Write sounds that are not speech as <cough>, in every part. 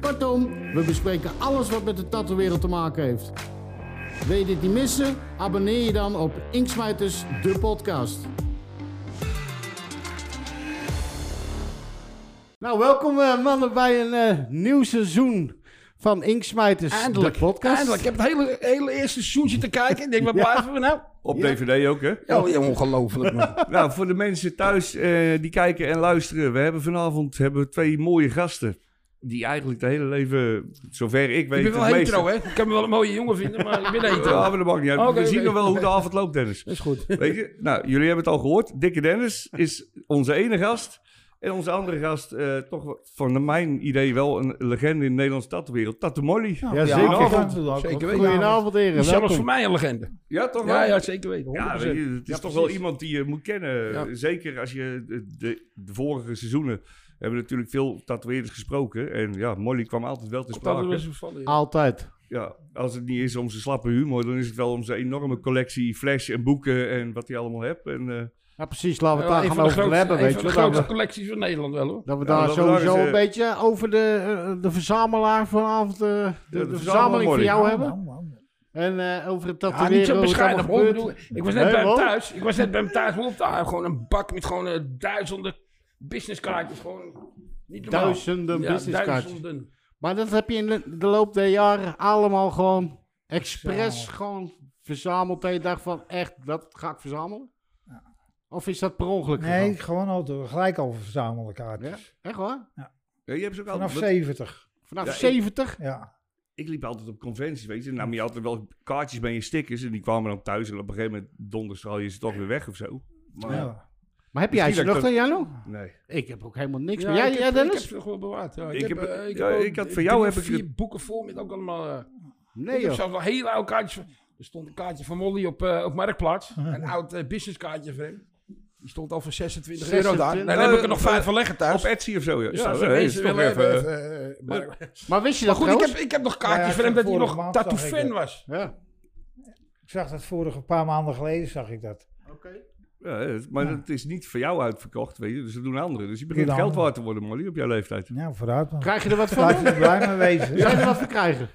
Kortom, we bespreken alles wat met de tattoo-wereld te maken heeft. Wil je dit niet missen? Abonneer je dan op Inksmijters, de podcast. Nou, welkom eh, mannen bij een eh, nieuw seizoen van Inksmijters, Eindelijk. de podcast. Eindelijk. Ik heb het hele, hele eerste seizoentje te kijken. Ik denk, waar blijven we nou? Op DVD ook, hè? Oh, ja, ongelooflijk. man. Nou, voor de mensen thuis eh, die kijken en luisteren. We hebben vanavond hebben we twee mooie gasten. Die eigenlijk het hele leven, zover ik je weet... bent wel het hetero, hè? Ik kan me wel een mooie jongen vinden, maar ik ben meeste- hetero. Ja, maar dat maakt niet uit. Oké, we zien oké. nog wel hoe de avond loopt, Dennis. Dat is goed. Weet je? Nou, jullie hebben het al gehoord. Dikke Dennis is onze ene gast. En onze andere gast, eh, toch van mijn idee wel een legende in de Nederlandse tattoowereld. Tattoo Molly. Ja, Ja, zeker. Zeker weten. Goedenavond, heren. Zelfs voor Welkom. mij een legende. toch wel? Ja, ja, zeker weten. 100%. Ja, weet je, het is Ja, toch wel precies. iemand die je moet kennen. Ja. Zeker als je de, de, de vorige seizoenen hebben we natuurlijk veel tatoeëerders gesproken. En ja, Molly kwam altijd wel te Dat sprake. is een vallen, ja. Altijd. Ja, als het niet is om zijn slappe humor, dan is het wel om zijn enorme collectie flash en boeken en wat hij allemaal hebt. En, eh, Ja, precies. Laten we het Ja, daar gaan een van de over grootste- hebben, een weet van je. de wel. grootste Dat we- collecties van Nederland wel, hoor. dat we Ja, daar dat we daar sowieso eens, eh, een beetje over de, eh, de verzamelaar vanavond, eh, de, de, verzamelaar verzameling van Molly. jou hebben. En eh, over het Nou, Ja, tatoeëren, niet zo hoe het allemaal bescheiden, hoor. Ik gebeurt. bedoel, Ik was net Nee, bij hem wel? thuis. Ik was net bij hem thuis. Loopt daar gewoon een bak met gewoon eh, duizenden businesskaartjes. Gewoon niet normaal. Duizenden Ja, businesskaartjes. duizenden. Maar dat heb je in de, de loop der jaren allemaal gewoon expres gewoon verzameld. Dat je dacht van, echt, dat ga ik verzamelen? Of is dat per ongeluk Nee, gegaan? gewoon altijd gelijk al verzamelen kaartjes. Echt waar? ja, je hebt ze ook Vanaf altijd, want 70. Vanaf Ja, ik- 70? Ja. ik liep altijd op conventies, weet je. Dan nam je altijd wel kaartjes bij je stickers en die kwamen dan thuis. En op een gegeven moment donderstraal je ze toch weer weg of zo. Oh, Maar ja. Maar heb jij ze Misschien nog dat dan, ik Jano? nee. Ik heb ook helemaal niks. Ja, meer. jij, ik, jij, heb, ik Dennis? heb ze gewoon bewaard. Ja. Ik, Ik heb, heb- eh, ik ja, heb ook ik had voor drie jou of heb ik vier het- boeken vol met ook allemaal. eh, nee, ik heb joh. zelfs wel hele oude kaartjes. van- Er stond een kaartje van Molly op, eh, op Marktplaats. een oud eh, businesskaartje van hem. Die stond al voor 26, euro daar. Nee, 26. dan heb ik er Eh, nog vijf van leggen thuis. Op Etsy of zo, ja. Dus ja, als dat is mensen toch willen even... hebben, even, eh, maar- Maar wist je dat Maar goed, ik trouwens? heb, ik heb nog Ja, kaartjes ik van hem heb dat hij vorige nog maand zag tattoo ik fan dat. was. Ja. Ik zag dat vorige een paar maanden geleden, zag ik dat. Ja, het- maar het is niet voor jou uitverkocht, weet je. Dus dat doen anderen. Dus je begint Doen geld anderen. waard te worden, Molly, op jouw leeftijd. Nou, vooruit man. Krijg je <laughs> er wat van? Laat je er blij mee <laughs> wezen. Zou je er wat voor krijgen?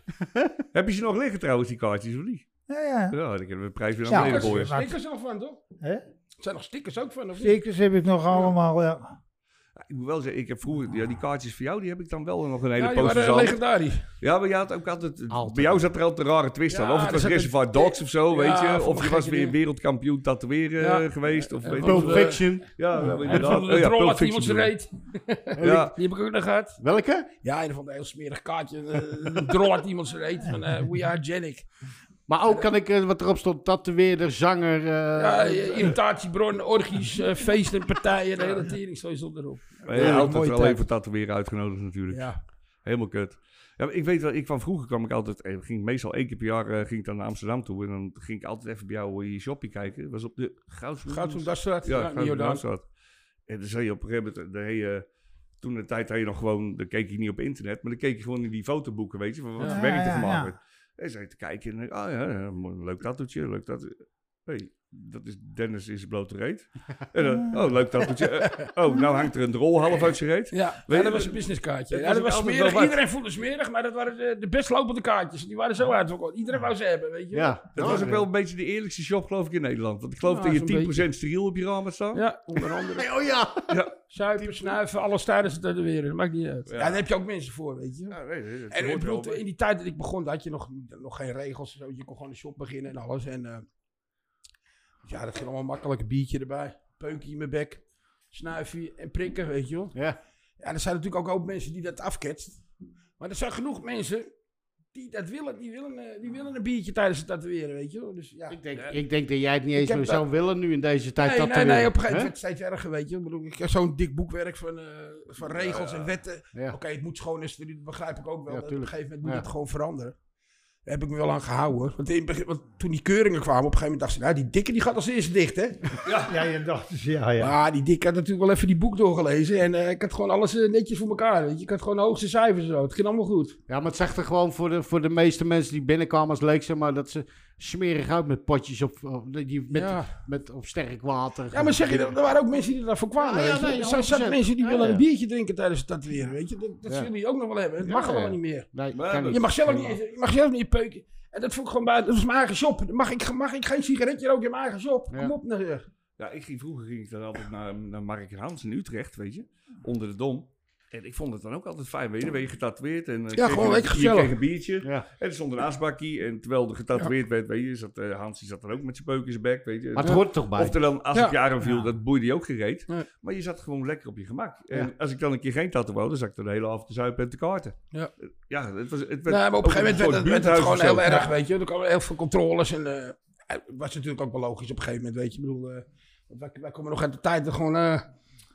Heb je ze nog liggen trouwens, die kaartjes, of niet? Ja, ja. Ja, dan kunnen we de prijs weer Ja, naar beneden Stickers, gooien. maar- stickers al van, toch? Hè? Er zijn nog stickers ook van, of niet? Stickers heb ik nog allemaal. Ja. Ik moet wel zeggen, ik heb vroeger... Ja, die kaartjes voor jou, die heb ik dan wel nog een hele Ja, die poos waren eh, verzameld. legendarisch. Ja, maar je had ook altijd, Altijd. Bij jou zat er altijd een rare twist aan. Ja, Of het er was zat een- Reservoir Dogs of zo, Ja, weet je. voor Of je gekke was weer dingen. wereldkampioen tatoeëren Ja. eh, geweest. Of Ja, weet want- ik Pulp veel. eh, Fiction. Ja, ja, En inderdaad. van de Oh ja, troll Pulp had iemand Fiction zijn bedoel ik. reet. Ja, Die heb ik ook nog gehad. Welke? Ja, een van de heel smerig kaartje. eh, Een drol had iemand zijn reet van eh, We Are Genic. Maar ook kan ik, eh, wat erop stond, tatoeëerder, zanger. eh, Ja, eh, irritatiebron, orgies, eh, feesten, partijen, de hele tering, zo stond erop. Maar je had altijd mooie wel tijd. even tatoeëren uitgenodigd natuurlijk. Ja. Helemaal kut. Ja, maar ik weet wel, ik kwam vroeger kwam ik altijd, eh, ging ik meestal één keer per jaar eh, ging ik dan naar Amsterdam toe. En dan ging ik altijd even bij jou in je shoppie kijken. Dat was op de Goudsbloem. Gaat zo'n dagstraat? Ja, Ja, in Jordaan. Goudsbloemstraat. En dan zei je op een gegeven moment, dan heet je- toen de tijd had je nog gewoon, dan keek je niet op internet. Maar dan keek je gewoon in die fotoboeken, weet je, van wat Ja. voor werk Ja, er ja, gemaakt ja. werd. En zei je te kijken en ah ja, ja, mooi, leuk tattoetje, leuk dat. hey, dat is Dennis in zijn blote reet. En dan, oh, leuk tattoetje. Eh, Oh, nou hangt er een drol half uit zijn reet. Ja, Weet ja, je, dat was dat- een businesskaartje. dat Ja, was dat ook was altijd smerig. wel wat. Iedereen voelde smerig, maar dat waren de, de best lopende kaartjes. Die waren zo uitverkocht. Iedereen wou ze hebben, weet je wel. ja, Dat was ook wel een beetje de eerlijkste shop, geloof ik, in Nederland. Want ik geloof Ja, dat zo'n je 10% steriel op je raam had staan. Ja, onder andere. <laughs> Oh ja. Zuipen, snuiven, alles tijdens het weer. Dat maakt niet uit. Ja. Ja, daar heb je ook mensen voor, weet je. Ja, nee, nee, dat En ik hoort wel bedoel, bij. in die tijd dat ik begon, daar had je nog, nog geen regels. en Zo. Je kon gewoon een shop beginnen en alles. En eh, dus ja, dat ging allemaal makkelijk. Een biertje erbij, peukje in mijn bek, snuifje en prikken, weet je wel. Ja. Ja, er zijn natuurlijk ook een hoop mensen die dat afketst. Maar er zijn genoeg mensen die dat willen, die willen, eh, die willen een biertje tijdens het tatoeëren, weet je wel. Dus ja. Ik denk, Ja. ik denk dat jij het niet eens heb meer dat- zou willen nu in deze tijd. Nee, dat nee, er nee, weer- op een gegeven moment hè? werd het steeds erger, weet je. Ik bedoel, ik heb zo'n dik boekwerk van, eh, van regels en wetten. Ja. Oké, het moet schoon is, dat begrijp ik ook wel. Ja, op een tuurlijk. gegeven moment moet Ja. het gewoon veranderen. Daar heb ik me wel aan gehouden. hoor. Want, in, het begin- want toen die keuringen kwamen, op een gegeven moment dacht ze, nou, die dikke die gaat als eerste dicht, hè? Ja, je dacht dus, ja, ja. Maar die dikke had natuurlijk wel even die boek doorgelezen. En eh, ik had gewoon alles eh, netjes voor elkaar, weet je. Ik had gewoon de hoogste cijfers en zo. Het ging allemaal goed. Ja, maar het zegt er gewoon voor de, voor de meeste mensen die binnenkwamen als leek, zeg maar, dat ze smerig uit met potjes of, of, die, met, ja. met, of sterk water. ja, maar zeg je, dat, er waren ook mensen die daarvoor kwamen. Ja, ja, weet je. nee, er zijn zat 100%. mensen die Ja, willen ja. een biertje drinken tijdens het tatoeëren, weet je. Dat, dat Ja. zullen jullie ook nog wel hebben. Het Ja, mag allemaal ja. niet meer. Nee, Maar kan dat- niet. Je mag zelf niet, je mag zelf niet peuken. En dat vond ik gewoon bij, dat was mijn eigen shop. Dan Mag ik, mag ik geen sigaretje roken in mijn eigen shop? Ja. Kom op nou zeg. Ja, ik ging, vroeger ging ik dan altijd naar, naar Mark en Hans in Utrecht, weet je. Onder de Dom. En ik vond het dan ook altijd fijn, weet je. Dan ben je getatoeëerd en eh, kreeg gewoon je- lekker Je gezellig. kreeg een biertje Ja. en er stond een asbakkie. En terwijl er getatoeëerd werd, weet je, zat, eh, Hans die zat dan ook met zijn peuk in zijn bek, weet je. Maar het hoort toch bij. Of er dan, als Ja. ik je arm viel, Ja. dat boeide je ook gereed. Nee. Maar je zat gewoon lekker op je gemak. En Ja. als ik dan een keer geen tattoo wou, dan zat ik er de hele avond te zuipen en te kaarten. Ja. Eh, ja het was, het werd, Nee, Nou, maar op een gegeven moment werd, het- werd het gewoon heel erg. erg, weet je. Er kwamen heel veel controles en eh, het was natuurlijk ook wel logisch op een gegeven moment, weet je. Ik bedoel, eh, want wij, wij komen nog uit de tijd dat gewoon... eh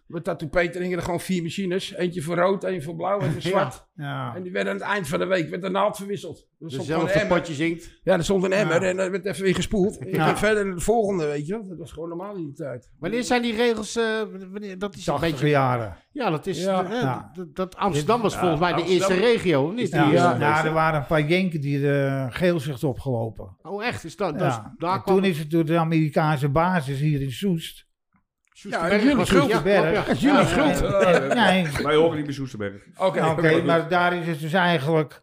met Tattoo Peter hingen er gewoon vier machines. Eentje voor rood, één voor blauw en voor <laughs> Ja. zwart. Ja. En die werden aan het eind van de week werd de naald verwisseld. Er stond gewoon een Dezelfde emmer. potje zingt. Ja, er stond een emmer Ja. en dat werd even weer gespoeld. En je Ja. ging verder naar de volgende, weet je. Dat was gewoon normaal in die tijd. Wanneer zijn die regels? eh, wanneer, dat is een 80 beetje. jaren. Ja, dat is. Ja. eh, Ja. dat, dat Amsterdam was Ja, volgens mij de Amsterdam- eerste regio, of niet? Ja, Die, ja, eh, nou, er waren een paar Jenken die de geelzicht opgelopen. Oh, echt? Is dat, Ja. dat is- daar En kwam toen is het door de Amerikaanse basis hier in Soest. Ja, Berg, jullie was- schuld. ja, Berg. klopt, ja. Het is jullie Ja, schuld. Eh, Nee, Wij horen niet bij Soesterberg. Oké, Nou, Oké, oké. maar daar is het dus eigenlijk.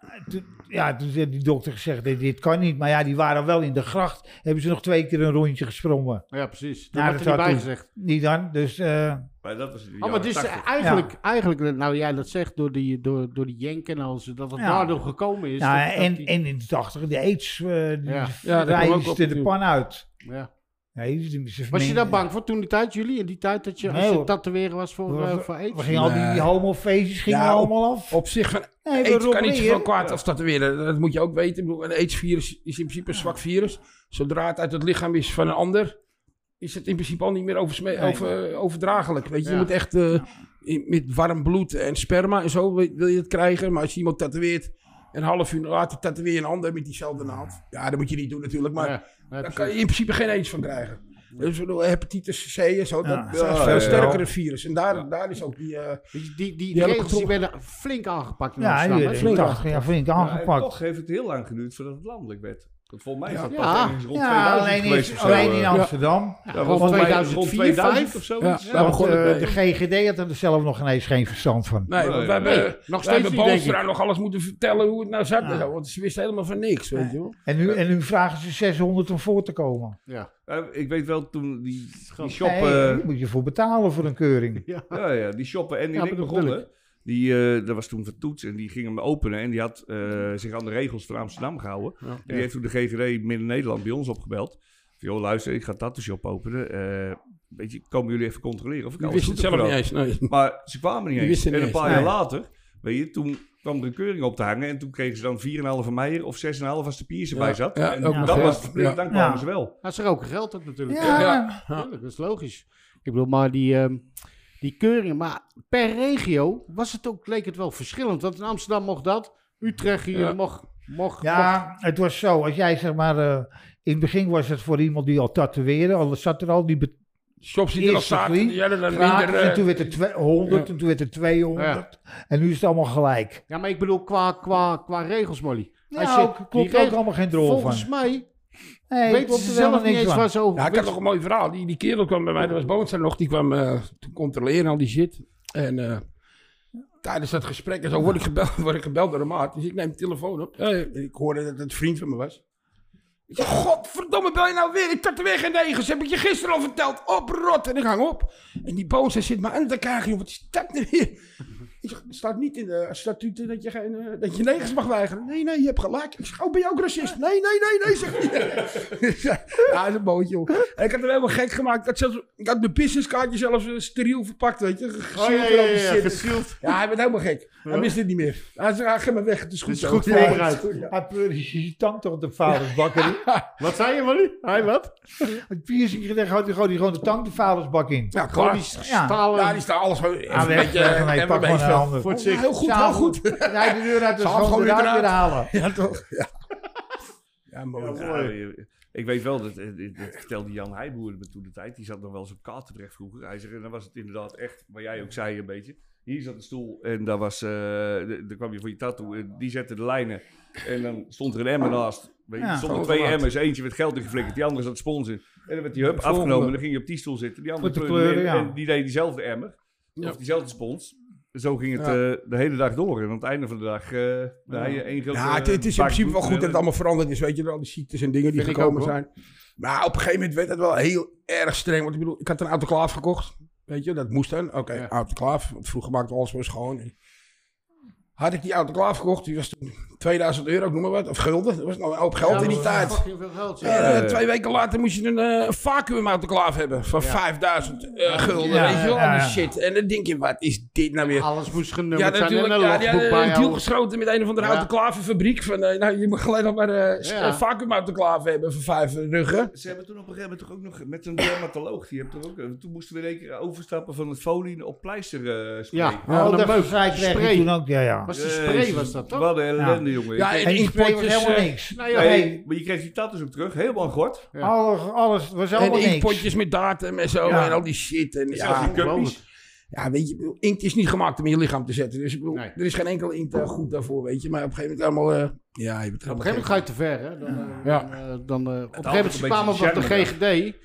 eh, Toen- Ja, toen heeft die dokter gezegd: dit, dit kan niet. Maar ja, die waren wel in de gracht. Hebben ze nog twee keer een rondje gesprongen. Ja, precies. Ja, Daar werd er dat niet bij zou toen- gezegd. Niet dan. Dus eh, Maar dat was in de Oh, maar jaren dus 80. eh, eigenlijk, eigenlijk, nou jij dat zegt, door die, door, door die Jenken en al ze, dat het Ja. daardoor gekomen is. nou, dat- dat en, die- en in de tachtig, de aids, eh die Ja. Ja, dat kwam ook op vrijste de natuurlijk. pan uit. ja. Nee, die- die- ze Was je daar vermengden. bang voor toen die tijd, jullie? In die tijd dat je, als Nee, je hoor. tatoeëren was voor, eh, voor We aids? gingen al die, Nee. die homofeestjes gingen Ja, op- allemaal af. Op zich van nee, aids we kan niet robberen. zoveel kwaad als dat weer. Dat moet je ook weten. Ik bedoel, Een AIDS-virus is in principe een zwak virus. Zodra het uit het lichaam is van een ander, is het in principe al niet meer oversme- Nee. over, eh, overdraaglijk. Weet je, Ja. je moet echt eh, in- met warm bloed en sperma en zo wil wil je het krijgen. Maar als je iemand tatoeëert, een half uur later tatoeëer een ander met diezelfde naald. Ja, dat moet je niet doen natuurlijk, maar Ja, nee, daar precies. kan je in principe geen aids van krijgen. Dus ik bedoel, hepatitis C en zo, Ja. dat is een Ja, veel ja, ja. sterkere virus. En daar, daar is ook die... eh, Weet je, Die, die, die Die hele regels die controle- werden flink aangepakt in Ja, die Amsterdam. hè? werden in flink de tachtig jaar flink Maar eh, aangepakt. toch heeft het heel lang geduurd voordat het landelijk werd. Want volgens mij is dat Ja. pas ergens rond Ja, 2000 alleen geweest in, of zo. alleen in eh. Amsterdam. Ja, Ja, volgens mij rond rond 2004, 2000 vijf. of zo. ja, daar want, begon het eh, mee. de GGD had er zelf nog ineens geen verstand van. Nee, Nee, want we nee, hebben, nee. Nog nog steeds steeds hebben niet, denk Boonstra ik. nog alles moeten vertellen hoe het nou zat. en Ja. zo, want ze wisten helemaal van niks, weet je wel. En nu, en nu vragen ze 600 om voor te komen. Ja. Eh, Ik weet wel toen die, die shop... Nee, eh, Daar moet je voor betalen voor een keuring. Ja, ja, die shoppen en die Ja, ik bedoel begonnen. Die, eh dat was toen van Toets en die ging hem openen. En die had eh, zich aan de regels van Amsterdam gehouden. En die heeft toen de GGD Midden-Nederland bij ons opgebeld. Van, joh, luister, ik ga een tattoo shop openen. Eh, weet je, komen jullie even controleren of ik Die alles wisten goed het heb zelf niet gedaan?" eens. Nee. Maar ze kwamen niet Die eens. wisten En niet een eens, paar jaar nee. later, weet je, toen kwam er een keuring op te hangen. En toen kregen ze dan 4,5 meijer of 6,5 als de piers erbij Ja, zat. ja, en ook nog, dat ja. was verplicht, Ja. dan kwamen Ja. ze wel. Nou, ze roken geld op natuurlijk. Ja, Ja, tuurlijk, dat is logisch. Ik bedoel, maar die, ehm, die keuringen, maar per regio was het ook, leek het wel verschillend. Want in Amsterdam mocht dat, Utrecht hier Ja. mocht, mocht, mocht- Ja, het was zo. Als jij zeg maar. eh, in het begin was het voor iemand die al tatoeëerde. Al zat er al die be- Shops die er al Eerste zaten, drie, die hadden dan gratis. minder... En eh, toen werd er twee- 100 en toen werd er 200. En nu is het allemaal gelijk. Ja, maar ik bedoel qua, qua, qua regels, Molly. Ja, Als je- ook- die klopt ook regels- allemaal geen drol van. Volgens mij Nee, weten klopt ze er helemaal zelf niet eens van. waar ze over... ja, ik had wisten. nog een mooi verhaal. Die, die kerel kwam bij mij, dat was Boonstra nog. Die kwam eh, toen controleren al die shit. En eh, tijdens dat gesprek en zo word ik gebeld, <laughs> word ik gebeld door de maat. Dus ik neem de telefoon op. Eh, ik hoorde dat het een vriend van me was. Ik zeg, godverdomme, bel je nou weer? Ik tat er weer geen negens. Heb ik je gisteren al verteld? <laughs> Op rot. En nou ik hang op. En die boze zit me aan te kijken. joh, Wat is dat nu weer? Ik zeg, staat niet in de statuten dat je, geen, eh, dat je negers mag weigeren. Nee, nee, je hebt gelijk. Ik zeg, oh, ben je ook racist? Nee, nee, nee, nee, zeg je. <laughs> ja, dat is een bootje, joh. En ik had hem helemaal gek gemaakt. Ik had, zelfs, ik had mijn businesskaartje zelfs eh, steriel verpakt, weet je. Oh, Gezield ja, en ja, al die ja, shit. gezield. Ja, hij werd helemaal gek. Hij wist dit niet meer. Hij zei, ah, ga maar weg, het is goed Het is zo. goed Ja, voorbereid. het is goed, ja. Hij pleurde je tand toch op de vuilnisbak in. Wat zei je, Molly? <laughs> Hij wat? <laughs> Het piercing gedaan, gooit hij gooit hij gewoon de tand de vuilnisbak in. Ja, Gewoon klaar. die Ja. stalen... Ja, die staat alles gewoon even Ah, een weg, beetje... weg, eh, nee, en een pak gewoon een beetje- ander. voor het Ja, zicht. heel goed, heel goed. Hij de deur uit de Zal hem schoon gewoon eruit eruit. weer halen. Ja, toch? Ja. Ja, mooi. Ja, Ja, nou, je- ik weet wel, dat, eh, dit- dat vertelde Jan Heijboer me toen de tijd. Die zat nog wel eens op kaart terecht vroeger. Hij zegt, en dan was het inderdaad echt, wat jij ook zei een beetje. Hier zat een stoel en daar was, eh, de- daar kwam je voor je tattoo. En die zette de lijnen en dan stond er een emmer naast. Weet je, Ja. er stonden Oh, twee wat. emmers. Eentje werd geld ingeflikkerd, die andere zat spons in. En dan werd die hup Volgende. afgenomen en dan ging je op die stoel zitten. Die andere Met de kleurde weer kleuren, ja. En die deed diezelfde emmer. Ja. Of diezelfde spons. Zo ging het Ja. eh, de hele dag door. En aan het einde van de dag eh draai je één grote eh, Ja, het, het is in bak principe wel bloed goed dat het en- allemaal veranderd is. Weet je, door al die ziektes en dingen die Vind ik gekomen ook, hoor. zijn. Maar op een gegeven moment werd het wel heel erg streng. Want ik bedoel, ik had een autoclaaf gekocht. Weet je, dat moest dan. Oké, Ja. autoclaaf. Want vroeger maakte alles weer schoon. Had ik die autoclaaf gekocht, die was toen 2000 euro, ik noem maar wat. Of gulden. Dat was nog een hoop geld in die tijd. Fucking veel geld, zeg. Eh, twee weken later moest je een eh vacuüm autoclaaf hebben van 5000 eh, gulden, Ja, weet je wel, ja, al die ja. shit. En dan denk je, wat is dit nou weer? Alles moest Ja, genummerd Ah, zijn en natuurlijk. een Ja, die logboek hadden een deal bijhouden. gesloten met een of andere Ja. autoclavenfabriek. Van, eh, nou, je mag alleen nog maar eh s- Ja. eh, vacuümautoclaven hebben voor vijf ruggen. Ze hebben toen op een gegeven moment toch ook nog met een dermatoloog. Die hebt toch ook, eh, toen moesten we in één keer overstappen van het folie op pleister eh, spray. Ja, Ja, oh, oh, de dat meuk. vrij kreeg ik Spray. toen ook, ja, ja. Was die spray, was dat toch? Wat een ellende, jongen. Ja, Ik- en En die spray was inkpotjes, helemaal eh, niks. Nou ja, Hey, Nee. maar je kreeg die tattoos ook terug. Helemaal gort. Ja. Alles, alles was En helemaal niks. inkpotjes met datum en zo Ja. en al die shit. En, Zelfs ja, die cuppies. ja, weet je, ik bedoel, inkt is niet gemaakt om in je lichaam te zetten. Dus ik bedoel, Nee. er is geen enkel inkt eh, goed daarvoor, weet je. Maar op een gegeven moment allemaal... eh, ja, je bent Op een helemaal gegeven moment ga je te ver, hè? Dan, eh, Ja. dan, eh, dan, eh, op een altijd gegeven moment ze een kwamen we beetje op de charme GGD.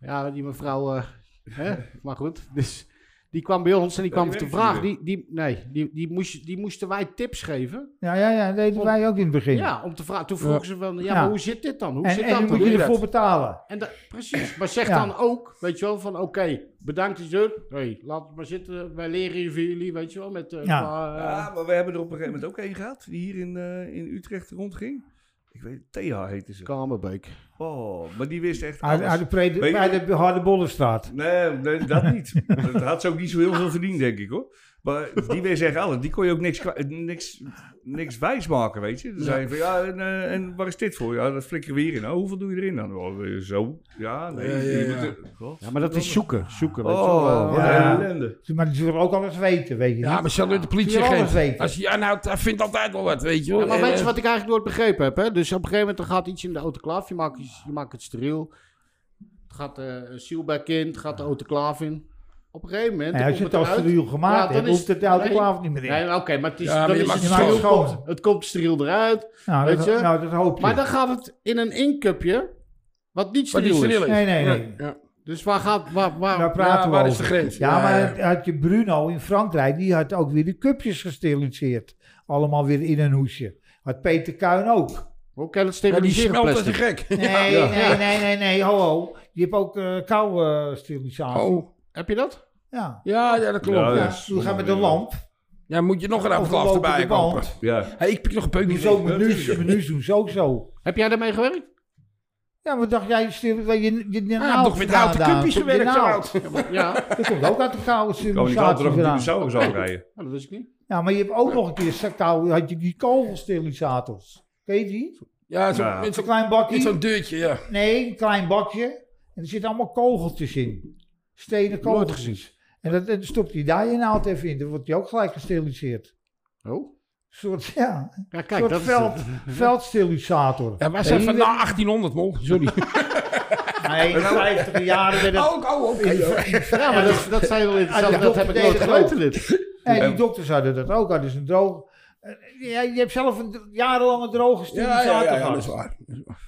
Ja, die mevrouw, eh, hè? maar goed. Dus die kwam bij ons en die Ja, kwam die te werkt vragen. hier Die, die, nee, die, die, moest, die moesten wij tips geven. Ja, ja, ja, dat deden wij ook in het begin. Ja, om te vragen. Toen vroegen ze van, ja, Ja. maar hoe zit dit dan? Hoe En, zit en dat nu dan? moet Hoe je dat? ervoor betalen. En dat- precies, maar zeg Ja. dan ook, weet je wel, van oké, bedankt dat je er. Hey, laat het maar zitten, wij leren hier voor jullie, weet je wel, met... eh, Ja. qua, eh, Ja, Ah, maar we hebben er op een gegeven moment ook één gehad. Die hier in, eh, in Utrecht rondging. Ik weet Thea heette ze. Kamerbeek. Oh, maar die wist echt Uit, alles. uit de pre- Weet je- bij de Harde Bollenstraat. Nee, nee, dat niet. <laughs> dat had ze ook niet zo heel veel verdiend, denk ik hoor. Maar die weer zeggen alles. Die kon je ook niks, kwa- eh, niks, niks wijs maken, weet je. Dan zei je van ja, en, eh, en waar is dit voor? Ja, dat flikkeren we hierin. Oh, hoeveel doe je erin dan? Oh, eh, zo. Ja, nee. Ja, ja, je ja. moet er- God. Ja, maar dat is zoeken, zoeken, weet je wel. Oh, eh, wat ja. een ellende. Maar die zullen ook alles weten, weet je Ja, niet? maar zelfs met de Wil je alles politieagent. weten? Als je je aanhoudt, hij vindt altijd wel wat, weet je wel. Ja, maar En, weet eh, je wat ik eigenlijk nooit begrepen heb? Hè? Dus op een gegeven moment dan gaat iets in de autoclaaf. Je maakt, iets- je maakt het steriel. Het gaat eh zielback in. Het gaat de autoclaaf in. Op een gegeven moment. En als je komt het als eruit. steriel Ja, gemaakt dan hebt, is- hoeft het de autoclave niet meer Nee, in. oké, maar het is, Ja, maar dan je is maakt het het steriel. schoon. komt- Het komt steriel eruit. Nou, weet dat, je? nou, dat hoop je. Maar dan gaat het in een inkupje. Wat niet eh, wat steriel die is. steriel is. Nee, nee, nee. Ja. Dus waar gaat... Waar, waar, Daar Nou, Ja, praten we waar over. is de grens? Ja, maar het- had je Bruno in Frankrijk, die had ook weer de cupjes gesteriliseerd. Allemaal weer in een hoesje. Had Peter Kuin ook. hoe kan het Ja, die steriliseren smelt als een plastic? gek. Nee, nee, nee, nee, nee, ho, ho. Je hebt ook eh kou eh, sterilisatie. Oh. Heb je dat? Ja. Ja, ja, dat klopt. Ja, Ja, dat ja. is- Toen gaan we de lamp. moet je nog een autoclaaf overlopen erbij de kopen. band. Ja. Hey, ik pik nog een Doen peukje. ze ook menus, menus doen ze ook zo. Heb jij daarmee gewerkt? Ja, wat dacht jij? Stil, je, je, je Ja, ik heb nog Ah, met houten cupjes gewerkt. zo oud. Ja. Dat komt ook uit de koude Kan niet altijd nog sterilisatie een gedaan. dinosaurus aanrijden. Nou, dat wist ik niet. Ja, maar je hebt ook nog een keer zo kou, had je die kogelsterilisators. Weet je die? Ja, zo, Ja. met Zo'n zo'n klein met bakje. zo'n deurtje, ja. Nee, een klein bakje. En er zitten allemaal kogeltjes in. Stenen Nooit kogeltjes. gezien. En dat, en stopt hij daar je naald even in. Dan wordt hij ook gelijk gesteriliseerd. Een Oh. soort, ja, een Ja, kijk, soort dat is veld, het. veldsterilisator. Ja, wij Weet zijn je van <laughs> dat- na 1800, mol. <laughs> Sorry. Nee, in de 50 jaren werd het... oh, oké. Ja, maar dat, dat zijn wel interessant. Ja, dat heb ik nooit dat ook. geweten, dit. En die dokters hadden dat ook. Hadden ze een droog... eh, Ja, je hebt zelf een dr- jarenlange droge Ja, sterilisator ja, ja, ja, dat gehad. is waar.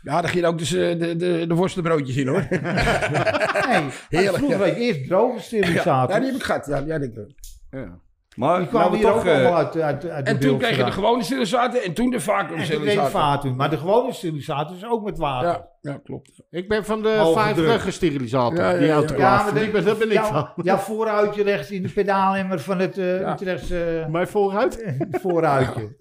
Ja, daar gingen ook dus eh, de, de, de worstenbroodjes in, hoor. Nee, maar Heerlijk, vroeger ja. had je eerst droge Ja, sterilisator. die heb ik gehad. Ja, ja, denk ik. Ja. Maar Die nou, kwamen we hier ook toch, eh, allemaal uit, uit, uit de En toen beeld kreeg je de vandaan. gewone sterilisator en toen de vacuüm En toen deed het sterilisator. vaten. Maar de gewone sterilisator is ook met water. Ja, ja, klopt. Ik ben van de Hoge druk. 50 sterilisator. Ja, ja, die ja. autoclave. maar de- Die ben- dat ben ik jouw, van. jouw vooruitje rechts in de pedaalemmer van het eh Utrechtse eh, Mijn vooruit? vooruitje.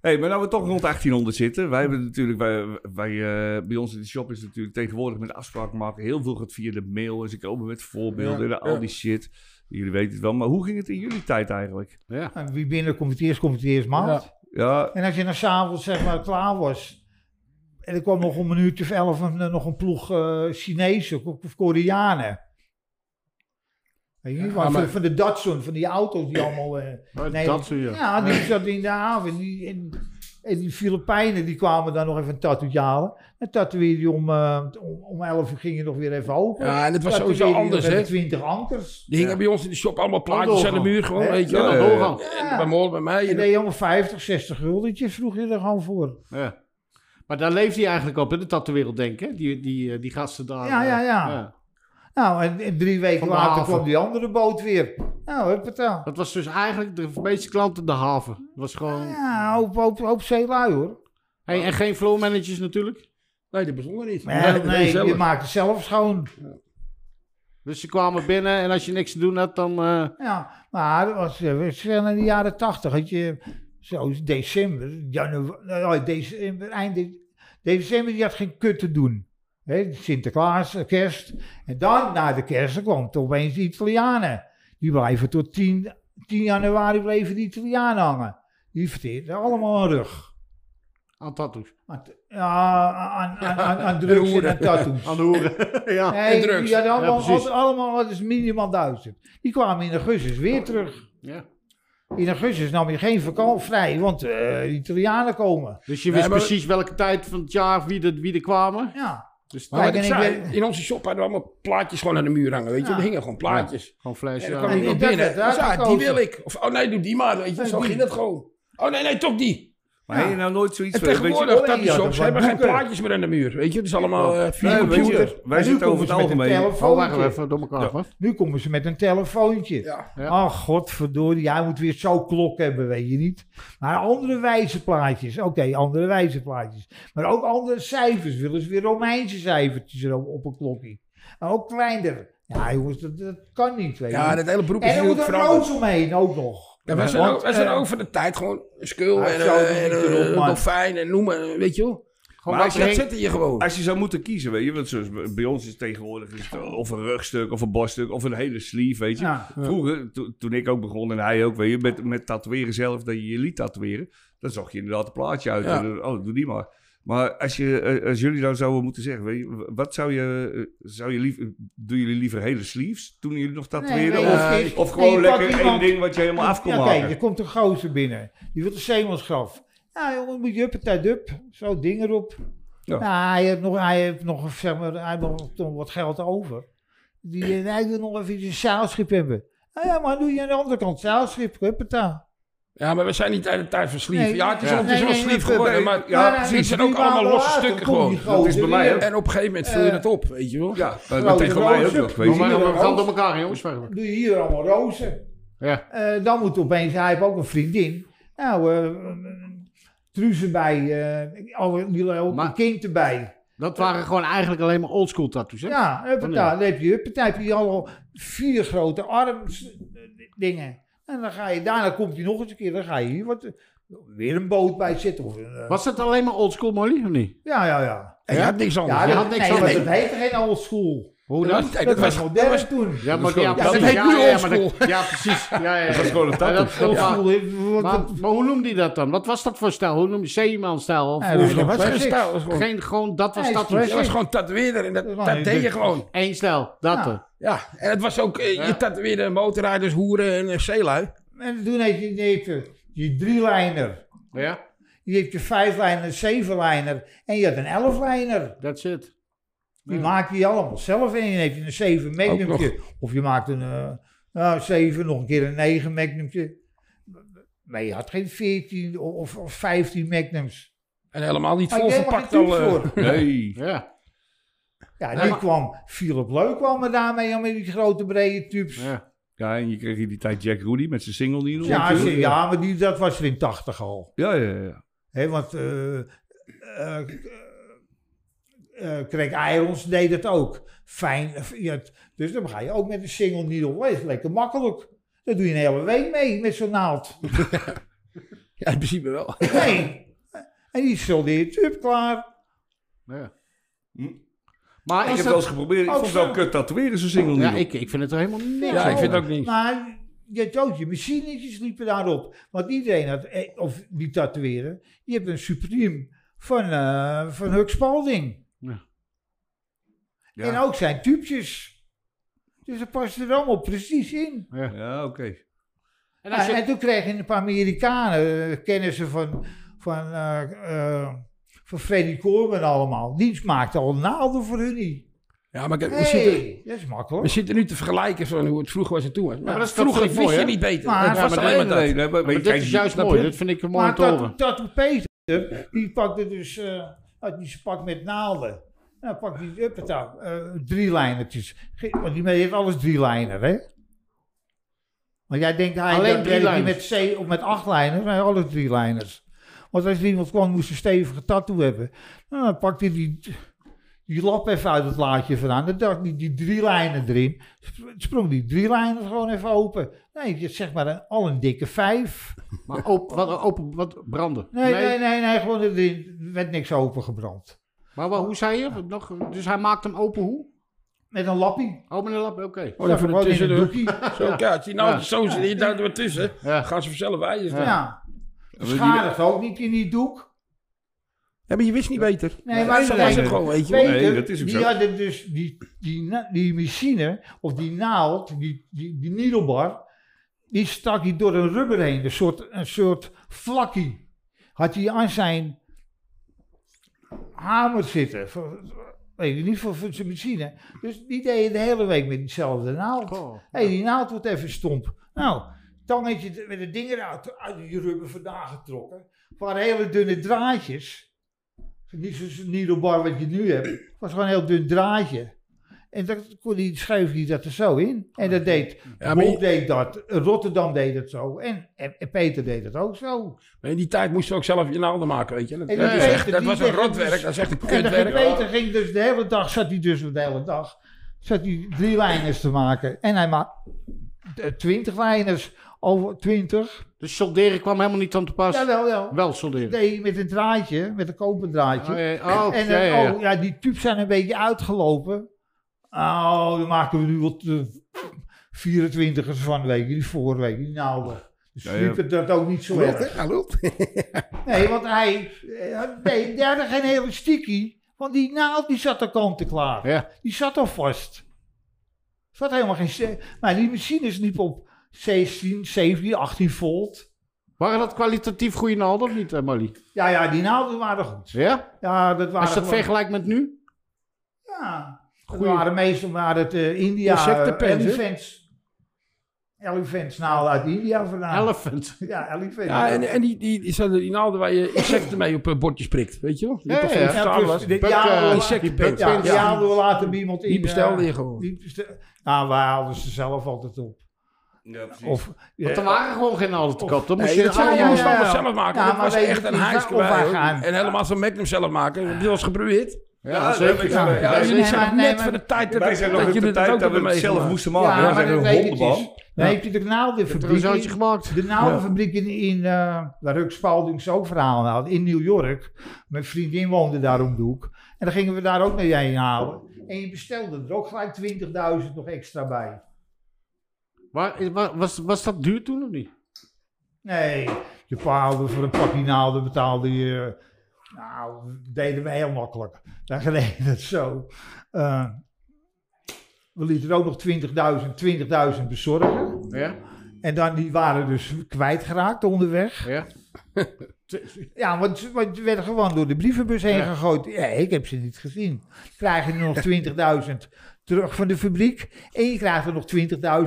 Hey, maar nou we toch rond 1800 zitten. Wij hebben natuurlijk, wij, wij, eh, bij ons in de shop is natuurlijk tegenwoordig met afspraken maken. Heel veel gaat via de mail. En ze komen met voorbeelden Ja, en al ja. die shit. Jullie weten het wel. Maar hoe ging het in jullie tijd eigenlijk? Ja. En Wie binnenkomt het eerst, komt het eerst maalt. Ja, En als je dan s'avonds zeg maar klaar was. En er kwam nog om een uurtje of elf een, eh, nog een ploeg eh Chinezen of- of Koreanen. Weet je, niet, maar, maar- van, van de Datsun, van die auto's die allemaal... eh, nee, dat zie je. Ja, die zat in de haven. Die, en, en die Filipijnen die kwamen dan nog even een tattoo halen. En tatoeëerde die om, eh, om, om 11 uur ging je nog weer even open. Ja, en het was Tatoeëerde sowieso die anders, nog hè. even 20 ankers. Die hingen bij ons in de shop allemaal plaatjes aan de doorgaan. muur gewoon, Nee, weet je Ja, wel. dan ja, doorgaan. En bij Mol, bij mij. En en- deed je allemaal 50, 60 guldetjes, vroeg je er gewoon voor. Ja. Maar daar leeft hij eigenlijk op, in de tattoo-wereld, denk ik. hè? Die, die, eh, die gasten daar. Ja, eh, ja, ja. Nou, en, en drie weken Van de later haven. kwam die andere boot weer. Nou, huppata. Dat was dus eigenlijk de meeste klanten de haven. Dat was gewoon... Ja, hoop, hoop, hoop zeelui hoor. Hey, en geen floor managers natuurlijk. Nee, dat bestond er niet. Nee, nee, zelf. je maakt het zelf schoon. Dus ze kwamen binnen en als je niks te doen had, dan... eh, Ja, maar dat was, eh, we zijn in de jaren tachtig, had je zo december, januari, nou, ja, december, eind de- december, je had geen kut te doen. Hè, Sinterklaas, eh, kerst. En dan, na de kerst, dan kwam toch opeens de Italianen. Die blijven tot 10, 10 januari bleven de Italianen hangen. Die verteerden allemaal een rug. aan tattoos. Aan t- Ja, <laughs> aan, aan, aan, aan drugs en aan tattoos. Aan de hoeren. ja. Nee, drugs. die hadden allemaal, Ja, precies. allemaal, dat is minimaal duizend. Die kwamen in augustus weer terug. ja. In augustus nam je geen vakantie vrij, want eh, de Italianen komen. Dus je Nee, wist maar- precies welke tijd van het jaar wie er, wie er kwamen. Ja, Dus Maar wat Kijk, ik en ik zei, in onze shop hadden we allemaal plaatjes gewoon aan de muur hangen, weet je. Ja. Er hingen gewoon plaatjes. gewoon eh, flesje. En dan Ja, kwam Ja, iemand dat binnen. werd Dus ja, die uitgekozen. wil ik. Of, oh nee, doe die maar, weet je. Nee, Zo die. ging dat gewoon. Oh nee, nee, toch die. maar heb je nou nooit zoiets En van- weet je- tegenwoordig, oh, dat die ja, dat shops hebben waren geen boeken. plaatjes meer aan de muur. Weet je, het is allemaal eh via Nee, weet je, computer. wij En nu zitten over komen het ze met een algemeen. Oh, wacht telefoontje. even, door elkaar. wat? Nu komen ze met een telefoontje. Ja. Ja. Ach, godverdorie, jij moet weer zo'n klok hebben, weet je niet. Maar andere wijze plaatjes, oké, andere wijze plaatjes. Maar ook andere cijfers, willen ze weer Romeinse cijfertjes erop op een klokje. En ook kleiner. Ja, jongens, dat, dat kan niet, weet je. ja, niet. dat hele beroep is en er moet natuurlijk een veranderd. roos omheen ook nog. eh, Ja, wij zijn, ook, wij zijn ook van de tijd gewoon een skul Ah, en, zo, eh, en, niet erop, eh, een man. dolfijn en noem maar, weet je wel. Gewoon Maar wat als je dat er- zette je gewoon. Als je zou moeten kiezen, weet je, want zoals bij ons is tegenwoordig is het of een rugstuk of een borststuk of een hele sleeve, weet je. Ja. Vroeger, to- toen ik ook begon en hij ook, weet je, met, met tatoeëren zelf, dat je je liet tatoeëren, dan zocht je inderdaad een plaatje uit. Ja. En, oh, doe die maar. Maar als, je, eh, als jullie nou zouden moeten zeggen, weet je, wat zou je, eh, zou je liever, doen jullie liever hele sleeves toen jullie nog tatoeëren? nee, of, nee. of gewoon Nee, je pakt lekker één iemand- ding wat je helemaal af kon Ja, maken? kijk, er komt een gozer binnen. Die wil de zeemansgraf. Ja, jongen, moet je huppatij dup. Zo ding erop. Ja. Nou, hij heeft nog, hij heeft nog, zeg maar, hij heeft nog toch wat geld over. Die, eh, hij wil nog even een zaalschip hebben. Nou ja, maar doe je aan de andere kant zaalschip, huppatij. Ja, maar we zijn niet uit de tijd van sleeve. Nee, ja, het is, ja. al- het is Nee, wel nee, sleeve nee, geworden, nee. maar Ja, Maar, eh, precies, drie het zijn ook maanden allemaal losse later stukken komt die gewoon. Dat is bij gozer mij weer. ook. en op een gegeven moment vul je Eh, het op, weet je wel. ja, eh, Grote dat tegen mij ook rozen. nog, weet Doe je. Zie maar, je we dat gaan ook? door elkaar, jongens. wacht even. Doe je hier allemaal rozen. Ja. Eh, dan moet opeens, hij heeft ook een vriendin. Nou, eh truzen bij, eh, alle, die ook Maar- een kind erbij. Dat waren gewoon eigenlijk alleen maar oldschool tattoos, hè? Ja, huppata, dan heb je huppata, heb je al vier grote arms eh, dingen. En dan ga je, daarna komt hij nog eens een keer, dan ga je hier wat, weer een boot bij zitten. Of, een, eh, Was dat alleen maar oldschool, Molly, of niet? ja, ja, ja. En Oh, je had niks anders. Ja, je dat, had niks nee, aan want doen. dat heette geen old school. Hoe Ja, dan? nee, Dat, dat was was- modern dat was- toen. Ja, maar, gewoon- ja, ja, precies. dat heet nu ja, maar oldschool. dat- ja, precies. Ja, ja, ja. Dat is gewoon een Ja, tattoo. dat- Old ja. school, eh, wat- Maar, maar hoe noemde hij dat dan? Wat was dat voor stijl? Hoe noemde Zeeman-stijl? Of Ja, hoe- dat was geen geen stijl, dat was gewoon- Geen, gewoon, dat was Nee, dat. express. dat was gewoon tatoeëerder en dat, Ja, dat nee, deed je dit- gewoon. Eén stijl, dat Ja. er. Ja, en het was ook, eh, Ja. je tatoeëerde motorrijders, hoeren en eh, zeelui. En toen heette je, heette je drielijner, Ja, je hebt je vijflijner, zevenlijner en je had een elflijner. that's it. Die Ja. maak je allemaal zelf en je neemt een 7 magnumtje. Of je maakt een eh nou, 7, nog een keer een 9 magnumtje. Maar je had geen 14 of, of- of 15 magnums. En helemaal niet Had je vol helemaal verpakt geen al. trucs eh, voor. Nee. Ja, Ja, Nee, die maar- kwam, Philip Leuk kwam er daarmee aan met die grote brede tubes. ja. Ja, en je kreeg in die tijd Jack Rudy met zijn single die Ja, als je- ja maar die, dat was er in 80 al. ja, ja, ja. Hè, want eh eh eh, Craig Irons deed het ook. Fijn. eh, ja, t- dus dan ga je ook met een single needle. Dat is lekker makkelijk. Daar doe je een hele week mee met <laughs> zo'n naald. Ja, in principe wel. Nee. En die soldeert tub klaar. Ja. Hm. Maar Ik is dat... heb wel eens geprobeerd. Ik ook vond het wel zo? kut tatoeëren, zo'n single Ja, needle. ik, ik vind het er helemaal niks Ja, ik aan. vind het ook niet. Maar je hebt ook je machinetjes liepen daarop. Want iedereen had, eh, of die tatoeëren, je hebt een supreme van, eh van Huck Spalding. Ja. En ook zijn tubetjes. Dus dat past er allemaal precies in. Ja, oké. En Ja, als En, je- toen kregen een paar Amerikanen eh, kennissen van, van, eh, eh, van Freddy Coleman allemaal. Die maakte al naalden voor hun niet. Dus Ja, maar kijk, we, zitten, Hey, dat is we makkelijk. zitten nu te vergelijken van hoe het vroeger was en toen was. Maar maar dat is- dat vroeger vind ik wist mooi, je hè? niet beter. Maar- Dat Ja, was maar alleen Nee, maar dat. Oh, nee, nee, maar, maar je maar dit kijkt is die- juist snap mooi. je? Dat vind ik mooi Maar om te horen. dat, dat Peter, die pakte dus, eh had die zijn pak met naalden. En dan pakte hij, uppata, eh drie lijnertjes. Want die man heeft alles drie lijnen, hè? Want jij denkt, hij Alleen dat drie werkt niet lijners. met C of met acht lijnen, maar alle drie lijners. Want als er iemand kwam, moest een stevige tattoo hebben. Nou, dan pakte hij die, die lap even uit het laadje vandaan. Dan dacht hij, die drie lijnen erin. Sp- Sprong die drie lijnen gewoon even open. Nee, je zeg maar een, al een dikke vijf. Maar op, wat, open, wat branden? Nee, nee, nee, nee, gewoon er werd niks opengebrand. Maar wa- hoe zei je? Nog, dus hij maakt hem open hoe? Met een lappie. Oh, met een lap, oké. Oh, dan Zag voor gewoon de in een tussendoor. doekie. Zo, kijk, die nou, Ja. zo zit je daar door tussen. Ja. Gaan ze vanzelf wijzen. Ja. Beschadigd ook niet in die doek. Ja, maar je wist niet beter. Nee, maar zo ze was zijn het er. gewoon, weet je. Peter, nee, dat is ook die zo. hadden dus die, die, na- die machine, of die naald, die, die, die needlebar, die stak hij door een rubber heen. Een soort, een soort vlakkie. Had hij aan zijn hamer zitten. Voor- Weet ik niet, voor, voor zijn machine. Dus die deed je de hele week met diezelfde naald. Goh. Hé, hey, die naald wordt even stomp. Nou, tangetje d- met het ding eruit uit die rubber vandaan getrokken. Het waren hele dunne draadjes. Niet zo'n needlebar wat je nu hebt. Het was gewoon een heel dun draadje. En dat kon die, schuif die dat er zo in. En dat deed, Ja, maar Bob je- deed dat, Rotterdam deed het zo. En, en, en Peter deed het ook zo. Maar in die tijd moesten we ook zelf je naalden maken, weet je. Dat, En dat die is Peter, echt, dat die was een zegt- rotwerk, dat is echt een En dan ging kutwerk. Peter ging dus de hele dag, zat hij dus de hele dag, zat hij drie lijners te maken. En hij maakte twintig lijners, over twintig. Dus solderen kwam helemaal niet aan te pas. Jawel, wel. Wel solderen. Nee, met een draadje, met een koper draadje. Oh, ja, oh, en ja, dan- ja, ja. oh, ja, die tubes zijn een beetje uitgelopen. Oh, daar maken we nu wat eh, 24ers van, weet je, die vorige week, die naalden. Dus Ja, ja. liep het dat ook niet zo erg. Hallo? Nee, want hij, eh, nee, die hadden geen hele sticky, want die naald die zat al kant en klaar. Ja. Die zat al vast. Er zat helemaal geen... st- Maar die machines liepen op 16, 17, 18 volt. Waren dat kwalitatief goede naalden of niet, eh, Molly? Ja, ja, die naalden waren goed. Ja? Ja, dat waren Als je dat gewoon- vergelijkt met nu? Ja, dat Goeie. waren meestal waren het eh, India, eh, Insectenpens, hè? elephants. Elephants, nou uit India vandaan. Elephant. ja, elephants. Ja, en, en die, die, die, zaten- die naalden waar je insecten mee op het bordje prikt, weet je wel? Die Ja, toch van ja. die verstalen was. plus dit Buk, jaar eh, hadden we- insectenpens. Ja, Ja, dit jaar hadden we later bij iemand in. Die bestelde eh, je gewoon. die bestel- nou, wij haalden ze zelf altijd op. Ja, precies. Of, eh, Want er waren gewoon geen naalden te koop. Dan moest Nee, je dat het zijn ja, ja, allemaal allemaal... ja. zelf maken. Ja, dat maar was weet echt je, een die hijsje waar- of bij, wij hoor. gaan. En helemaal zo'n Magnum zelf maken. Dat heb je wel eens geprobeerd. Ja, dat zeker. weet ik Ja, wel. ja, Ja, dat Ja, is- jullie nee, zijn maar- net nee, van maar- de tijd dat, Wij zijn nog in jullie de het tijd ook dat we hebben het zelf meegemaakt. moesten ja, maken. Ja, maar zijn dat een weet ik hondenbal. niet. Dan Ja. heb je de naaldenfabriek. Trouwens, in- gemaakt. De naaldenfabriek in, in eh, waar Huck Spalding zijn ook verhalen had, in New York. Mijn vriendin woonde daar om de hoek. En dan gingen we daar ook naar heen halen. En je bestelde er ook gelijk 20.000 nog extra bij. Waar, wa- was, was dat duur toen of niet? Nee, je paalde voor een pakje naalden betaalde je... Nou, dat deden we heel makkelijk. Dan deden het zo. Eh, we lieten er ook nog 20.000, 20.000 bezorgen. Ja? En dan, die waren dus kwijtgeraakt onderweg. Ja? Ja, want ze want ze werden gewoon door de brievenbus heen Ja. gegooid. Ja, ik heb ze niet gezien. Krijg je <laughs> er nog 20.000 terug van de fabriek. En je krijgt er nog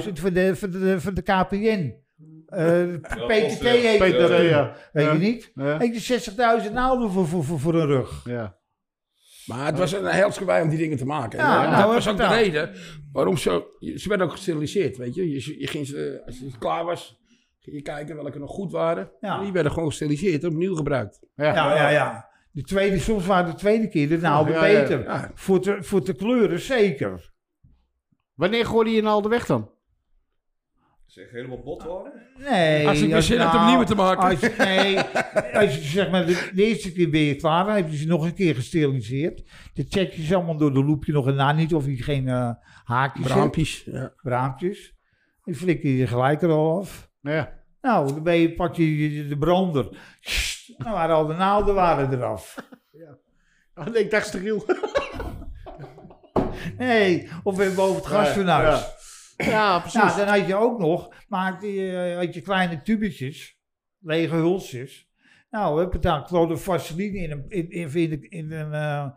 20.000 van de, van, de, van de KPN. Eh, PTT eh, heet dat PTT, toen. ja. Weet Ja. je niet? Ja. Ik heb 60.000 naalden voor, voor, voor, voor een rug. Ja. Maar het was een helse gewei om die dingen te maken. Ja, en, nou, dat was ook de vertel. reden waarom ze je- ze werden ook gesteriliseerd, weet je. Je, je ging ze, als je klaar was, ging je kijken welke nog goed waren. Ja. En Die werden gewoon gesteriliseerd, opnieuw gebruikt. Ja, ja, ja. De tweede, soms waren de tweede keer de naalden Ja, ja, ja. beter. Ja. Voor, de, voor de kleuren zeker. Wanneer gooide je nou de weg dan? Zeg, helemaal bot worden? Nee. nou, Als ik weer zin heb om nieuwe te maken. Als, je- nee, als je zeg maar de, de eerste keer ben je klaar, dan heb je ze nog een keer gesteriliseerd. Dan check je ze allemaal door de loepje nog en na, niet of je geen eh, haakjes hebt, Braampjes. Ja. braampjes. Dan flikker je ze gelijk er al af. Ja. Nou, dan ben je, pak je je- je de brander. Sst, Dan waren al de naalden waren eraf. <laughs> Oh, nee, ik dacht steriel. Nee, of weer boven het gasfornuis. Ja, <laughs> ja, precies. Nou, dan had je ook nog, maakte je, had je kleine tubetjes, lege hulsjes. Nou, heb dan klodde vaseline in een, in, in, in, de- in een, eh,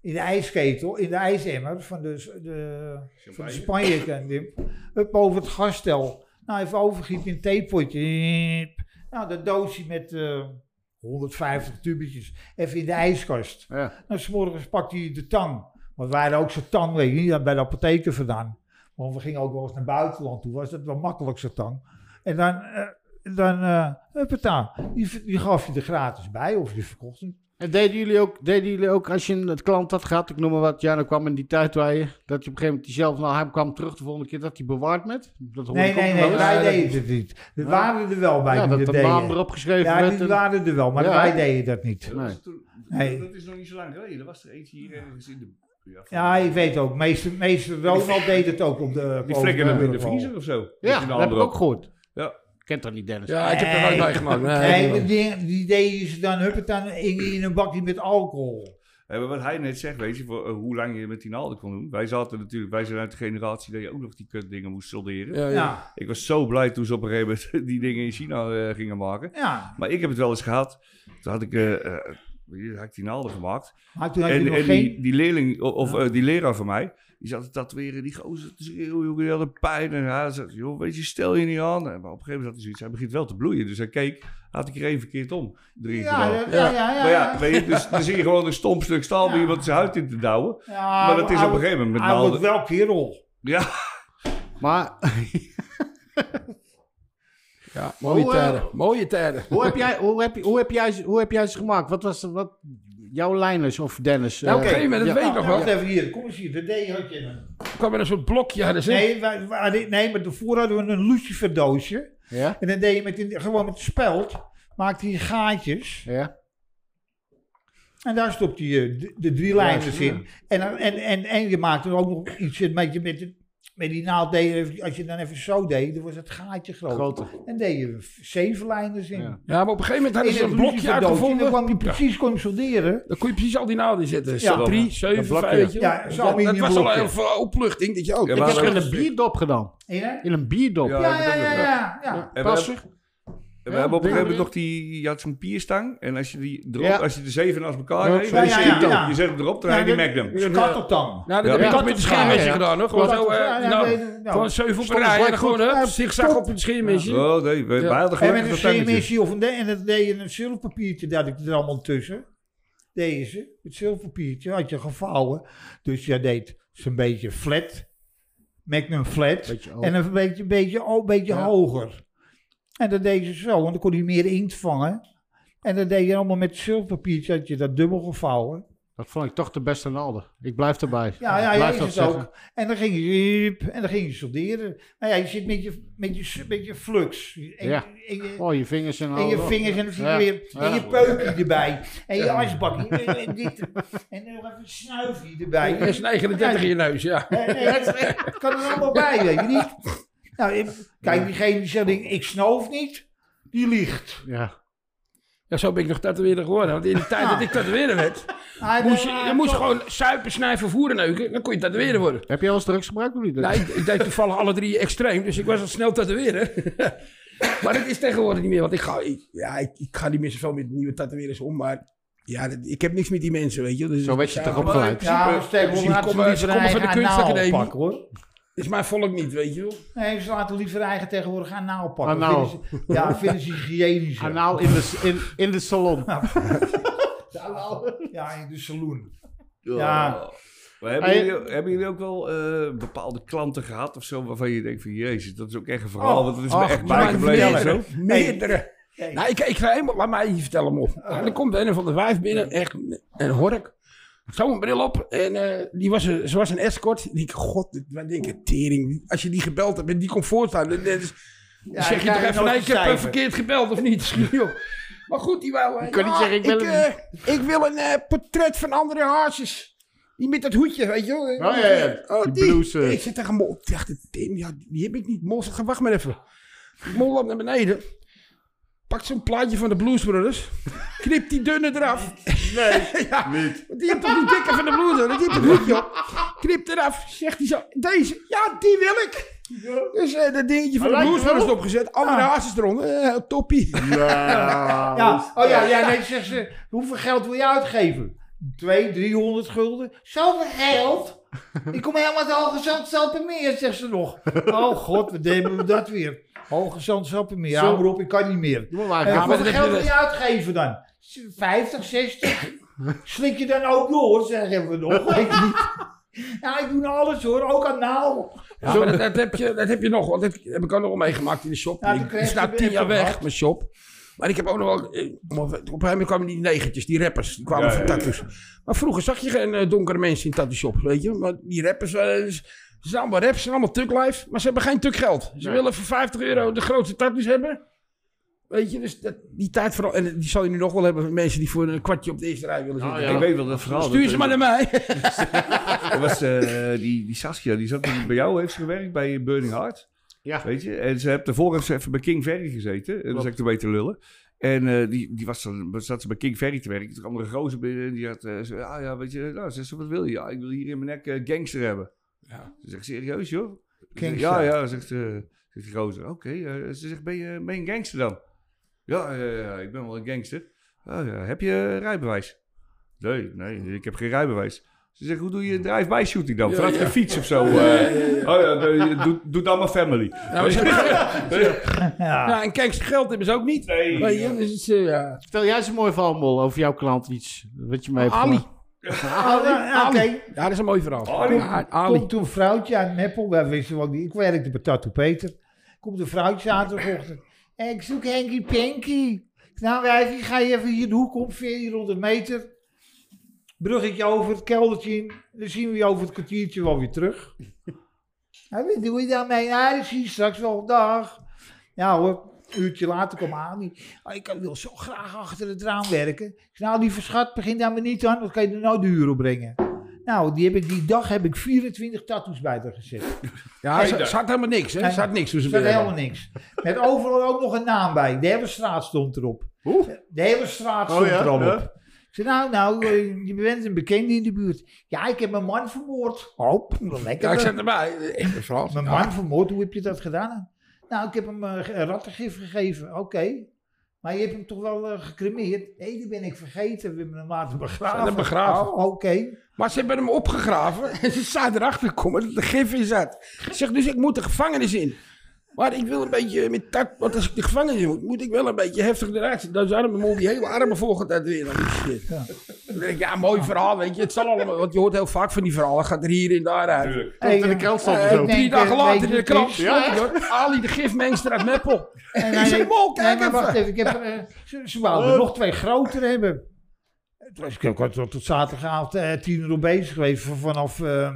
in de ijsketel, in de ijsemmer van de, de, van de Spanje. ken je hem. Hup, over het gasstel. Nou, even overgiet in een theepotje. Hiep. Nou, dat doosje met eh, 150 tubetjes. Even in de ijskast. Ja. En s'morgens pakte je de tang. Want wij hadden ook zo'n tang, weet je, die hadden bij de apotheker vandaan. Want we gingen ook wel eens naar buitenland toe, was dat wel makkelijk zo'n tang. En dan, eh dan eh huppata, die, die gaf je er gratis bij of je verkocht het. En deden jullie, ook, deden jullie ook, als je een klant had gehad, ik noem maar wat, Jano kwam in die tijd waar je, dat je op een gegeven moment diezelfde naar hem kwam terug de volgende keer, dat hij bewaard werd? Dat hoorde Nee, ik ook nee, nog wel nee, eens. wij Ja, dat- deden het niet. Er waren er wel bij Ja, die dat dat de deden. naam erop geschreven ja, werd. die en- waren er wel, maar Ja. wij deden dat niet. Dat, was Nee. toen- Nee. dat is nog niet zo lang geleden. Er was er eentje hier ergens in de... Ja, Ja, ik weet ook, meester, meester Ronald deed het ook op de... Die op flikken hem in de Burgerwal. vriezer of zo. Ja, dat heb ik ook gehoord. Ja. Kent dat niet, Dennis? ja, ik heb er Nee. nooit bij gemaakt. Nee, nee. Nee, maar die, die deden ze dan huppata in, in een bakje met alcohol. Ja, maar wat hij net zegt, weet je, voor, eh, hoe lang je met die naalden kon doen. Wij zaten natuurlijk, wij zijn uit de generatie dat je ook nog die kutdingen moest solderen. Ja, ja. Ja, Ik was zo blij toen ze op een gegeven moment <laughs> die dingen in China eh, gingen maken. ja. Maar ik heb het wel eens gehad. Toen had ik, eh, eh, hier had ik die naalden gemaakt. Maar toen had je En, nog en geen... die, die leerling, o- of eh, die leraar van mij, die zat te tatoeëren. Die gozer te schreeuwen, joh, die had een pijn. En hij zei, joh, weet je, stel je niet aan. En- Maar op een gegeven moment had hij zoiets, hij begint wel te bloeien. Dus hij keek, had ik er één verkeerd om. Drie keer Ja, al. ja, ja, ja. Maar ja, weet je, <laughs> dus dan zie je gewoon een stom stuk staal bij iemand zijn huid in te douwen. Ja, maar dat is hij op een gegeven moment met Hij wordt naalden. wel kerel. Ja, Maar Ja, mooie Hoe, eh, tijden. Mooie tijden. <laughs> hoe heb, jij, hoe, heb, je- hoe, heb jij, ze- hoe heb jij ze gemaakt? Wat was de- wat, jouw lijners of Dennis? Nou, eh, op een gegeven moment, dat weet ik nog Nou, wel. wacht even hier, kom eens hier. De D had je een. kwam er een soort blokje aan de zin. Nee, wij- wij hadden- nee, maar daarvoor hadden we een luciferdoosje. ja? En dan deed je met die- gewoon met de speld, maakte je gaatjes. Ja? En daar stopte je de, de drie lijnen in. En, dan- en, en, en je maakte er ook nog iets in met, je- met, de- met die naald. Deed, je- als je dan even zo deed, dan was het gaatje groter. Groter. En deed je zeven lijnen in. Ja. Ja, maar op een gegeven moment hadden In ze een het blokje luciferdoosje. En dan uitgevonden. kwam je precies consolideren. Dan kon je precies al die naalden zetten. Ja. 3, 7, Dat blokje. 5, weet je wel. Ja, dat, dat zo'n was al aluminiumblokje. heel veel opluchting. Dat je ook. Ja, Ik Ik maar- was- heb het in een bierdop gedaan. Ja? In een bierdop. Ja. Ja. Ja, ja, dat ja, is ja, Nou, ja. en we, hebben, Passig. en we hebben op een Ja, gegeven moment ja. nog die, je had zo'n pierstang. En als je die erop, Ja. als je de zeven naast elkaar Ja, neemt, ja, dan ja, zet je ja, die- ja. je zet hem erop, dan heb je die Magnum. Dus Kattentam. Nou, dat heb Ja. ik ook met de scheermesje gedaan. Hoor. Gewoon zo, eh, Ja, ja, nou, weet ik, nou. gewoon zeven op een Stond rij. En gelijk dan gewoon goed. hup, Ja, zigzag op het scheermesje. Oh nee, wij, Ja. wij hadden En met gelukkig een dat tangetje. scheermesje of een... de- En dat deed je een zilverpapiertje, dat ik er allemaal tussen. Deze, het zilverpapiertje, had je gevouwen. Dus jij deed zo'n beetje flat. Magnum flat. Beetje hoog. en een beetje, beetje, oh, beetje Ja. hoger. En dat deed je zo, want dan kon hij meer inkt vangen. En dat deed je allemaal met zilverpapiertje, had je dat dubbel gevouwen. Dat vond ik toch de beste naalden. Ik blijf erbij. Ja, ja, Ik ja blijf is dat het zeggen. ook. En dan ging je ziep, en dan ging je solderen. Maar ja, je zit met je, met je, met je flux. En, Ja. en je, Oh, je vingers en en je al. vingers en dan zie je Ja. weer. Ja. En je peukje erbij. En je ijsbakje. En, en dit. En dan nog even een snuifje erbij. Er is een 39 in je neus, ja. Eh, nee, het kan er allemaal bij, weet je niet? Nou, ik- kijk, diegene die zegt, ik ik snoof niet, die liegt. Ja. Ja, zo ben ik nog tatoeëerder geworden. Want in de tijd dat ik tatoeëerder werd, Hij moest je, je moest gewoon suipen, snijven, voeren, neuken. Dan kon je tatoeëerder worden. Heb jij wel eens drugs gebruikt of niet? Nou, ik, ik deed toevallig alle drie extreem, dus ik was al snel tatoeëren. <laughs> maar dat is tegenwoordig niet meer, want ik ga, ik, ja, ik, ik ga niet meer zoveel met nieuwe tatoeëerders om, maar ja, dat- ik heb niks met die mensen, weet je. Dus Zo werd je ja, toch maar opgeleid? Ja, maar in sterk, principe we laten komen- ze ze liever komen van de eigen kunstacademie. anaal pakken, hoor. Is mijn volk niet, weet je wel. Nee, ze laten liever eigen tegenwoordig anaal pakken. Anaal. Vinden ze- ja, vinden ze hygiënischer. Anaal in de, in, in de salon. Ja, in de saloon. Ja. Maar hebben, Hey. jullie, hebben jullie ook wel eh, bepaalde klanten gehad of zo, waarvan je denkt van, jezus, dat is ook echt een verhaal, Oh, want dat is me Ach, echt maar bijgebleven. meerdere, Zo. Meerdere. Hey. Nou, ik, ik ga helemaal, laat mij even vertellen hem op. Ah. En dan komt een van de vijf binnen, echt een hork. Zo'n bril op en eh, die was, een- ze was een escort. Die, god, dit- wat denk je, tering. Als je die gebeld hebt en die komt voorstaan, dan, dan is- dan dan zeg je krijg toch je even, nooit nee, een ik heb eh, cijfer. verkeerd gebeld of niet. Schiet niet op. Maar goed, die wou... eh, Ik kan niet ja, zeggen, ik wil ik, een- eh, ik wil een eh, portret van André Hazes. Die met dat hoedje, weet je wel. Oh, ja, ja. Oh, Die die. blouse. Ik zit tegen Mol. Ik dacht, Tim, ja, die heb ik niet. Mol zegt, wacht maar even. Mol loopt naar beneden. Pakt zo'n plaatje van de Blues Brothers. Knipt die dunne eraf. Nee, <laughs> ja, niet. want Die heeft toch die dikke van de Blues Brothers. Die heeft een hoedje op. Knipt eraf. Zegt hij zo, deze. Ja, die wil ik. Dus eh dat dingetje van de lijkt Blues wel. Brothers opgezet. Andere Ah. haasjes eronder. Eh, toppie. Nou, Ja, oh ja, ja, nee, zegt ze, hoeveel geld wil je uitgeven? 200, 300 gulden? Zoveel geld? Ik kom helemaal uit Hoge meer, zegt ze nog. Oh god, wat deden we dat weer? Hoge Zandsalpemeer, Zo. hou maar op, ik kan niet meer. Doe maar Eh, maar. maar hoeveel dat geld heb wil je- je uitgeven dan? 50, 60? Slik je dan ook door, zeggen we nog. Weet ik niet. Ja, ik doe nou alles hoor, ook aan nou. Ja, maar dat, dat heb je, dat heb je nog. Want dat heb ik ook nog wel meegemaakt in de shop. Ja, toen ik kreeg ik sta je weer tien jaar verwacht. weg, mijn shop. Maar ik heb ook nog wel... eh, Op een gegeven moment kwamen die negentjes, die rappers. Die kwamen Ja, van ja, ja. tattoos. Maar vroeger zag je geen eh, donkere mensen in tattoo shops, weet je. Maar die rappers... eh, ze zijn allemaal raps, ze zijn allemaal tuklijf. Maar ze hebben geen tuk geld. Ze Nee. willen voor 50 euro de grootste tattoos hebben. Weet je, dus dat, die tijd vooral... En die zal je nu nog wel hebben van mensen die voor een kwartje op de eerste rij willen zitten. ja. Ik weet wel dat verhaal. Stuur Ah, Oh, dat- ze maar naar mij. Er was, eh, die, die Saskia, die zat bij jou, heeft ze gewerkt bij Burning Heart. Ja. Weet je? En ze heeft, daarvoor heeft ze even bij King Ferry gezeten. En dan zat ik erbij te lullen. En eh, die, die was dan, zat ze bij King Ferry te werken. Toen kwam er een gozer binnen en die had... eh, zo, ah ja, weet je, nou, zei ze, wat wil je? Ja, ik wil hier in mijn nek eh, gangster hebben. Ja. Ze zegt, serieus joh? Ik zeg, Gangster. Ja, ja, zegt, eh, zegt die gozer. Oké, eh, ze zegt, ben je, ben je een gangster dan? Ja, ja, ja, ik ben wel een gangster. "Ah, ja, heb je rijbewijs? Nee, nee, ik heb geen rijbewijs. Ze zegt, hoe doe je een drive-by shooting dan? Ja, Vraag ja. je fiets of zo? eh? Oh ja, nee, doe, doe dan maar family. <laughs> Nou, ze <laughs> Ja. nou, en kijk, geld hebben ze ook niet. Nee, Weet ja. je, dus, het is, eh, ja. Vertel jij eens een mooi verhaal, Mol, over jouw klant iets. Wat je mee hebt Ali. gemaakt. Ah, nou, Oké, Ja, dat is een mooi verhaal. Ali. Ja, Ali. Komt toen een vrouwtje aan Meppel, wij wisten wel niet, ik werkte bij Tattoo Peter. Komt een vrouwtje zaterdagochtend. "Eh, Ik zoek Henky Panky. Nou wijfie, ga je even hier de hoek om, 1400 meter. Bruggetje over, het keldertje in. Dan zien we je over het kwartiertje wel weer terug. Hé, wat doe je daarmee? Nou, ik zie je straks wel, dag. Ja hoor, een uurtje later kwam Ani. "Ah, ik wil zo graag achter het raam werken. Ik zei, nou lieve schat, begin daar maar niet aan, want kan je er nou de huur op brengen. Nou, die, heb ik, die dag heb ik 24 tattoos bij haar gezet. <laughs> Ja, ze, ze had helemaal niks, hè? Ze had niks toen ze Er staat binnen helemaal niks. Met overal ook nog een naam bij. De hele straat stond erop. De hele straat stond Oh ja, er al ja. op. Ik zei, nou, nou, eh, je bent een bekende in de buurt. Ja, ik heb mijn man vermoord. Oh, pff, wel kwam. Ja, lekker. ik zat erbij. Echt een verhaal. mijn man vermoord, hoe heb je dat gedaan? Nou, ik heb hem eh, ge- rattengif gegeven. Oké. Maar je hebt hem toch wel eh, gecremeerd? Nee, die ben ik vergeten. We hebben hem laten begraven. hebben hem begraven. Oh, oké. Maar ze hebben hem opgegraven en ze zaten erachter komen dat de gif in zat. Ze Zegt dus, ik moet de gevangenis in. Maar ik wil een beetje met tak, want als ik de gevangenis in moet, moet ik wel een beetje heftig eruit zien. Dan zijn mijn mond die hele armen volgend uit weer. aan die Oh, shit. Ja. Dan denk ik, ja, mooi verhaal, weet je. Het zal allemaal, want je hoort heel vaak van die verhalen. Gaat er hier en daar uit. Komt in de eh, krant stond Eh, het ook. denk, drie dagen eh, later weet in je de het krant is? stond hij, hoor. Ali, de gifmengster uit Meppel. En Ik zei, "Mol, kijk maar wacht even." even, ik heb, eh, ze, ze wouden Oh. nog twee grotere hebben. Het was, ik was tot, tot zaterdagavond eh, tien uur op bezig geweest. V- Vanaf, eh, eh,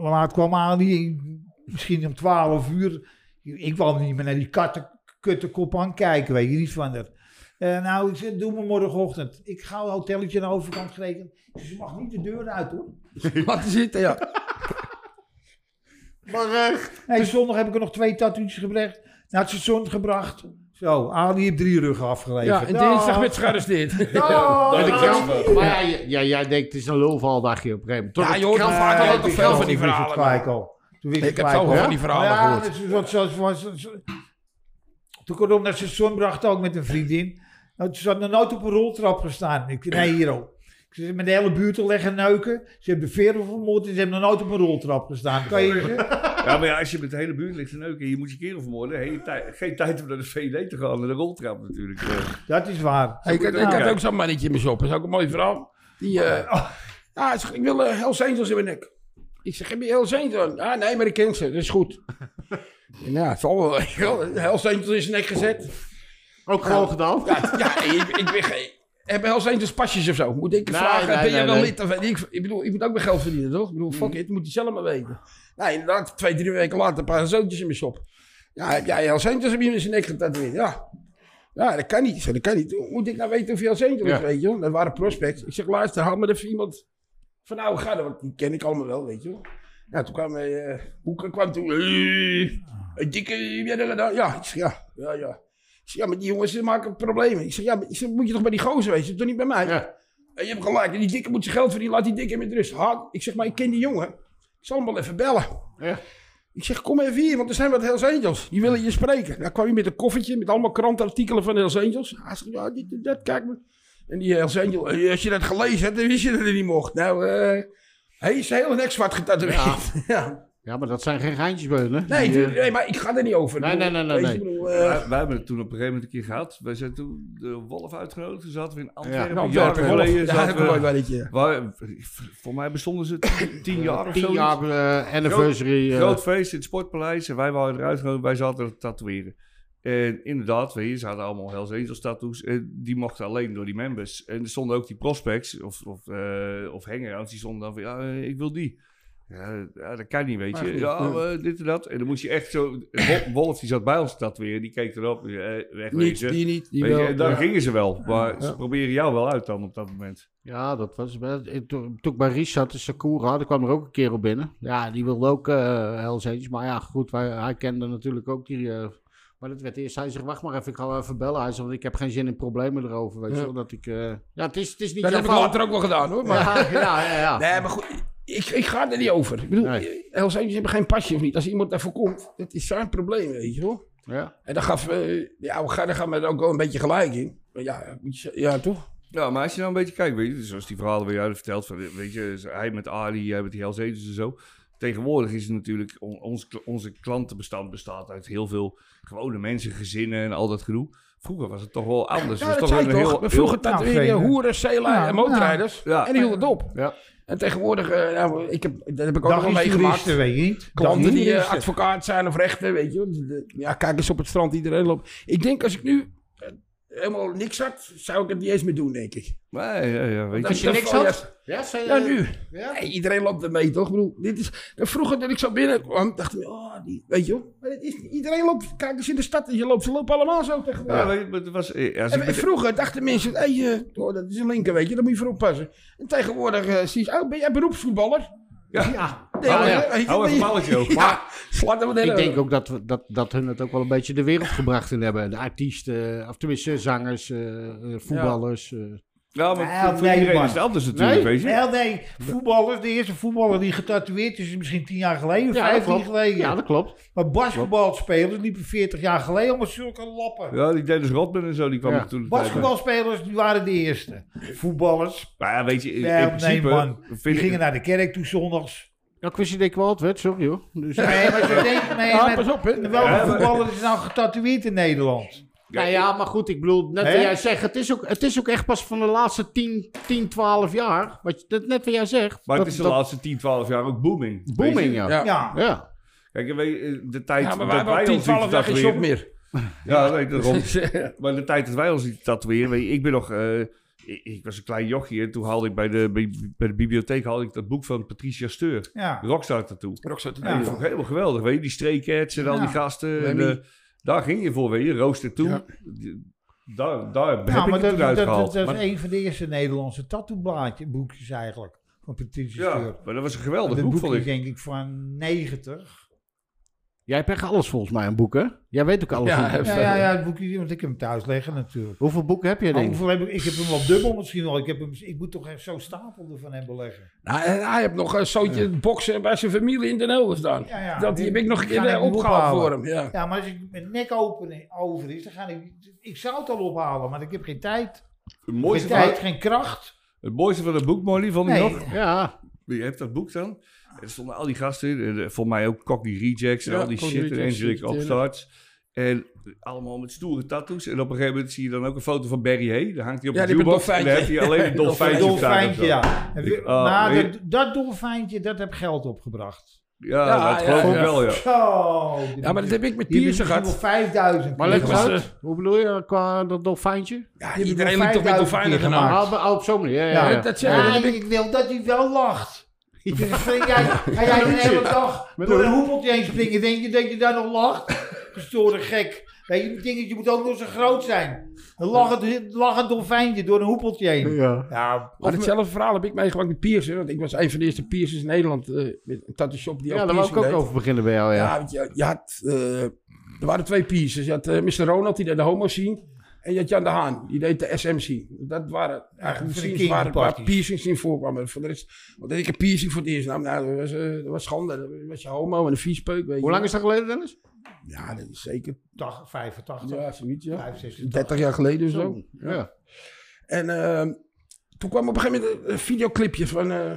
laat kwam Ali, misschien om twaalf uur. Ik wou niet meer naar die katten, kuttenkop aan kijken, weet je niet van dat. Eh, nou, ik zei, doe me morgenochtend. Ik ga een hotelletje aan de overkant geregeld. Ze mag niet de deur uit hoor. Laten zitten, ja. Maar eh, Nee, zondag heb ik er nog twee tattoos gebracht. Nou, Naar het station gebracht. Zo, Ali heeft drie ruggen afgeleverd. Nou, Ja, en dinsdag werd ze gearresteerd. Oh, dat ik oh, jou- oh. maar ja, j- ja, jij denkt, het is een lulvaldagje op een gegeven moment. Tot Ja, het je hoort wel krant- vaak eh, al het dat krant- veel van die Toen wist verhalen. het gelijk al. Toen wist Ik het heb gelijk zoveel al. van die verhalen ja, gehoord. dus wat- zoals- zoals- zoals- Toen kon ik op naar het station, bracht ook met een vriendin. Nou, ze had nog nooit op een roltrap gestaan. Ik nee, hier ook. Ze zijn met de hele buurt te leggen neuken. Ze hebben de veren vermoord en ze hebben nog nooit op een roltrap gestaan. Kan je zeggen? Ja, maar ja, als je met de hele buurt ligt te neuken en je moet je kerel vermoorden, hele tij- geen tijd om naar de VD te gaan en de roltrap natuurlijk. eh. Dat is waar. Ik, had- ik Ja. had ook zo'n mannetje in mijn shop. Dat is ook een mooi verhaal. Die, eh, Ah, hij zegt, ik wil eh, Hells Angels in mijn nek. Ik zeg, heb je Hells Angels? Ah, nee, maar ik ken ze. Dat is goed. <laughs> ja, het zal wel. weet je wel. <laughs> Hells Angels in zijn nek gezet. Ook gewoon gedaan. Ja, ja ik, ik ben geen... Heb Hells Angels pasjes of zo? Moet ik Nee, vragen, nee, ben je nee, wel nee. lid? Of, ik, ik bedoel, ik moet ook mijn geld verdienen, toch? Ik bedoel, fuck it, moet hij zelf maar weten. Nou, inderdaad, twee, drie weken later een paar zootjes in mijn shop. Ja, heb jij Hells Angels op je in zijn nek getatoeëerd? Ja. Ja, dat kan niet. Ik zeg, Dat kan niet. Hoe moet ik nou weten of je Hells Angels is, weet je wel? Dat waren prospects. Ik zeg, luister, haal me even iemand van oude garde, want die ken ik allemaal wel, weet je wel. Ja, toen kwam eh Boeken kwam toen. "Hey, een dikke, heb jij dat gedaan?" Ja, ik zeg, ja, ja, ja. Ik zeg, ja, maar die jongens ze maken problemen. Ik zeg, ja, maar, ik zeg, moet je toch bij die gozer wezen, toch niet bij mij? Ja. En je hebt gelijk, die dikke moet zijn geld verdienen, laat die dikke met rust. Ha, ik zeg, maar ik ken die jongen. Ik zal hem wel even bellen. Ja. Ik zeg, kom even hier, want er zijn wat Hells Angels. Die willen je spreken. Daar kwam hij met een koffertje met allemaal krantartikelen van Hells Angels. Hij zegt, ja, dit en dat, kijk maar. En die Hells Angel, eh, als je dat gelezen hebt, dan wist je dat het niet mocht. Nou, eh, hij is heel nek zwart getatoeëerd. Ja. Ja. Ja, maar dat zijn geen geintjes bij hun, hè? Nee, Die, eh, tu- nee, maar ik ga er niet over. Nee, Ik nee, nee, nee, weet nee. je, ik bedoel, eh, wij, wij hebben het toen op een gegeven moment een keer gehad. Wij zijn toen de Wolf uitgenodigd. Toen zaten we in Antwerpen. nou, jaren Antwerpen, Wolf. geleden Ja, dat zaten we- heb ik wel een keer. Waar, voor mij bestonden ze tien, tien jaar of Tien zo. jaar eh, anniversary. eh, Groot feest in het Sportpaleis. En wij waren eruit gegaan. Wij zaten te tatoeëren. En inderdaad, we hier zaten allemaal Hells Angels tattoos. En die mochten alleen door die members. En er stonden ook die prospects of, of, eh, of hangouts. Die stonden dan van, ja, eh, ik wil die. Ja, ja, dat kan niet, weet je. goed, ja, ja. eh, dit en dat. En dan moest je echt zo... Wol- Wolf, die zat bij ons te tatoeëren. Die keek erop. eh, Niet, wegwezen. die niet, die Weet je, wel. en dan Ja. gingen ze wel. Maar Ja. ze proberen jou wel uit dan op dat moment. Ja, dat was best. ik- Toen toen ik bij Richard de Sakura, daar kwam er ook een kerel binnen. Ja, die wilde ook eh Hells Angels. Maar ja, goed, wij, hij kende natuurlijk ook die... eh, maar dat werd eerst, hij zegt, wacht maar even, ik ga wel even bellen. Hij zegt, want ik heb geen zin in problemen erover, weet je Ja. wel. Dat ik... eh, ja, het is, het is niet Dat jouw heb ik fout. later ook wel gedaan, hoor. Maar, Ja, ja, ja. ja. Nee, maar goed, ik, ik ga er niet over. Ik bedoel, Nee. Hells Angels hebben geen pasje of niet. Als iemand daarvoor komt, dat is zijn probleem, weet je wel. ja. En dan gaf, eh ja, we gaan, daar gaan we er ook wel een beetje gelijk in. Maar ja, moet je- ja, toch? Ja, maar als je nou een beetje kijkt, weet je, dus zoals die verhalen weer uit verteld, van, weet je, hij met Ari, jij met die Hells Angels en zo. Tegenwoordig is het natuurlijk, on- ons, kl- onze klantenbestand bestaat uit heel veel gewone mensen, gezinnen en al dat gedoe. Vroeger was het toch wel anders. Ja, Het dat was zei toch ik een toch. heel- We vroegen heel- tatoeëren, Nou, zeker. hoeren, zeelui Ja, en motorrijders. ja. En die hield het op. Ja. En tegenwoordig, eh, nou, ik heb, dat heb ik ook Dag nog is meegemaakt. toeristen, weet je niet. Dag Klanten is die eh, toeristen. advocaat zijn of rechter, weet je. wel. Dus De- de- Ja, kijk eens op het strand, iedereen loopt. Ik denk, als ik nu eh, helemaal niks had, zou ik het niet eens meer doen, denk ik. Nee, ja, ja, weet je. Dan- je dan niks val je had? echt- Ja, zei, Ja, eh, nu. Ja? Nee, iedereen loopt ermee, toch? Ik bedoel, dit is, en vroeger dat ik zo binnenkwam, dacht ik, oh, die, weet je wel. Maar dat is, iedereen loopt, kijk eens in de stad, en je loopt, ze lopen allemaal zo Ja, tegenwoordig. weet je, maar het was, eh, als ik En, en met- vroeger dachten mensen, hey, eh, oh, dat is een linker, weet je, daar moet je voor oppassen. En tegenwoordig eh, zie je, oh, ben jij beroepsvoetballer? Ja. Nee, Ah, hoor, ja. weet je, Hou even die- een balletje ook. <laughs> Ja, slaat hem Ik denk ook dat, we, dat, dat hun het ook wel een beetje de wereld gebracht in hebben. De artiesten, of tenminste zangers, eh, eh, voetballers. eh. Ja, Nou, maar Nee, voor- voor nee, iedereen man. is het anders natuurlijk, Nee? weet je. Nee, nee, voetballers, de eerste voetballer die getatoeëerd is, is misschien 10 jaar geleden of Ja, dat 15 klopt. jaar geleden. Ja, dat klopt. Maar basketbalspelers liepen 40 jaar geleden allemaal zulke lappen. Ja, die Dennis Rodman en zo, die kwam Ja. er toen. Basketbalspelers die waren de eerste. Voetballers, Nou ja, weet je, in, nee, in nee, principe man. vind die ik- gingen naar de kerk toe zondags. Ja, Nou, ik wist niet dat ik wel had werd, sorry hoor. Dus, Nee, maar <laughs> ze denken, nee, Ja, met- pas op, hè. welke Ja, maar- voetballer is nou getatoeëerd in Nederland? nou ja, maar goed, ik bedoel, net Hè? wat jij zegt, het is, ook, het is ook echt pas van de laatste 10, 10 12 jaar, wat, je- dat, net wat jij zegt. Maar dat, het is de dat laatste 10, 12 jaar ook booming. weet je. booming, ja. ja. Ja. Ja, Kijk, en weet je, de tijd Ja, maar wij dat hebben al wij 10, ons lieten 12 jaar geen shop tatoeëren- meer. Ja, nee, <laughs> daarom. <laughs> maar de tijd dat wij ons lieten tatoeëren, weet je, ik ben nog... eh, ik, ik was een klein jochie en toen haalde ik bij de, bij, bij de bibliotheek haalde ik dat boek van Patricia Steur. ja. Rockstar Tattoo. Roxanne, Ja. Die vond ik helemaal geweldig, weet je. Die streekheads en al die Ja. gasten. En, Lemmy. eh, daar ging je voor, weet je. Rooster toe. Ja. Die- Daar, daar heb Ja, ik maar het dat, toen dat, uitgehaald. dat, dat Maar- is een van de eerste Nederlandse tattoo-boekjes eigenlijk. Van Patricia ja, Steur. maar dat was een geweldig Dat boek, boekje vond ik. is denk ik van 90. Jij hebt echt alles volgens mij aan boeken. Jij weet ook alles. Ja, van boeken. <laughs> Ja, ja, ja, het boekje, want ik heb hem thuis liggen natuurlijk. Hoeveel boeken heb je Maar denk ik? hoeveel heb ik, ik heb hem wel dubbel misschien wel. Ik, heb hem, ik moet toch echt zo'n stapel ervan hebben leggen. Nou, en hij heeft nog een zootje boksen bij zijn familie in Den Helder staan. Ja, ja. Dat die heb ik nog een Ga keer ik eh, niet opgehaald ophalen. voor hem. Ja. Ja, maar als ik mijn nek open over is, dan ga ik... Ik zou het al ophalen, maar ik heb geen tijd. Het Geen mooiste, tijd, van, geen kracht. het mooiste van het boek, Molly, vond ik Nee, nog. Ja, Je hebt dat boek dan. En er stonden al die gasten in. En, eh, Volgens mij ook Cockney Rejects en Ja, al die Cockney shit. En Rejects, Angelic natuurlijk. Upstarts. En allemaal met stoere tattoos. En op een gegeven moment zie je dan ook een foto van Barry Hay. Daar hangt hij op Ja, de die met jukebox. En dolfijntje. daar heeft hij alleen een dolfijntje, op staan of dolfijntje, zo. ja. En Ik- we- oh, maar nee. dat, dat dolfijntje, dat heb geld opgebracht. Ja, Ja, dat ja, geloof ja. ik wel, Oh ja. Zo. Ja, maar dat heb ik met Die Pierce hebben misschien gehad. wel 5000. Maar leg ligt keer het was, gehad. uit? Hoe bedoel je qua dat dolfijntje? Ja, Die iedereen hebben liep toch met vijfduizend dolfijnen keer gedaan. gemaakt. Ah, maar- oh, op zo'n manier. Ja, ja, Ja, ja. Eh, dat zei Ja, dat en ik wil dat hij wel lacht. <laughs> Ik Spring jij, ga jij de hele dag Met door een een hoepeltje heen springen? Denk je dat je daar nog lacht? Gestoorde gek. Weet je, dingetje moet ook nog zo groot zijn. Een lachend, lachend dolfijntje door een hoepeltje heen. Ja. Ja, Maar hetzelfde verhaal heb ik meegemaakt met piercen. Want ik was een van de eerste piercers in Nederland. eh, met een tattoo shop die Ja, ook daar wou ik piercing ook deed. over beginnen bij jou, ja. Ja, want je, je had... eh, er waren twee piercers. Je had eh, Mr. Ronald, die deed de homo scene. En je had Jan de Haan, die deed de SM scene. Dat waren eigenlijk voor de de scenes waar, waar kinderparties. piercings in voorkwamen. Voor de rest, want dat ik een piercing voor het eerst nam, nou, dat was, eh, dat was schande. Dat was je homo en een viespeuk, weet je. Hoe lang is dat geleden, Dennis? Ja, dat is zeker... dag 85, Ja, zoiets, ja. 65. 30 jaar geleden of zo. Ja. En ehm, toen kwam op een gegeven moment een videoclipje van, eh,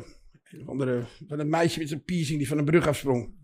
een of andere, van een meisje met zijn piercing die van een brug afsprong.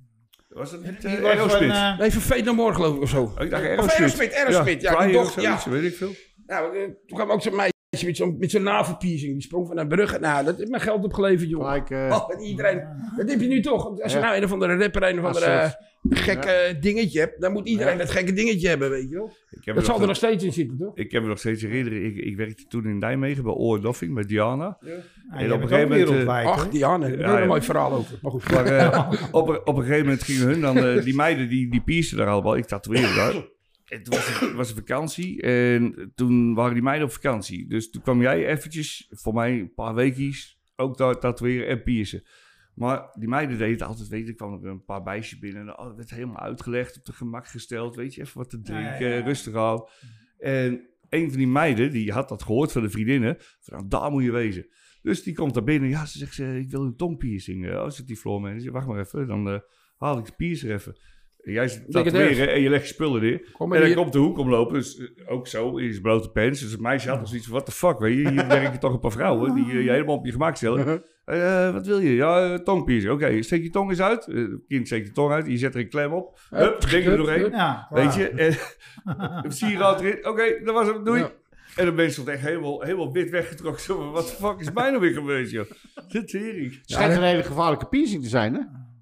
Was dat niet Die eh, was van, Aerosmith? eh, Nee, van Fate No More geloof ik of zo. Oh, ik dacht Of Aerosmith. Aerosmith, Aerosmith. Ja, die Flyer of dochter, ja. zoiets, weet ik veel. Nou, eh, toen kwam ook zo'n meisje met zo'n, met zo'n navelpiercing. Die sprong van een brug. Nou, dat heeft mijn geld opgeleverd, joh. Like, eh, Oh, en iedereen. Dat heb je nu toch. Als je Ja. nou een of andere rapper, een of Als andere eh, gekke dingetje hebt, dan moet iedereen dat gekke dingetje hebben, weet je wel. Ik heb Dat zal er nog nog- steeds in zitten, toch? Ik heb me nog steeds herinneren. Ik, ik werkte toen in Nijmegen bij Oor Doffing met Diana. ah, jij op een bent ook gegeven moment, eh, wereldwijd, hoor. Ach, Diane, dat is Ja, een ja. mooi verhaal over. Maar goed. Maar <laughs> eh, op, een- op een gegeven moment gingen hun dan, eh, die meiden die, die piercen daar allemaal, ik tatoeëerde daar. Het was, het was een vakantie en toen waren die meiden op vakantie. Dus toen kwam jij eventjes, voor mij een paar weekjes, ook daar tatoeëren en piercen. Maar die meiden deden het altijd, weet je, er kwamen er een paar bijsjes binnen. En, oh, dat werd helemaal uitgelegd, op de gemak gesteld, weet je, even wat te drinken, Ja, ja. rustig aan. En een van die meiden, die had dat gehoord van de vriendinnen, van nou, daar moet je wezen. Dus die komt daar binnen. Ja, ze zegt, ze, ik wil een tongpiercing. Eh, Oh, zit die floor manager. Wacht maar even, dan eh, haal ik de piercer even. En jij zit te Denk het tatoeëren en je legt je spullen neer. Kom maar en dan hier. komt de hoek omlopen. Dus eh, ook zo, in zijn blote pants. Dus het meisje had nog zoiets van, what the fuck, weet je. Hier <laughs> werken toch een paar vrouwen die eh, je helemaal op je gemak stellen. <laughs> Eh, wat wil je? Ja, eh, tongpiercing. Oké, steek je tong eens uit. Eh, kind, steek je tong uit. Je zet er een klem op. Hup, ding er hup, doorheen. hup. Ja, klaar. Weet je? En, een sieraad erin. Oké, dat was hem. Doei. Ja. En de mensen stond echt helemaal, helemaal wit weggetrokken. Zo van, wat de fuck is mij nou weer gebeurd, joh? De tering. schijnt een hele gevaarlijke piercing te zijn, hè?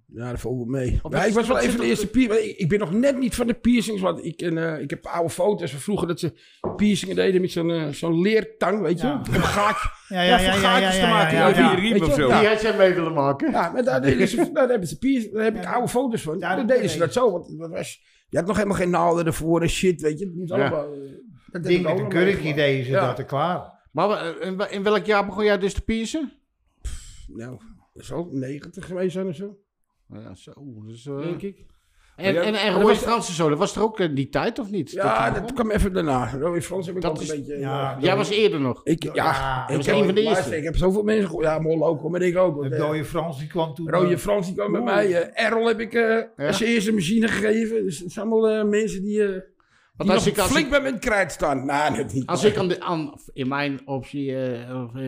Ja, dat valt wel mee. Of Ja, wat- ik was wat wel een zit van de er- eerste piercings. Ik, ik ben nog net niet van de piercings. Want ik, en, eh, ik heb oude foto's van vroeger dat ze piercingen deden met zo'n eh, zo'n leertang, weet je. Ja. Om gaatje, Ja, ja, voor gaatjes te maken. ja, over ja. je Weet riem je of zo. wel? Die had jij mee willen maken. Ja, maar daar, deden ze, daar hebben ze piercing. Daar heb ik oude foto's van. Ja, dan dat deden ze dat zo. Want dat was, je had nog helemaal geen naalden ervoor en shit, weet je. Het moest Ja. allemaal... eh, dat heb Ding ik met ook een nog kurkje meegemaakt. deze, Ja. dat er klaar. Maar we- in, wel- in welk jaar begon jij dus te piercen? Nou, dat zal 90 geweest zijn of zo, Ja, zo. Dus, denk ik. En, Ja, en, en dat Roy was- Fransen zo, dat was er ook in die tijd, of niet? Ja, hij dat begon? kwam even daarna. Roy Frans heb ik Dat ook is- een beetje... ja, eh, Jij was eerder nog. Ik, ja, Ja, ik, was heb, een van de luister, eerste. ik heb zoveel mensen gehoord. Ja, Mol ook, hoor, maar ik ook. De Want, eh, dode Frans die kwam toen. Rode eh, Frans die kwam bij mij. eh, Errol heb ik eh, als eerste machine gegeven. Dus het zijn allemaal eh, mensen die, eh die als nog ik- als flink ik- bij mijn krijt staan. Nou, dat niet. Als ik aan de, aan, in mijn optie, eh, of, eh,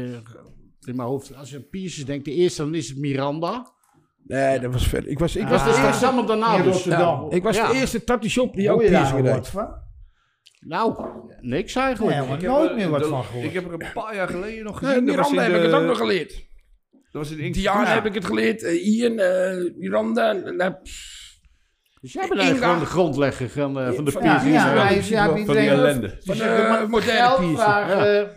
in mijn hoofd, als je aan piercings denkt, de eerste dan is het Miranda. Nee, dat was verder. Ik was, ik Ik was was de dus eerste... straks allemaal daarna in dus. Rotterdam. Ik was Ja. de eerste tattoo shop die ook Hoor je daar piercing nou deed. wat van? Nou, niks Nee, eigenlijk. helemaal Ik heb, nooit eh, meer wat dat- van gehoord. Ik heb er een paar jaar geleden nog gezien. Nee, Dat was Miranda in heb ik het de- ook nog geleerd. Dat was in Inkt- Diana Ja. heb ik het geleerd. eh, Ian, eh, Miranda. en- en, eh, Dus jij bent eigenlijk Inga. gewoon de grondlegger van, eh, van de Ja, Ja, piercings. ja, eh. hij precies wel. ja, van die ellende. Van, Van eh, moderne geld piercing. vragen. eh,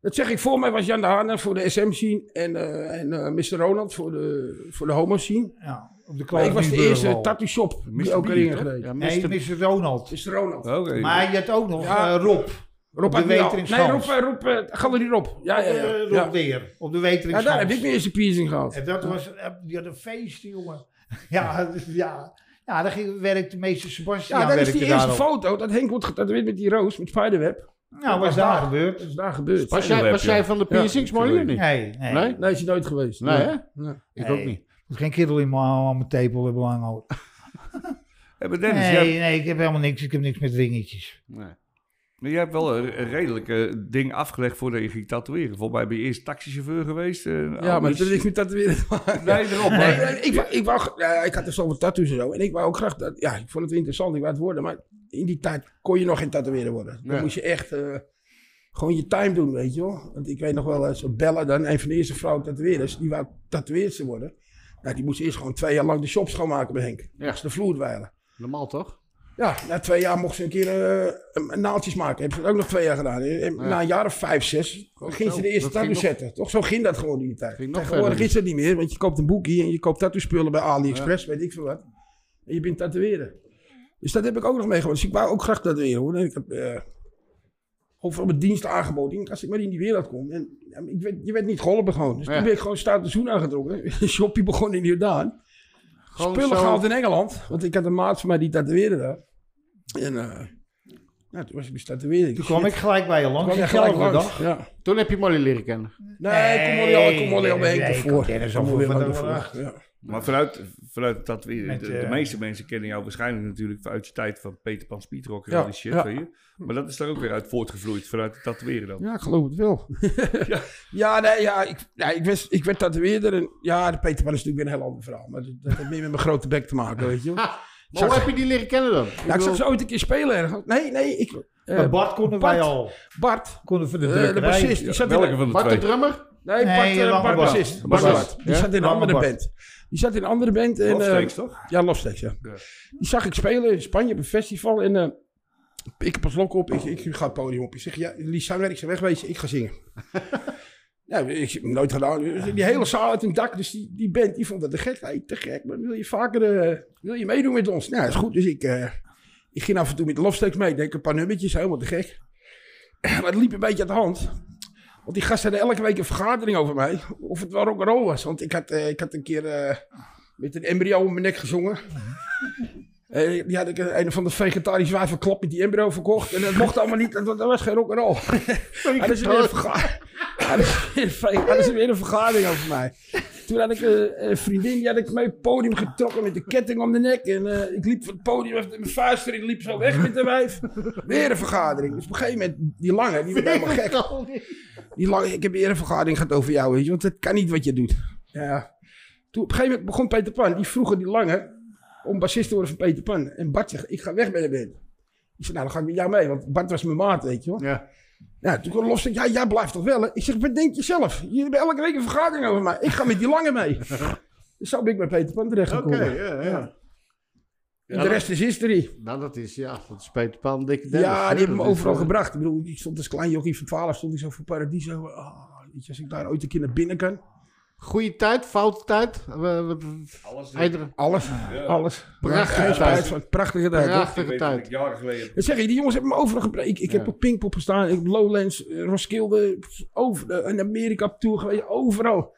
dat zeg ik voor mij was Jan de Haan voor de SM scene. En, eh, en eh, Mr. Ronald voor de, voor de homo scene. Ja, op de Maar ik was de eerste Kloosterbuurwal. tattoo shop Mr. die ook B, erin toch? gereden. Ja, Nee, Mr. Mr. Ronald. Mr. Ronald. Oké. Maar je had ook nog Ja. eh, Rob. Rob de uit Miel. Nee, Weteringsgans. Rob, eh, Rob eh, Galerie Rob. Ja, ja, ja. Eh, Rob ja. weer. Op de Ja, Weteringsgans. daar heb ik mijn eerste piercing gehad. En dat was, eh, die had een feest, jongen. <laughs> ja, dus ja. Ja, daar ging, werkte meester Sebastian. Ja, dat is werkte die daar eerste ook. foto dat Henk wordt getatoeëerd met die roos, met spiderweb. Nou, wat is daar gebeurd? Dat is daar gebeurd. Was jij, was jij van de piercings, Molly, of niet? Nee, nee. Nee? Nee, is hij nooit geweest. Nee, hè? Nee. Ik Nee. ook niet. Moet geen kerel in mijn, aan mijn tepel hebben lang hoor. Eh, maar Dennis, jij, Nee, nee, ik heb helemaal niks. Ik heb niks met ringetjes. Nee. maar jij hebt wel een, een redelijk eh, ding afgelegd voordat je ging tatoeëren. Volgens mij ben je eerst taxichauffeur geweest. eh, Ja, maar Albers. dat heeft met tatoeëren te maken. Nee, daarop. Nee, maar- nee, ik, wou- ik, wou, ja, ik had dus zoveel tattoos en zo. En ik wou ook graag dat. Ja, ik vond het interessant. Ik wou het worden. Maar in die tijd kon je nog geen tatoeëerder worden. Dan Ja. moest je echt eh, gewoon je time doen, weet je wel. Want ik weet nog wel eens, bellen dan, een van de eerste vrouwen tatoeëerders, die wou tatoeëerster worden. Nou, die moest eerst gewoon twee jaar lang de shop schoonmaken bij Henk. Ja. Ja. de vloer dweilen. Normaal toch? Ja, na twee jaar mocht ze een keer eh, een naaltjes maken. Hebben ze dat ook nog twee jaar gedaan. En Na een jaar of vijf, zes, Goed ging zo. ze de eerste Dat ging tattoo nog- zetten. Toch? Zo ging dat gewoon in die tijd. Ging nog Tegenwoordig verder. is dat niet meer, want je koopt een boekie en je koopt tattoo spullen bij AliExpress, weet ik veel wat. En je bent tatoeëren. Dus dat heb ik ook nog meegemaakt. Dus ik wou ook graag tatoeëren hoor. En ik heb eh overal mijn dienst aangeboden. Ik denk, Als ik maar in die wereld kom. En, ja, maar ik werd, je werd niet geholpen gewoon. Dus Ja. toen ben ik gewoon staat de zoen aangetrokken. <laughs> Een shopje begon in Jordaan Gewoon spullen zo- gehaald in Engeland. Want ik had een maat van mij die tatoeëerde daar. En eh, nou, toen was ik dus tatoeëerder. Toen kwam ik gelijk bij je langs. jij diezelfde gelijk langs. dag. Ja. Toen heb je Molly leren kennen. Nee, ik kom wel heel- ik kom wel heel Nee, erg nee, ik ervoor. kom er zo Ik kom voor wel van heel de erg dag. voor, ja. Maar vanuit, vanuit dat weer, Met, de, de eh, meeste mensen kennen jou waarschijnlijk natuurlijk uit je tijd van Peter Pan Speedrock en Ja, al die shit, ja. weet je. Maar dat is daar ook weer uit voortgevloeid, vanuit het tatoeëren dan. Ja, ik geloof het wel. <laughs> ja. nee, ja, ik, nee, ik, wist, ik werd tatoeëerder. En, ja, de Peter Pan is natuurlijk weer een heel ander verhaal. Maar dat, dat heeft meer met mijn grote bek te maken, weet je wel. Ha, maar hoe Zag- heb je die leren kennen dan? Ik Nou, ik bedoel- zag ze ooit een keer spelen. ergens. Nee, nee, ik, eh, Bij Bart konden wij Bart. al. Bart, Konden van de eh, de drukkerij. bassist, die Ja, zat in welke van de Bart de twee? drummer? Nee, Bart, Nee, eh, Lange Bart Bart. bassist. Bart, Bart. Bart. Die Ja? zat in een Lange andere Bart. band. Die zat in een andere band. En, eh, Lofsteeks, toch? ja, Lofsteeks, ja. Ja. Die zag ik spelen in Spanje op een festival. En eh, ik heb een slok op. Ik, ik ga het podium op. Ik zeg, ja, Lies Sangwerk is wegwezen. Ik ga zingen. Nou, ik heb het nooit gedaan. Dus Die hele zaal uit hun dak. Dus die, die band, die vond dat te gek. Hey, te gek. Maar wil je vaker eh, wil je meedoen met ons? Nou, is goed. Dus ik, eh, ik ging af en toe met Lofsteeks mee. Ik Denk een paar nummertjes. Helemaal te gek. <clears throat> Maar het liep een beetje uit de hand. Want die gasten hadden elke week een vergadering over mij. Of het wel rock'n'roll was. Want ik had, eh, ik had een keer eh, met een embryo om mijn nek gezongen. Eh, die had ik een, een van de vegetarische wijven klap met die embryo verkocht. En dat mocht allemaal niet. Dat, dat was geen rock'n'roll. Hadden ze weer een verga- Hadden ze weer een ve- hadden ze weer een vergadering over mij. Toen had ik eh, een vriendin, die had ik mee op het podium getrokken met de ketting om de nek. En eh, ik liep van het podium, even mijn vuist erin, liep zo weg met de wijf. Weer een vergadering. Dus op een gegeven moment, die lange, die werd helemaal gek. Die lange, ik heb eerder een vergadering gehad over jou, weet je. Want het kan niet wat je doet. Ja. Toen, op een gegeven moment begon Peter Pan. Die vroegen die lange om bassist te worden van Peter Pan. En Bart zegt, ik ga weg bij de band. Ik zei, nou dan ga ik met jou mee. Want Bart was mijn maat, weet je wel. Ja. Nou, toen kwam Los ja, jij blijft toch wel hè? Ik zeg, wat denk je zelf? Jullie hebben elke week een vergadering over mij. Ik ga met die lange <laughs> mee. dus zo ben ik bij Peter Pan Oké, terechtgekomen. ja, ja. Ja. En de rest is history. Nou, dat is, ja, dat is Peter Pan, dikke Dennis. Ja, hè, die hebben me dat is, overal eh, gebracht. Ik bedoel, ik stond als klein jochie van 12, stond ik zo voor Paradiso. Ah, weet je, als ik daar ooit een keer naar binnen kan. Goede tijd, foute tijd. We- we- we- Alles Ijdere, Alles, alles. Prachtige Geen tijd. spijt van. Prachtige tijd. hoor. Ik prachtige weet dat ik tijd. jaren geleden... Dat zeg je, die jongens hebben me overal gebracht. Ik, ik Ja. heb op Pinkpop gestaan, ik heb Lowlands, eh, Roskilde, over, eh, in Amerika op tour geweest, overal.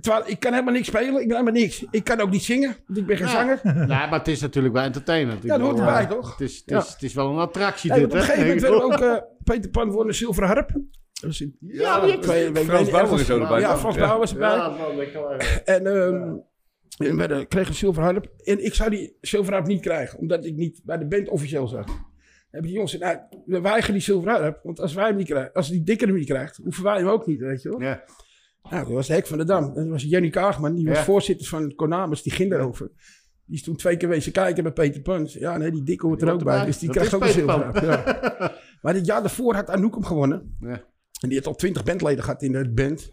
Terwijl ik kan helemaal niks spelen, ik kan helemaal niks. Ik kan ook niet zingen, want ik ben geen Ja. <laughs> zanger. Nee, maar het is natuurlijk wel entertainment. Ik Ja, dat hoort bedoel, erbij, eh, toch? Het is, het, Ja. is, het is wel een attractie, Nee, dit, want op een hè? gegeven moment Ik werden bedoel- we ook <laughs> eh, Peter Pan voor een zilveren harp. Dat was in- Ja, die twee- ik weet Frans niet, Bauer is ergens- ook erbij. Ja, toch? Frans Bauer was erbij. Ja, man, ik kan wel- En ehm en we hadden- kregen een zilverharp. En ik zou die zilverharp niet krijgen, omdat ik niet bij de band officieel zat. Dan Hebben die jongens gezegd, nou, we weigeren die zilverharp. Want als wij hem niet krijgen, als die dikker hem niet krijgt, hoeven wij hem ook niet, weet je wel. Ja. Nou, dat was de hek van de dam. En dat was Jenny Kaagman, die was Ja. voorzitter van Konamis, die ging daarover. Die is toen twee keer wezen kijken bij Peter Pan. Ja, nee, die dikke hoort er ook bij. Dus die Dat krijgt is ook een Peter Pan. zilverharp. Ja. <laughs> maar dit jaar daarvoor had Anouk hem gewonnen. Ja. En die had al twintig bandleden gehad in de band.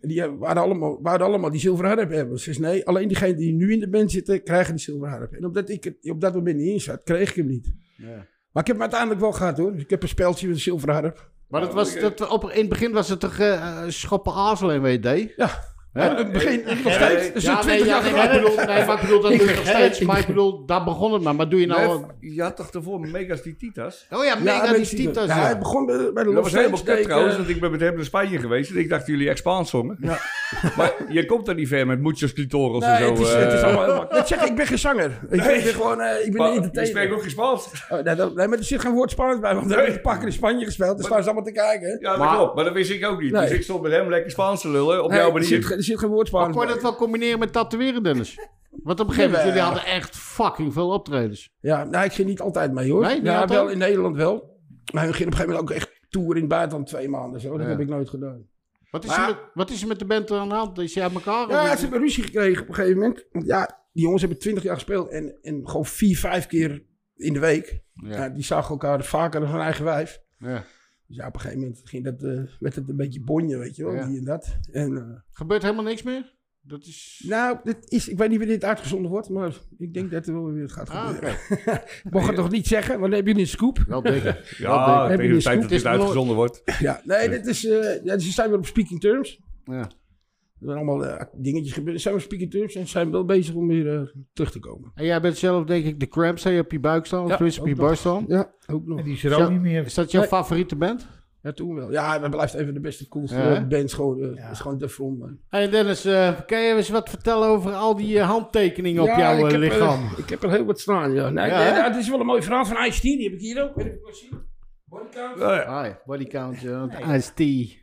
En die hebben- waren allemaal, waren allemaal die zilveren harp hebben. Ze zei, nee, alleen diegenen die nu in de band zitten, krijgen die zilveren harp. En omdat ik er op dat moment niet in zat, kreeg ik hem niet. Ja. Maar ik heb hem uiteindelijk wel gehad hoor. Dus ik heb een speltje met een zilveren harp. Maar dat was, dat, op, in het begin was het toch eh, eh, schoppen azel en WD? Ja. Hè? En het begin, nog steeds. Dus Ja, nee, 20 ja, jaar nee, geleden. maar ik bedoel, nee, maar ik bedoel, dat Ik doe je nog vergeet- steeds. Maar ik bedoel, daar begon het maar. Maar doe je nou... Nee, je had toch daarvoor Megas die Titas? Oh ja, mega ja, die mensen die- Titas. Ja, ja. het begon bij, bij de Dat Lost was helemaal kut Steak, trouwens, eh, want ik ben met hem naar Spanje geweest en ik dacht jullie Expaans zongen. Maar je komt daar niet ver met muchos clitorals Nee, en zo. het is, het is eh. allemaal heel <laughs> makkelijk. Dat zeg ik, ik ben geen zanger. Ik ben- ik ben gewoon, eh, ik ben Oh, Maar een je spreekt entertainer. ook geen Spaans. Oh, nee, dat- nee, maar er zit geen woord Spaans bij, want we hebben een paar keer in Spanje gespeeld. Dus staan ze allemaal te kijken. Ja, dat Maar- klopt. Maar dat wist ik ook niet. Nee. Dus ik stond met hem lekker Spaans te lullen op Nee, jouw er, manier. zit, ge- er zit geen woord Maar Spaans kon je dat bij. wel combineren met tatoeëren, Dennis? Want op een gegeven moment, jullie Jawel. hadden echt fucking veel optredens. Ja, nou, ik ging niet altijd mee hoor. Nee, niet ja, altijd? wel in Nederland wel. Maar we gingen op een gegeven moment ook echt tour in het buitenland twee maanden. Zo. Dat Ja. heb ik nooit gedaan. Wat is, Maar- er, met, wat is er met de band aan de hand? Is je aan elkaar? Ja, Of- ze hebben ruzie gekregen op een gegeven moment. Want ja, die jongens hebben twintig jaar gespeeld en, en gewoon vier, vijf keer in de week. Ja. Ja, die zagen elkaar vaker dan hun eigen wijf. Ja. Dus ja, op een gegeven moment ging dat, eh, werd het een beetje bonje, weet je wel, Ja. die en dat. En, eh, Gebeurt helemaal niks meer? Dat is... nou, dit is, ik weet niet wanneer dit uitgezonden wordt, maar ik denk dat er wel weer gaat Ah, gebeuren. oké. Mocht het toch niet zeggen? Wanneer hebben jullie een <laughs> scoop? Wel dikker. Ja, Heb je tegen de die tijd scoop? dat Het dit is nooit- uitgezonden wordt. Ja, nee, dit is, eh ja, ze zijn weer op speaking terms. Ja. Er zijn allemaal eh, dingetjes gebeurd. Er zijn we speaking terms en zijn wel bezig om weer eh, terug te komen. En jij bent zelf denk ik de Cramps, hè? Je op je buik staan, of Ja, tenminste op ook je borst staan. Ja, ook nog. En die is er ook Zo- niet meer. Is dat jouw Nee. favoriete band? Ja, toen wel. Ja, dat blijft even de beste, coolste Ja, hè? eh, band. Gewoon, eh, Ja. is gewoon de front, man. Hey Dennis, eh, kan je eens wat vertellen over al die eh, handtekeningen op jouw eh, ik heb, eh, lichaam? ik heb er heel wat staan, ja. Nee, Ja, hè? nee, dat is wel een mooi verhaal van Ice-T. Die heb ik hier ook. Weet je wat ik zie? Bodycount. Ja, ja. Hi, body count, Ice T.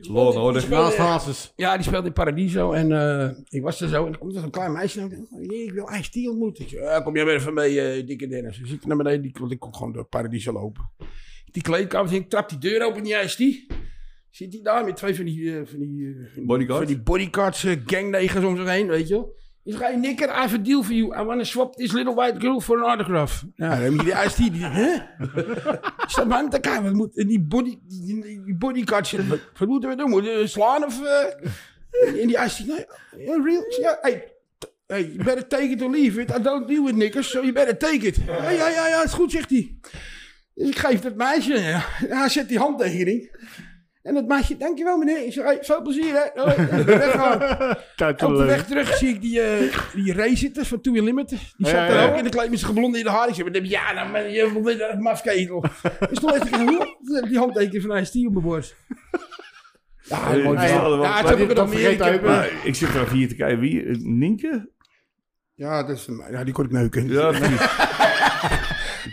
Law and Order. speelde- Naast Hazes. Ja, die speelde in Paradiso en eh, ik was er zo. En er komt er zo'n klein meisje en ik dacht, "Oh, jee, ik wil Ice-T ontmoeten. Ik zei, "Ja, kom jij maar even mee, eh, dikke Dennis. Dus ik naar beneden, die, want ik kon gewoon door Paradiso lopen. Die kleedkamer, dus ik trap die deur open, die Ice-T. Zit hij daar met twee van die, eh, van die, eh, van die- Bodyguards? Van die bodyguards, eh, gangnegers om zich heen, weet je wel. Dus ga je nikker, I have a deal for you. I wanna swap this little white girl for an autograph. Nou, dan heb je die Ice-T. Die, hè? <laughs> Staat maar aan te kijken. wat moet- en Die, body, die, die bodyguards, wat, wat moeten we doen? Moeten we slaan of... eh, en die Ice-T, nee, yeah, real? Ja, hey, t- hey, you better take it or leave it. I don't deal with niggers, so you better take it. Ja, ja, ja, ja, is goed, zegt hij. Dus ik geef dat meisje, ja. En hij zet die handtekening. En dat meisje, dankjewel meneer. Ik zeg, hey, veel plezier hè. Hoi. En ik ben <laughs> weggegaan. Op de weg terug zie ik die, eh die Ray zitten van Two Unlimited. Die zat Ja, daar ja, ook in de klein met zijn geblonde in de haar. Ik zei, "Wat heb je aan? Nou, maar je bent een mafketel. Dus toen heeft hij gezegd, die handtekening van ICT op mijn borst. Ja, Hey, mooi hey, verhaal. allemaal. Ja, Maar toen heb dit- ik het dat nog meer. Ik vergeet hij heb- ook Maar ik zit er even hier te kijken. Wie? Eh, Nienke? Ja, dat is, ja, die kon ik neuken. <laughs> Ja, precies.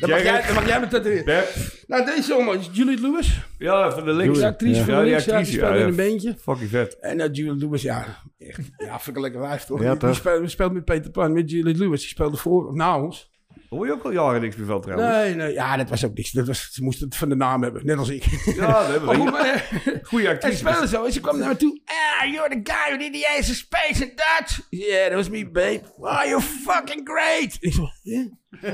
Dan mag, jij, Gerrit. dan mag jij me dat erin. Beb. Nou, deze jongen is Juliet Lewis. Ja, van de links. Die actrice ja. van Ja, de die links. Ja, die actrice, ja, speelde in ja. een beentje. Fucking vet. En nou, Juliet Lewis, ja, echt. Ja, vind ik een lekker wijf, toch? Ja, Die- die toch? speelde, speelde met Peter Pan, met Juliet Lewis. Die speelde voor, na ons. Hoor je ook al jaren niks meer van trouwens? Nee, nee, ja, dat was ook niks. Dat was, ze moesten het van de naam hebben, net als ik. <laughs> Ja, dat hebben Maar we. goed, hier. maar, eh, Goeie en actrice. speelde zo. En ze kwam naar me toe. Ah, you're the guy who did the Ace of Space in Dutch. Yeah, that was me, babe. Oh, you're fucking great. En ik zo, hè?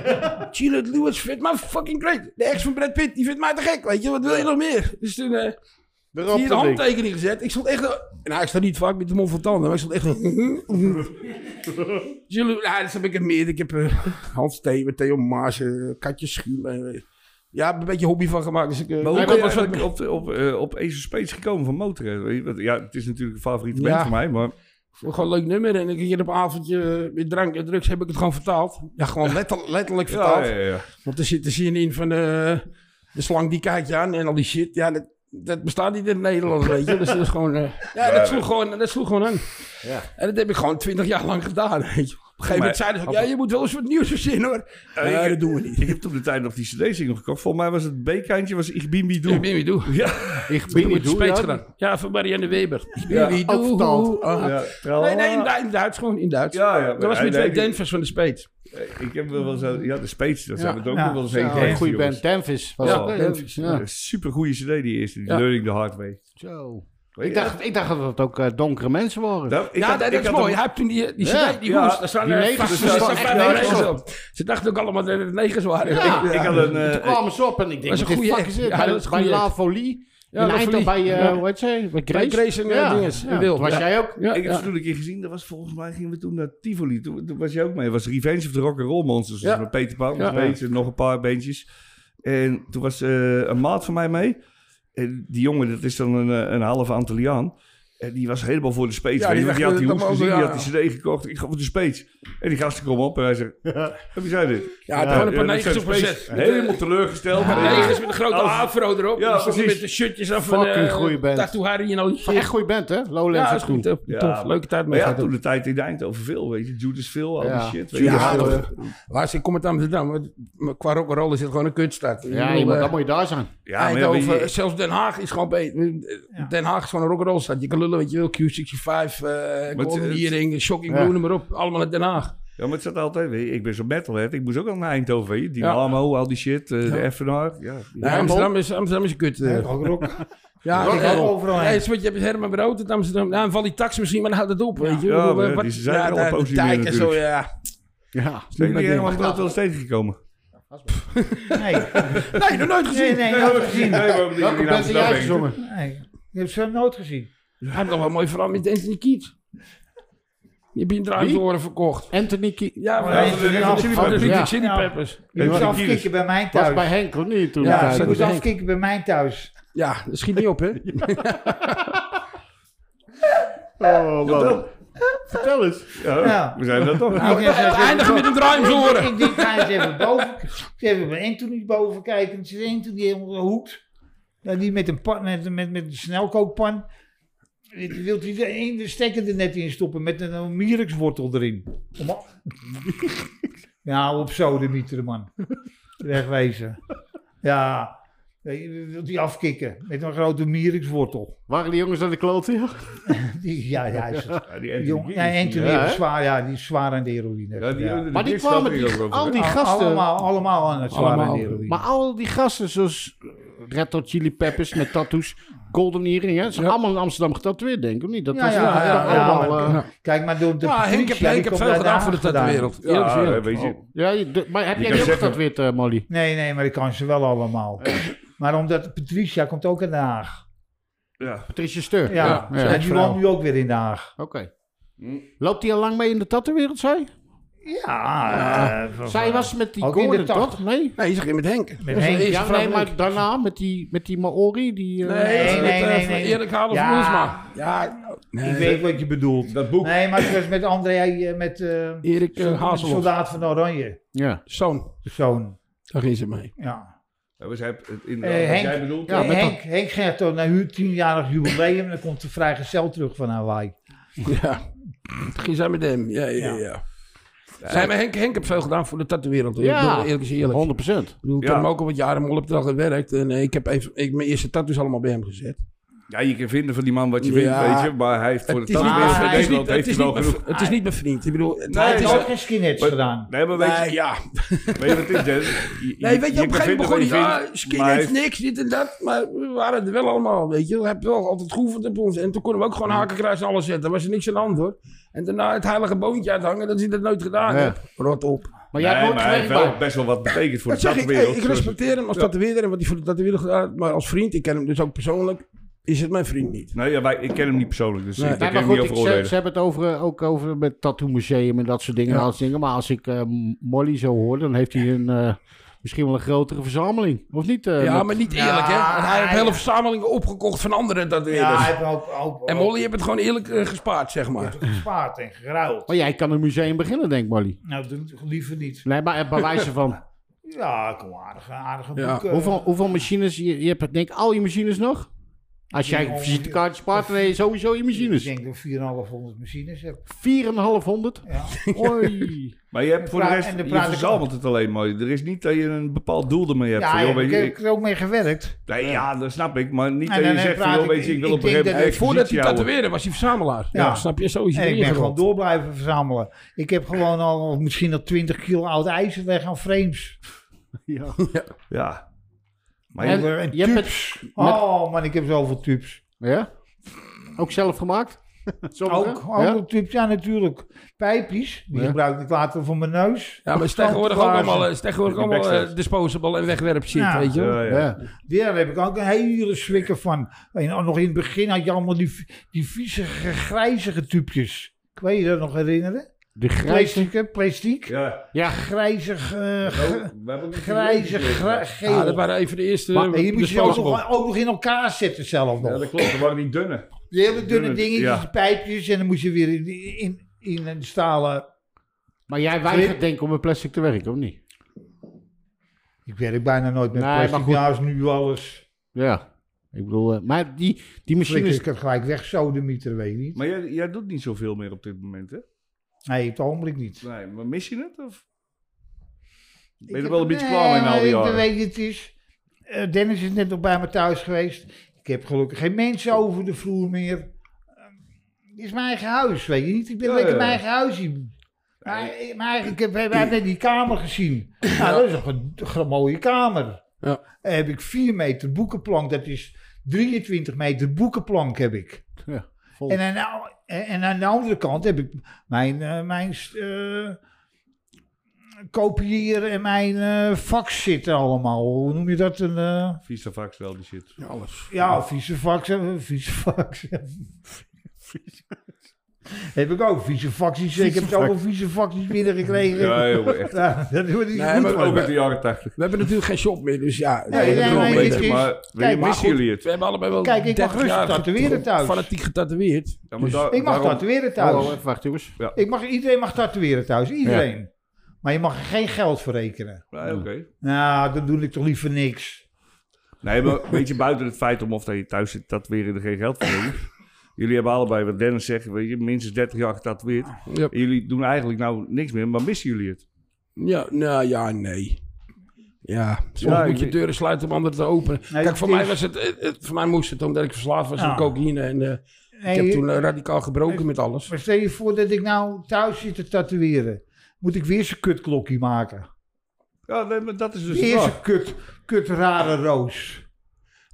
<laughs> Juliet Lewis vindt mij fucking great. De ex van Brad Pitt, die vindt mij te gek. Weet je, wat wil je nog meer? Dus toen eh Erop hier de handtekening gezet. Ik stond echt... eh, Nou, ik sta niet vaak met de mond vol tanden, maar ik stond echt... eh, mm-hmm, <laughs> Juliet, nou, dat heb ik het meer. Ik heb eh, Hans Theeuwen, Theo Maas, eh, Katje Schuum. eh, ja, heb een beetje hobby van gemaakt. Dus ik, eh, Maar hoe hij ben je was wel- eigenlijk op, op, eh, op Ace of Spades gekomen van Motorhead? Weet je? Want, Ja, het is natuurlijk een favoriete Ja. band van mij, maar... Vond ik Gewoon een leuk nummer. En ik hier op een avondje eh, met drank en drugs heb ik het gewoon vertaald. Ja, <laughs> gewoon letter- letterlijk vertaald. Ja, ja, ja. Want er zit de zin in van eh, de slang die kijkt je aan en al die shit. Ja, dat, dat bestaat niet in het Nederlands, weet je. Dus dat is gewoon... <laughs> eh, ja, dat sloeg gewoon, dat sloeg gewoon aan. Ja. En dat heb ik gewoon twintig jaar lang gedaan, weet je. Op een gegeven moment zeiden ze ook, ja, je moet wel eens wat nieuws verzinnen hoor. Eh, ik- Nee, dat doen we niet. Ik heb toen de tijd nog die cd-single gekocht. Volgens mij was het B-kindje, was Ich bin wie Ik du. ben wie doe. Ik Ik ben heb niet het doe, Spaans ja. gedaan. Ja, van Marianne Weber. Ik ben Ja, wie ook vertaald. Ah. Ja, Nee, nee, in, tralala. Du- in Duits gewoon, in Duits. Ja, ja, dat maar was met hij- twee Denvers van de Speets. Ik heb wel eens... aan- Ja, de Spades, daar zijn we het ook Ja. nog wel eens heen Ja, geweest, een goede jongens. band. Danvis. was Ja, dat, hè? Danvis, Ja. Super goede cd die eerste, die Ja. Learning the Hard Way. Zo. Weet je, Ik dacht, ik dacht dat het ook eh, donkere mensen waren. Nou, ik ja, had- dat ik is had mooi. hem- Hij heeft toen die, die Ja. cd, die Ja, hoes. Daar staan die er negers, vast- er daar staan staan echt vijf negers negers op. op. Ze dachten ook allemaal dat het negers waren. Ja. Ik had een... Toen eh, kwamen ze op en ik denk, Dat wat is een de goeie fuck is act. dit? Ja, Bij- dat is een Bij goeie La act. Folie. Ja, in La Eindhoven Folie. bij, eh, Ja. hoe heet ze? Bij Grace. Bij Grace en, eh, dinges, in Wilp, Toen was ja. jij ook. Ja, ik heb ja. ze toen een keer gezien, dat was volgens mij gingen we toen naar Tivoli. Toen, toen was je ook mee. Het was Revenge of the Rock'n'Roll Monsters. Dus Ja. met Peter Pan, Ja. nog Peter, nog een paar beentjes. En toen was eh, een maat van mij mee. En die jongen, dat is dan een, eh, een halve Antilliaan. En die was helemaal voor de Spades. Ja, weet die je, want die, dacht, had die eh, hoes dat mogen gezien, die we- had die cd gekocht. Ik ga voor de Spades. En die gasten komen op en hij zegt, heb je zei dit? Ja, het waren een paar dat negers zijn op Spades. gezet. Helemaal teleurgesteld. Met Ja. negers met een grote Als- afro erop. Ja, en soms precies. Met de shirtjes af Fucking eh, goeie band. Tattoo Harry en al die Van echt shit. goede band, hè? Ja, Lowlands dat is goed. is goed. Tof, Ja, tof. Leuke tijd Maar mee ja, gehad. toen de tijd in Eind over veel, weet je. Judas Phil, al Ja. die shit. weet je. Ja, Ja, maar- waar is ik kom uit Amsterdam? want Qua rock'n'roll is het gewoon een kunststad. Ik Ja, bedoel, je moet- eh, dan moet je daar zijn. Ja, maar ja, Eindhoven, weet je- zelfs Den Haag is gewoon beter. Den Haag is gewoon een rock'n'roll stad. Je kan lullen wat je wil. Q65, eh Golden het- Earring, Shocking Ja. Blue, noem maar op. Allemaal uit Den Haag. Ja, maar het zat altijd, weet je, ik ben zo'n metalhead. Ik moest ook al naar Eindhoven, weet je. Die Ja. Namo, al die shit, eh, de FNR. Ja. Nee, Amsterdam, is, Amsterdam is een kut. eh. Rock, rock. ja, rock ik heb- overal heen. Nee, het is wat je hebt Herman Brood uit Amsterdam. Nou, van die tax misschien, maar dan houdt het op. Weet je. Ja, Ik bedoel, maar eh, ja, die zijn er al daar- op de positie dijk meer en zo, ja. Ja. Zijn jullie mijn helemaal groot wel eens tegengekomen? Asbach. <laughs> Nee, Nee, nog nooit gezien. nee, nee, nooit gezien. Nee, waarom niet? Welke In band heb Amsterdam jij denk ik. gezongen? Nee, je hebt ze nooit gezien. Hij heeft nog wel mooi verhaal met Anthony Kiet. Je hebt je een draaidoren verkocht. Anthony Kie- Ja, Nee, maar dat is een chili dat is pepper. met Ja. de Chili Ja. Peppers. Je moest was een afkikken virus. bij mij was bij thuis. Henk of niet toen? Ja, je tijd? moest Henk. afkikken bij mij thuis. Ja, dat schiet niet op, hè? Oh, man. Vertel eens. Ja, we zijn dat toch. Ik zeg, Nou, eh, Eindigen met een Ik, draaidoren. ik, ik ga eens even boven. Ik zeg even bij Anthony boven kijken. Het is Anthony die helemaal hoekt. Nou, die met een, pan, met, met, met een snelkookpan. Die Wilt hij de ene stekker er net in stoppen met een, een mierikswortel erin? Om al- <laughs> nou, op zo de mieter, man. Wegwezen. Ja, Nee, wilt hij afkikken met een grote mierikswortel? Waren die jongens aan de klote? ja? <laughs> Die, ja, ja, is het. Ja, die Anthony Jong, Kiedis, ja, Anthony Ja, is hè? zwaar, ja, die is zwaar aan de heroïne. Ja, die, Ja. Maar die kwamen die, al die Al- gasten. Allemaal, allemaal aan het zware Allemaal. deel. Maar al die gasten, zoals Red Hot Chili Peppers met tattoos, Golden Earring, hè, ze zijn allemaal in Amsterdam getatoeëerd, denk ik, of niet? Dat Ja, was ja, toch ja, allemaal... ja, eh, maar- Kijk maar door de Ja, politie, Henk heeft ja, die Henk heeft komt veel uit de gedaan eh, voor de Haag gedaan. tatwereld. Ja, Eerlijk gezegd. weet je. oh, ja, je- de- maar heb Je jij die kan ook zeggen- getatoeëerd, eh, Molly? Nee, nee, maar ik kan ze wel allemaal. maar omdat Patricia komt ook in Den Haag. Ja. Patricia Steur? Ja, ja. en die vrouw. woont nu ook weer in Den Haag. Oké. Loopt hij al lang mee in de tattoowereld, zij? Ja, eh, v- Zij was met die Ook in de Gordon, tachtig. toch? Nee? Nee, je zegt met Henk. met Dat is Henk. de eerste Ja, vraag nee, met maar Henk. daarna met die, met die Maori, die... eh, Nee, Nee, dat is nee, met, eh, nee, van nee. Erik Halen Ja. van Boersma. Ja, nee. Ik weet wat je bedoelt. Dat boek. Nee, maar ze was met André, eh, met eh, Erik eh, Hazelhoff, soldaat van Oranje. Ja. zoon. Zoon, Daar ging ze mee. ja. Ja, we zijn het in Eh, wat Henk. jij bedoelt. Ja, Eh, met Henk, Henk gaat toch naar hun tienjarig jubileum en dan komt de vrijgezel terug van Hawaii. <laughs> Ja. Toen ging zij met hem. Ja, ja, ja. Zij met Henk, Henk heeft veel gedaan voor de tattoowereld. hoor. Ja. Ik bedoel, Eerlijk is eerlijk. 100%. Ik bedoel, ik Ja. heb hem ook al wat jaren op opdracht gewerkt. En eh, ik heb even, ik, mijn eerste tattoos allemaal bij hem gezet. Ja, je kan vinden van die man wat je Ja. vindt, weet je. Maar hij heeft voor de is niet- tattoo maar van hij is Nederland het heeft is hij wel niet genoeg. mijn- het is niet mijn vriend. Ik bedoel, het, Hij het heeft is... ook geen skinheads gedaan. Nee, maar weet Nee, je, ja. weet je wat het is, Dennis? Je- Nee, weet je, op een gegeven kan moment vinden begon wat hij, je ja, vindt, maar hij skinheads, heeft- niks, dit en dat. Maar we waren er wel allemaal, weet je. We hebben wel altijd geoefend op ons. En toen konden we ook gewoon hakenkruis en alles zetten. Daar was er niks aan de hand, hoor. En daarna het heilige boontje uithangen, dat is hij dat nooit gedaan. Ja. hè. Rot op. Maar jij hebt Nee, nooit maar hij heeft gewerkt wel bij... best wel wat betekend voor Dat de dus- zeg ik, tattoowereld. ik respecteer hem als tatoeëerder en wat hij voor de tatoeëerder gedaan heeft. Maar als vriend, ik ken hem dus ook persoonlijk, is het mijn vriend niet. Nee, ja, wij, ik ken hem niet persoonlijk, dus Nee. ik Nee, kan maar hem niet goed, over ik, ze, ze oordelen. hebben het over, eh, ook over met Tattoo Museum en dat soort dingen. en dat soort dingen. Maar als ik eh, Molly zo hoor, dan heeft hij een, eh, misschien wel een grotere verzameling. Of niet? eh, Ja, met- maar niet eerlijk, hè. Want hij heeft ja. hele verzamelingen opgekocht van andere Ja, tatoeëerders. hij heeft ook, ook, en ook Molly heeft het gewoon eerlijk eh, gespaard, zeg maar. gespaard en geruild. maar Oh, jij kan een museum beginnen, denk ik, Molly. Nou, doe het liever niet. Nee, maar eh, bij wijze van... <laughs> Ja, ik kom aardige, aardige eh, Ja, boeken. Hoeveel, hoeveel machines? Je, je hebt denk ik al je machines nog? Als jij een ongeveer- visitekaartje spaart, dan heb je sowieso je Ik machines. denk dat ik 4,500 machines heb. 4,500. <laughs> Ja. Hoi. Maar je hebt voor de praat- rest, en je dan praat ik- verzamelt het alleen maar. Er is niet dat je een bepaald doel ermee hebt. Ja, van, joh, ja, weet ik je, heb ik- ik er ook mee gewerkt. Nee, ja, dat snap ik. Maar niet En dat dan- je dan zegt, van, praat joh, ik- weet je, ik wil ik op een gegeven denk moment... dat- Voordat hij expositie houden. tatoeëerder was hij verzamelaar. Ja. Ja. Snap je? Zo is hij En ik ben ingerold. gewoon door blijven verzamelen. Ik heb gewoon al al misschien al 20 kilo oud ijzer weg aan frames. Ja. Ja. Maar En, je- En je hebt het, Oh man, ik heb zoveel tubes. ja? Ook zelf gemaakt? Ook, Sommige? ook Ja? tubes, ja natuurlijk. Pijpjes, die Ja. gebruik ik later voor mijn neus. Ja, maar is tegenwoordig ook Tatoeage. allemaal, eh, is tegenwoordig Met die allemaal backstage. eh, disposable en wegwerp shit, Ja. weet je wel. ja, ja. Ja. Daar heb ik ook een hele swikker van. En nog in het begin had je allemaal die, die vieze, grijzige tubjes. Kan je je dat nog herinneren? De grijze. Plastic, hè? Plastic. Ja. Oh, Ja, Grijzig, eh, gr- We hebben ook een grijzig, video gra- gemaakt. Ja, Ah, dat geel. waren even de eerste Maar- En die moest eh, je ook disposable. nog, ook nog in elkaar zetten zelf Ja, nog. dat klopt. Dat waren die dunne. Die hele dunne Dunne, dingetjes, ja. die pijpjes. En dan moest je weer in, in, in een stalen... maar jij weigert denk ik om met plastic te werken, of niet? Ik werk bijna nooit met Nee, maar plastic. goed. Nou is nu alles... Ja. Ik bedoel, eh, maar die, die Flikker machines... ik het gelijk weg, sodemieter, weet je niet. Maar jij, jij doet niet zoveel meer op dit moment, hè? Nee, op het ogenblik niet. Nee, maar mis je het? Of? Ben je Ik er heb- wel een beetje nee, klaar mee na maar al die ik- jaren? Weet je, het is... eh, Dennis is net nog bij me thuis geweest. Ik heb gelukkig geen mensen over de vloer meer. Eh, Dit is mijn eigen huis, weet je niet? Ik ben Ja, lekker in ja. mijn eigen huis hier. Maar, eh, maar ik heb, we hebben net die kamer gezien. Nou, dat is toch een, toch een mooie kamer. Ja. Daar heb ik 4 meter boekenplank. Dat is 23 meter boekenplank heb ik. Ja, vol. en, aan, de al- en aan de andere kant heb ik mijn, eh, mijn st- eh, kopiëren en mijn eh, fax zitten allemaal. Hoe noem je dat? Een, eh, Visa-fax wel, die shit. Ja, alles. ja, vieze fax. eh, Vieze fax. <laughs> Heb ik ook vieze faxjes. Ik heb zoveel vieze faxjes binnengekregen. Ja, <laughs> joh, <laughs> echt. Ja, dat wordt niet Nee, goed maar van. Ook uit de jaren tachtig. We hebben natuurlijk geen shop meer, dus ja. Nee, dat nee, wel nee, beter. dit is- maar kijk, Maar missen goed, jullie het? We hebben allebei wel Kijk, ik mag 30 rustig jaar tatoeëren get- thuis. Fanatiek getatoeëerd. Ja, maar Dus- daar- Ik mag daarom- tatoeëren Oh, thuis. even wachten jongens. ik mag, iedereen mag tatoeëren thuis. Iedereen. Maar je mag er geen geld voor rekenen. Nee, oké. Nou, dan doe ik toch liever niks. Nee, maar een beetje buiten het feit om of dat je thuis zit, dat weer er geen geld voor heeft. Jullie hebben allebei, wat Dennis zegt, weet je, minstens 30 jaar getatoeëerd. Ja, En jullie doen eigenlijk nou niks meer, maar missen jullie het? ja, nou ja, nee. Ja, soms Ja, moet ik- je deuren sluiten om anderen te openen. Nee, Kijk, voor het mij, is- was het, het- het- voor mij moest het omdat ik verslaafd was aan Ja. cocaïne. En eh, ik Nee, heb toen eh, radicaal gebroken met alles. Maar stel je voor dat ik nou thuis zit te tatoeëren. Moet ik weer zo'n kutklokje maken? Ja, nee, maar dat is dus Weer het. zo'n kut, kut rare roos.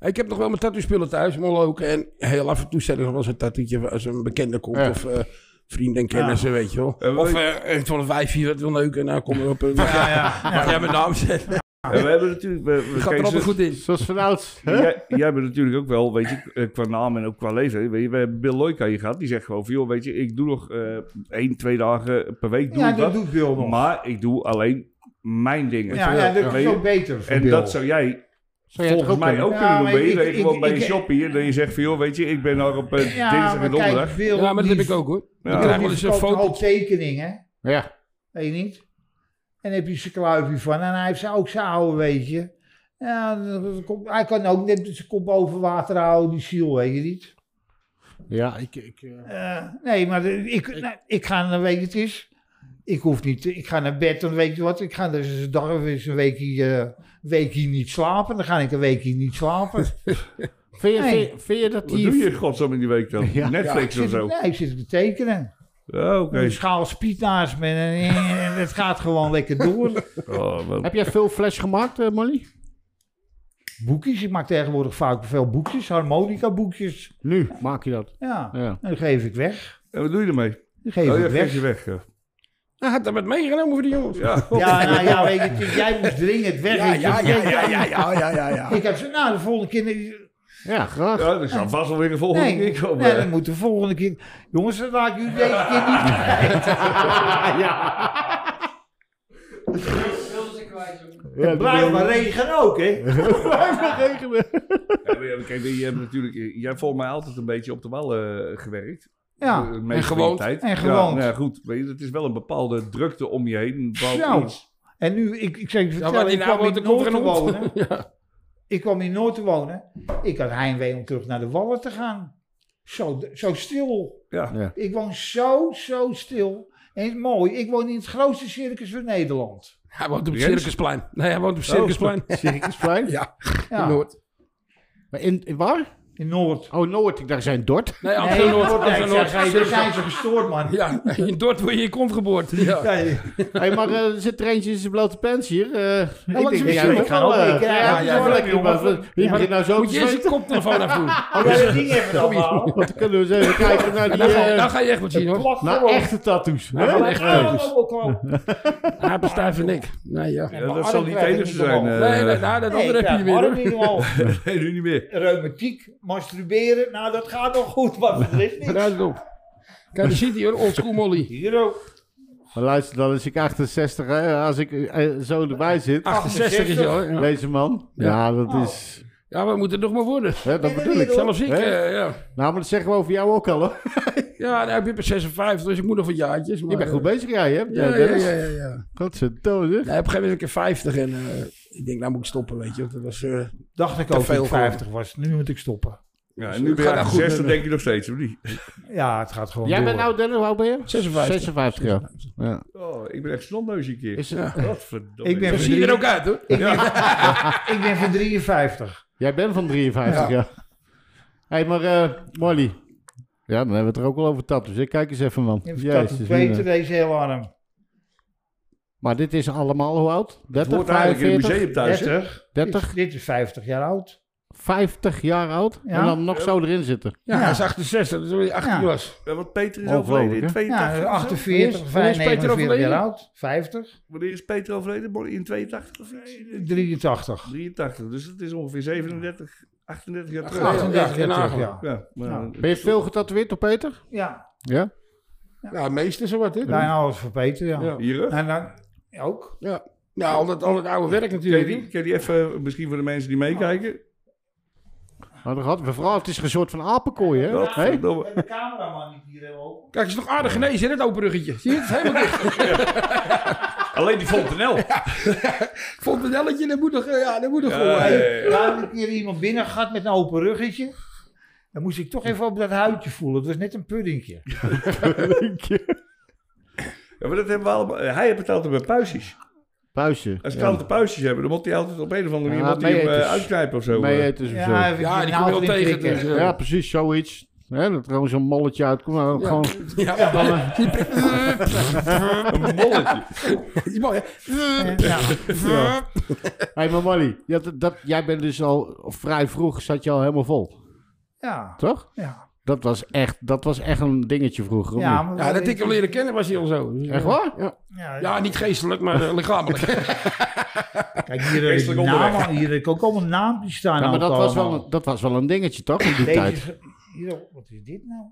Ik heb nog wel mijn tattoo-spullen thuis, mol ook. En heel af en toe zet ik nog wel eens een tattoetje als een bekende komt. Ja. Of eh, vrienden en kennissen, weet je wel. En of wil eh, echt van een wijfje dat wil neuken. Nou, kom erop. Mag, ja, mag jij mijn naam zetten? En we hebben natuurlijk... We, we- Het gaat Kees, er altijd goed in. Zoals vanouds. hè? Jij, jij bent natuurlijk ook wel, weet je, eh, qua naam en ook qua leeftijd. Weet je, we hebben Bill Loika hier gehad. Die zegt gewoon van, joh, weet je, ik doe nog eh één, twee dagen per week doe ja, ik dat wat. doet Bill nog. Maar ik doe alleen mijn dingen. ja, ja, dat Weet is je, ook beter voor en Bill. dat zou jij Zou jij het volgens ook mij kunnen? ook Ja, kunnen doen. maar Ben je ik- dat je ik- gewoon bij ik- je shop hier, dat je zegt van, joh, weet je, ik ben nog op eh, Ja, dinsdag maar en donderdag. kijk, Bill, Ja, maar dat heb die- ik ook hoor. Bill, Ja. krijg die wel eens een verkoopt een foto. hoop tekeningen, Ja. weet je niet? En heb je zijn kluifje van. En hij heeft zijn- ook zijn oude, weet je. Ja, dat komt- hij kan ook net zijn kop boven water houden, die ziel, weet je niet? Ja, ik... ik eh, Eh, nee, maar de- ik, nou, ik ga naar weet je het is. Ik hoef niet, te- ik ga naar bed en weet je wat, ik ga dus een dag of eens een weekje, eh, weekje niet slapen. Dan ga ik een weekje niet <laughs> slapen. Vind je, Nee. vind je- vind je dat Wat die... doe je in godsnaam in die week dan? Ja. Netflix Zit of ik- zo? Nee, zit ik te tekenen. Ja, oké. Een schaal spiet naast me en, <laughs> en het gaat gewoon lekker door. Oh, wel. Heb jij veel flash gemaakt, eh, Molly? Boekjes, ik maak tegenwoordig vaak veel boekjes, harmonica boekjes. Nu maak je dat. Ja, Ja. en die geef ik weg. En wat doe je ermee? Die geef oh, ja, ik geef weg. je weg. ja. Hij had dat met meegenomen voor die jongens. Ja. Ja, nou, ja, weet je, het is- jij moest dringend weg. Ja, Ik- ja, ja, ja, ja, ja, ja, ja, Ik heb zo, nou, de volgende keer Ja, graag. Ja, dat zal vast wel weer een volgende Nee, keer komen. nee, dat moet de volgende keer. Jongens, dat laat ik jullie deze keer niet kwijt. Ja, Blijf maar regen <laughs> ook, hè? Ja, maar ja, kijk, je hebt natuurlijk, jij hebt volgens mij altijd een beetje op de wallen eh, gewerkt. Ja, De meeste van je gewoond. tijd. En Ja, gewoond. nou ja, goed, weet je, het is wel een bepaalde drukte om je heen. Een bepaald Nou, iets. En nu, ik, ik zeg je vertellen, wat die ik kwam nou in wordt, Noord te er komt er een wonen. <laughs> Ik kwam in Noord te wonen. Ik had heimwee om terug naar de Wallen te gaan. Zo, zo stil. Ja. Ja. Ik woon zo, zo stil. En mooi, ik woon in het grootste circus van Nederland. Hij woont op het Jens? Circusplein. Nee, hij woont op het Circusplein. Circusplein? Ja, in Ja, Noord. Maar In, in waar? in Noord. Oh, Noord. Ik dacht, zijn Dort. Nee, Nee, in Noord. Amsterdam-Noord. nee, ik zeg, hey, Daar Amsterdam-Noord. zijn ze gestoord, man. Ja, in Dordt word je in kont geboord. Ja. Nee. hey, maar eh, er zit er eentje in zijn blote pants hier. Eh wat is er jij zo? moet Ik ga ook eh, mee. Ja, ja, ja, ja, ja, lekker, jongen. jongen. Wie Ja. begint nou zo Moet te je eerst zweten? je koptelefoon afdoen. Oh, dat ding hebben we dan al. Dan kunnen we eens even kijken naar En die... dan ga, je- eh, dan ga je Nou, echt wat zien hoor. naar echte tattoos. hè? Ja, Echte ja. tattoos. Nee, Hij heeft een stijve nek. Nee, ja. Ja, maar dat Arm zal niet het krijg ik enige niet zijn. omhoog. eh, Nee, nee, nou, dat andere ik heb heb je weer. hoor. niet al. <laughs> nee, nu niet meer. Reumatiek, masturberen, nou dat gaat nog goed, maar er is niks. Raad het op. Kijk, daar zit hij hoor, oldschool molly. Hier ook. Maar luister, dan is ik 68, hè, als ik eh, zo erbij zit. 68 is hij hoor. Ja. Deze man. Ja, Ja. dat Oh. is... ja, we moeten het nog maar worden. Hè, dat En de bedoel ik. wereld. Zelfs Zelfs ik, Hè? eh, ja. Nou, maar dat zeggen we over jou ook al, hoor. Ja, nou, ik ben pas 56, dus ik moet nog wat jaartjes. Je maar, bent goed eh, bezig, jij, hè? Ja, Ja, ja, Dennis? ja, ja. ja. Godverdomme, zeg. Nee, op een gegeven moment was ik in 50 en eh, ik denk, nou moet ik stoppen, weet je. want Dat was, eh, Dacht ik Te ook veel dat ik 50 was, nu moet ik stoppen. Ja, en nu Gaat ben je dat goed 68, met- denk je nog steeds, of niet? Ja, het gaat gewoon Jij door. bent nou, Dennis, hoe oud ben je? 56. 56 jaar. Ja. Oh, ik ben echt snotneus een keer. Is het- Godverdomme. Ik ben zo van zie je er drie- ook uit hoor. ik, ben, ik ben van 53. Jij bent van 53 jaar. Hé, maar eh, Molly. Ja, dan hebben we het er ook al over tattoos. hè? Kijk eens even, man. Ik Jezus, heb Mina. Peter, deze heel arm. Maar dit is allemaal hoe oud? 30, hoort eigenlijk in het 45, museum thuis. hè? 30. 30? Dit, dit is 50 jaar oud. 50 jaar oud Ja. en dan nog zo erin zitten. Ja, hij Ja. is 68, dat is toen hij 18 Ja. was. Ja, want Peter is Ongelooflijk, overleden in hè? 82. of Ja, zo? 48, Wanneer is Peter 49 overleden? jaar oud, 50, Wanneer is Peter overleden? Bon- In 82 of iets? 83. 83. Dus dat is ongeveer 37, 38 jaar terug. 38 ja, jaar ja. terug, ja. Ja, maar, Ja. Ben je veel getatoeëerd op Peter? Ja, Ja? Ja, meestal zo wat, hè? bijna alles voor Peter, ja. Ja. Hier, hè? En dan ook. Ja. Nou, al dat, al dat oude werk Kun je natuurlijk. die, kun je die even, eh, misschien voor de mensen die meekijken? Maar dat hadden we vooral, het is een soort van apenkooi, hè? Dat, Hé? verdomme. de cameraman niet hier helemaal Kijk, het is nog aardig genezen, hè, dat open ruggetje. Zie je het? <laughs> Helemaal dicht. Alleen die Fontenel. Vond het elletje, dat moet nog, eh, ja, dat moet nog Ja, gewoon. ja, ja. Hey, Daar heb ik hier iemand binnen gehad met een open ruggetje. Dan moest ik toch even op dat huidje voelen. Het was net een puddingje. Ja, maar dat hebben we allemaal. eh, Hij heeft het altijd bij puisjes. Puisje. Als Ja. klanten puisjes hebben, dan moet hij altijd op een of andere manier Ja, moet hij hem, eh, meeeters. uitknijpen of zo. eh. Mee eten of zo. even Ja, een die kom je wel naald in tegen, prikken. dus, Ja, precies, zoiets. Hè, dat er gewoon zo'n molletje uitkomt. maar Ja. Gewoon, Ja, ja. een bolletje. <laughs> Die man, hè. Ja, hey, maar Molly, je had- dat, jij bent dus al vrij vroeg, zat je al helemaal vol, ja, toch? ja. Dat was echt, dat was echt een dingetje vroeger. of Ja, niet? maar- Ja, dat ik hem leren kennen was hij al zo. Dus, Echt ja. waar? Ja. Ja, Ja, niet geestelijk, maar eh, lichamelijk. Kijk, hier heb ik Geestelijk onderweg. namen- hier heb ik ook allemaal naampjes staan. maar dat altijd was, wel nou, allemaal. een, dat was wel een dingetje, toch? In die Deze tijd. is- Hier, wat is dit nou?